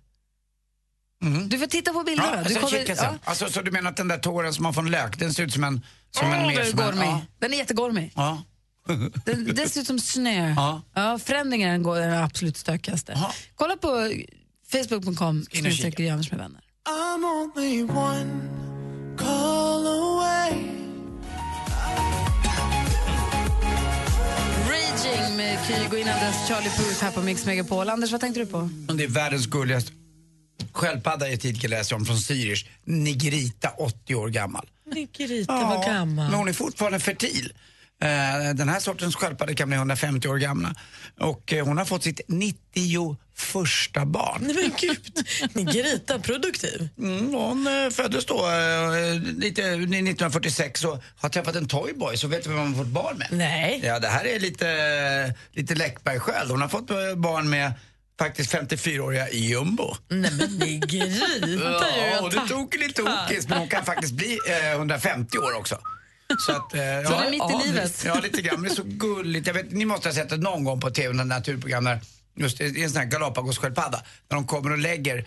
Speaker 1: Du får titta på bilder
Speaker 2: Mm. Ja,
Speaker 1: då.
Speaker 2: alltså,
Speaker 1: Du kommer-
Speaker 2: kika sen. Alltså, så du menar att den där tåren som man får en lök, den ser ut som en... Som en
Speaker 1: Åh,
Speaker 2: mer
Speaker 1: den är
Speaker 2: som en-
Speaker 1: gormig. Den är jättegormig.
Speaker 2: Ja. ja.
Speaker 1: Den, den ser ut som snö. Ja. förändringen går den absolut stökigaste. Kolla på facebook.com
Speaker 7: in och kika.
Speaker 1: snedstreck Gry Anders med vänner.
Speaker 7: I'm only one call away
Speaker 1: Raging med Kygo innan dess Charlie Puth här på Mix Megapol. Anders, vad tänkte du på?
Speaker 2: Det är världens gulligaste. Sköldpadda i ett tidning läser jag om från Zürich. Nigrita, 80 år gammal.
Speaker 3: Nigrita
Speaker 2: Ja,
Speaker 3: var gammal.
Speaker 2: Men hon är fortfarande fertil. Eh, Den här sortens sköldpaddor kan bli 150 år gamla. Och eh, hon har fått sitt 91 barn.
Speaker 3: Nej men gud, Nigrita produktiv.
Speaker 2: Mm, hon eh, föddes då eh, lite, 1946 och har träffat en toyboy, så vet du vem hon har fått barn med?
Speaker 3: Nej.
Speaker 2: Ja, det här är lite, eh, lite Läckberg själv. Hon har fått eh, barn med faktiskt 54-åriga Jumbo.
Speaker 3: Nej men Nigrita är ju
Speaker 2: Ja,
Speaker 3: en
Speaker 2: och du tog lite tokis, men hon kan faktiskt bli eh, 150 år också. Så att,
Speaker 1: Så
Speaker 2: eh,
Speaker 1: det är mitt i
Speaker 2: ja,
Speaker 1: livet.
Speaker 2: Ja, lite grann. Men det är så gulligt. Jag vet, ni måste ha sett det någon gång på tv, något naturprogram där just i en sån här Galapagos-sköldpadda, när de kommer och lägger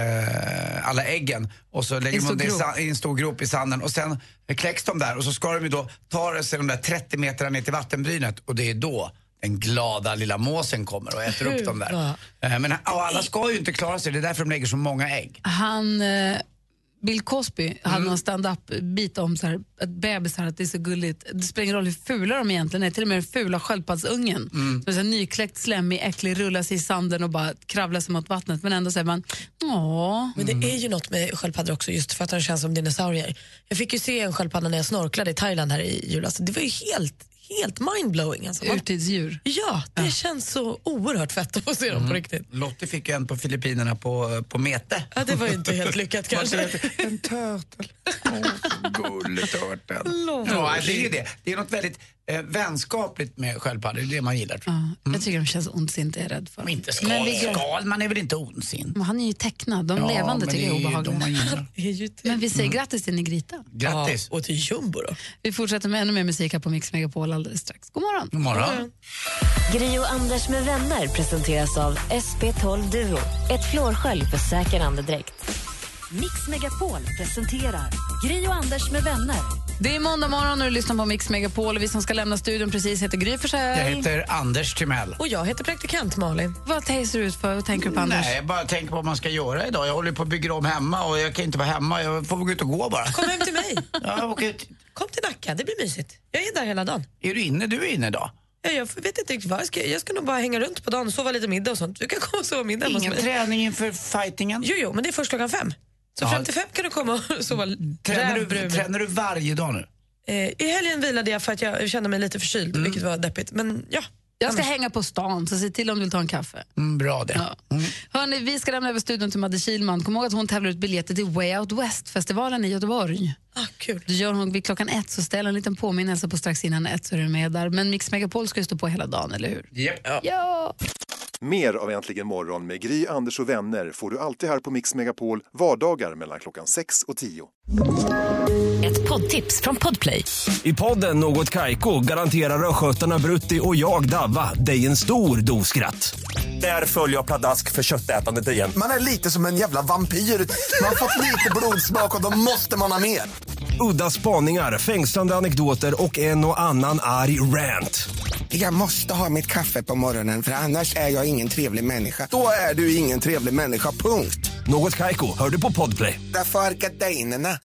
Speaker 2: eh, alla äggen och så lägger
Speaker 13: en stor
Speaker 2: man det i,
Speaker 13: grop.
Speaker 2: sa- i en stor grop i sanden och sen kläcks de där och så ska de ju då ta sig de där 30 metrarna ner till vattenbrynet och det är då den glada lilla måsen kommer och äter upp dem där.
Speaker 1: Huva.
Speaker 2: Eh, Men och alla ska ju inte klara sig, det är därför de lägger så många ägg.
Speaker 1: Han, eh, Bill Cosby
Speaker 2: Mm.
Speaker 1: hade någon stand-up-bit om så här, att bebisar, att det är så gulligt. Det spelar ingen roll hur fula de egentligen är, till och med den fula sköldpaddsungen.
Speaker 7: Mm.
Speaker 1: Som är så här nykläckt, slemmig, äcklig, rullar sig i sanden och bara kravlar sig mot vattnet. Men ändå säger man, ja.
Speaker 3: Men det är ju något med sköldpaddor också, just för att de känns som dinosaurier. Jag fick ju se en sköldpadda när jag snorklade i Thailand här i julas. Det var ju helt, helt mindblowing. Alltså.
Speaker 1: Urtidsdjur.
Speaker 3: Ja, det känns så oerhört fett att få se dem på riktigt.
Speaker 2: Mm. Lottie fick ju en på Filippinerna på, på Mete.
Speaker 3: Ja, det var ju inte helt lyckat kanske.
Speaker 2: En turtle. Gulletörten. Ja, det är ju det. Det är något väldigt eh, vänskapligt med sköldpaddor. Det är det man gillar. Tror jag.
Speaker 1: Jag tycker de känns ondsint, jag är rädd för. Men inte
Speaker 2: Skal, skal, man är väl inte ondsint?
Speaker 1: Men han är ju tecknad. De
Speaker 2: Ja,
Speaker 1: levande
Speaker 2: men
Speaker 1: tycker jag
Speaker 2: det
Speaker 1: är
Speaker 2: är ju de Mm.
Speaker 1: obehagliga.
Speaker 2: man gillar.
Speaker 1: men vi säger grattis till Negrita.
Speaker 2: Grattis.
Speaker 3: och till Jumbo då.
Speaker 1: Vi fortsätter med ännu mer musik här på Mix Megapol alldeles strax. God morgon.
Speaker 2: God morgon.
Speaker 22: Gri och Anders med vänner presenteras av SP12 Duo. Ett flårskölj för säker andedräkt.
Speaker 6: Mix Megapol presenterar Gri och Anders med vänner.
Speaker 1: Det är måndag morgon och du lyssnar på Mix Megapol. Och vi som ska lämna studion precis heter Gry Forssell.
Speaker 2: Jag heter Anders Timell.
Speaker 3: Och jag heter praktikant Malin.
Speaker 1: Vad tänker du ut för? Vad tänker du på Anders?
Speaker 2: Nej, jag bara tänker på vad man ska göra idag. Jag håller på att bygga om hemma och jag kan inte vara hemma. Jag får väl gå ut och gå bara.
Speaker 3: Kom hem till mig.
Speaker 2: ja, åk ut.
Speaker 3: Kom till Nacka, det blir mysigt. Jag är där hela dagen.
Speaker 2: Är du inne? Du är inne idag.
Speaker 3: Ja, Jag vet inte riktigt vad jag ska Jag ska nog bara hänga runt på dagen, sova lite middag och sånt. Du kan komma och sova middag
Speaker 2: Ingen träning inför fightingen?
Speaker 3: Jo, jo, men det är först klockan fem. Så
Speaker 2: Ja.
Speaker 3: fram till fem kan du komma och sova
Speaker 2: Tränar du,
Speaker 3: rävbrun.
Speaker 2: tränar du varje dag nu?
Speaker 3: Eh, I helgen vilade jag för att jag kände mig lite förkyld, vilket var deppigt. Men ja,
Speaker 1: Mm. Jag ska hänga på stan, så se till om du vill ta en kaffe.
Speaker 2: Mm, bra det.
Speaker 1: Hörrni, vi ska lämna över studion till Madde Kilman. Kom ihåg att hon tävlar ut biljetter till Way Out West-festivalen i Göteborg.
Speaker 3: Ah, kul.
Speaker 1: Det gör hon vid klockan ett, så ställ en liten påminnelse på strax innan ett så är du med där. Men Mix Megapol ska ju stå på hela dagen, eller hur?
Speaker 8: Ja.
Speaker 1: Ja!
Speaker 8: Mer av Äntligen morgon med Gry, Anders och vänner får du alltid här på Mix Megapol vardagar mellan klockan 6 och 10.
Speaker 6: Ett poddtips från Podplay.
Speaker 9: I podden Något Kaiko garanterar östgötarna Brutti och jag, Davva, dig en stor dos skratt. Där följer jag pladask för köttätandet igen.
Speaker 21: Man är lite som en jävla vampyr. Man har fått lite blodsmak och då måste man ha mer.
Speaker 9: Udda spaningar, fängslande anekdoter och en och annan arg rant.
Speaker 21: Jag måste ha mitt kaffe på morgonen för annars är jag ingen trevlig människa. Då är du ingen trevlig människa, punkt.
Speaker 9: Något Kaiko, hör du på podplay.
Speaker 21: Därför arkadeinerna.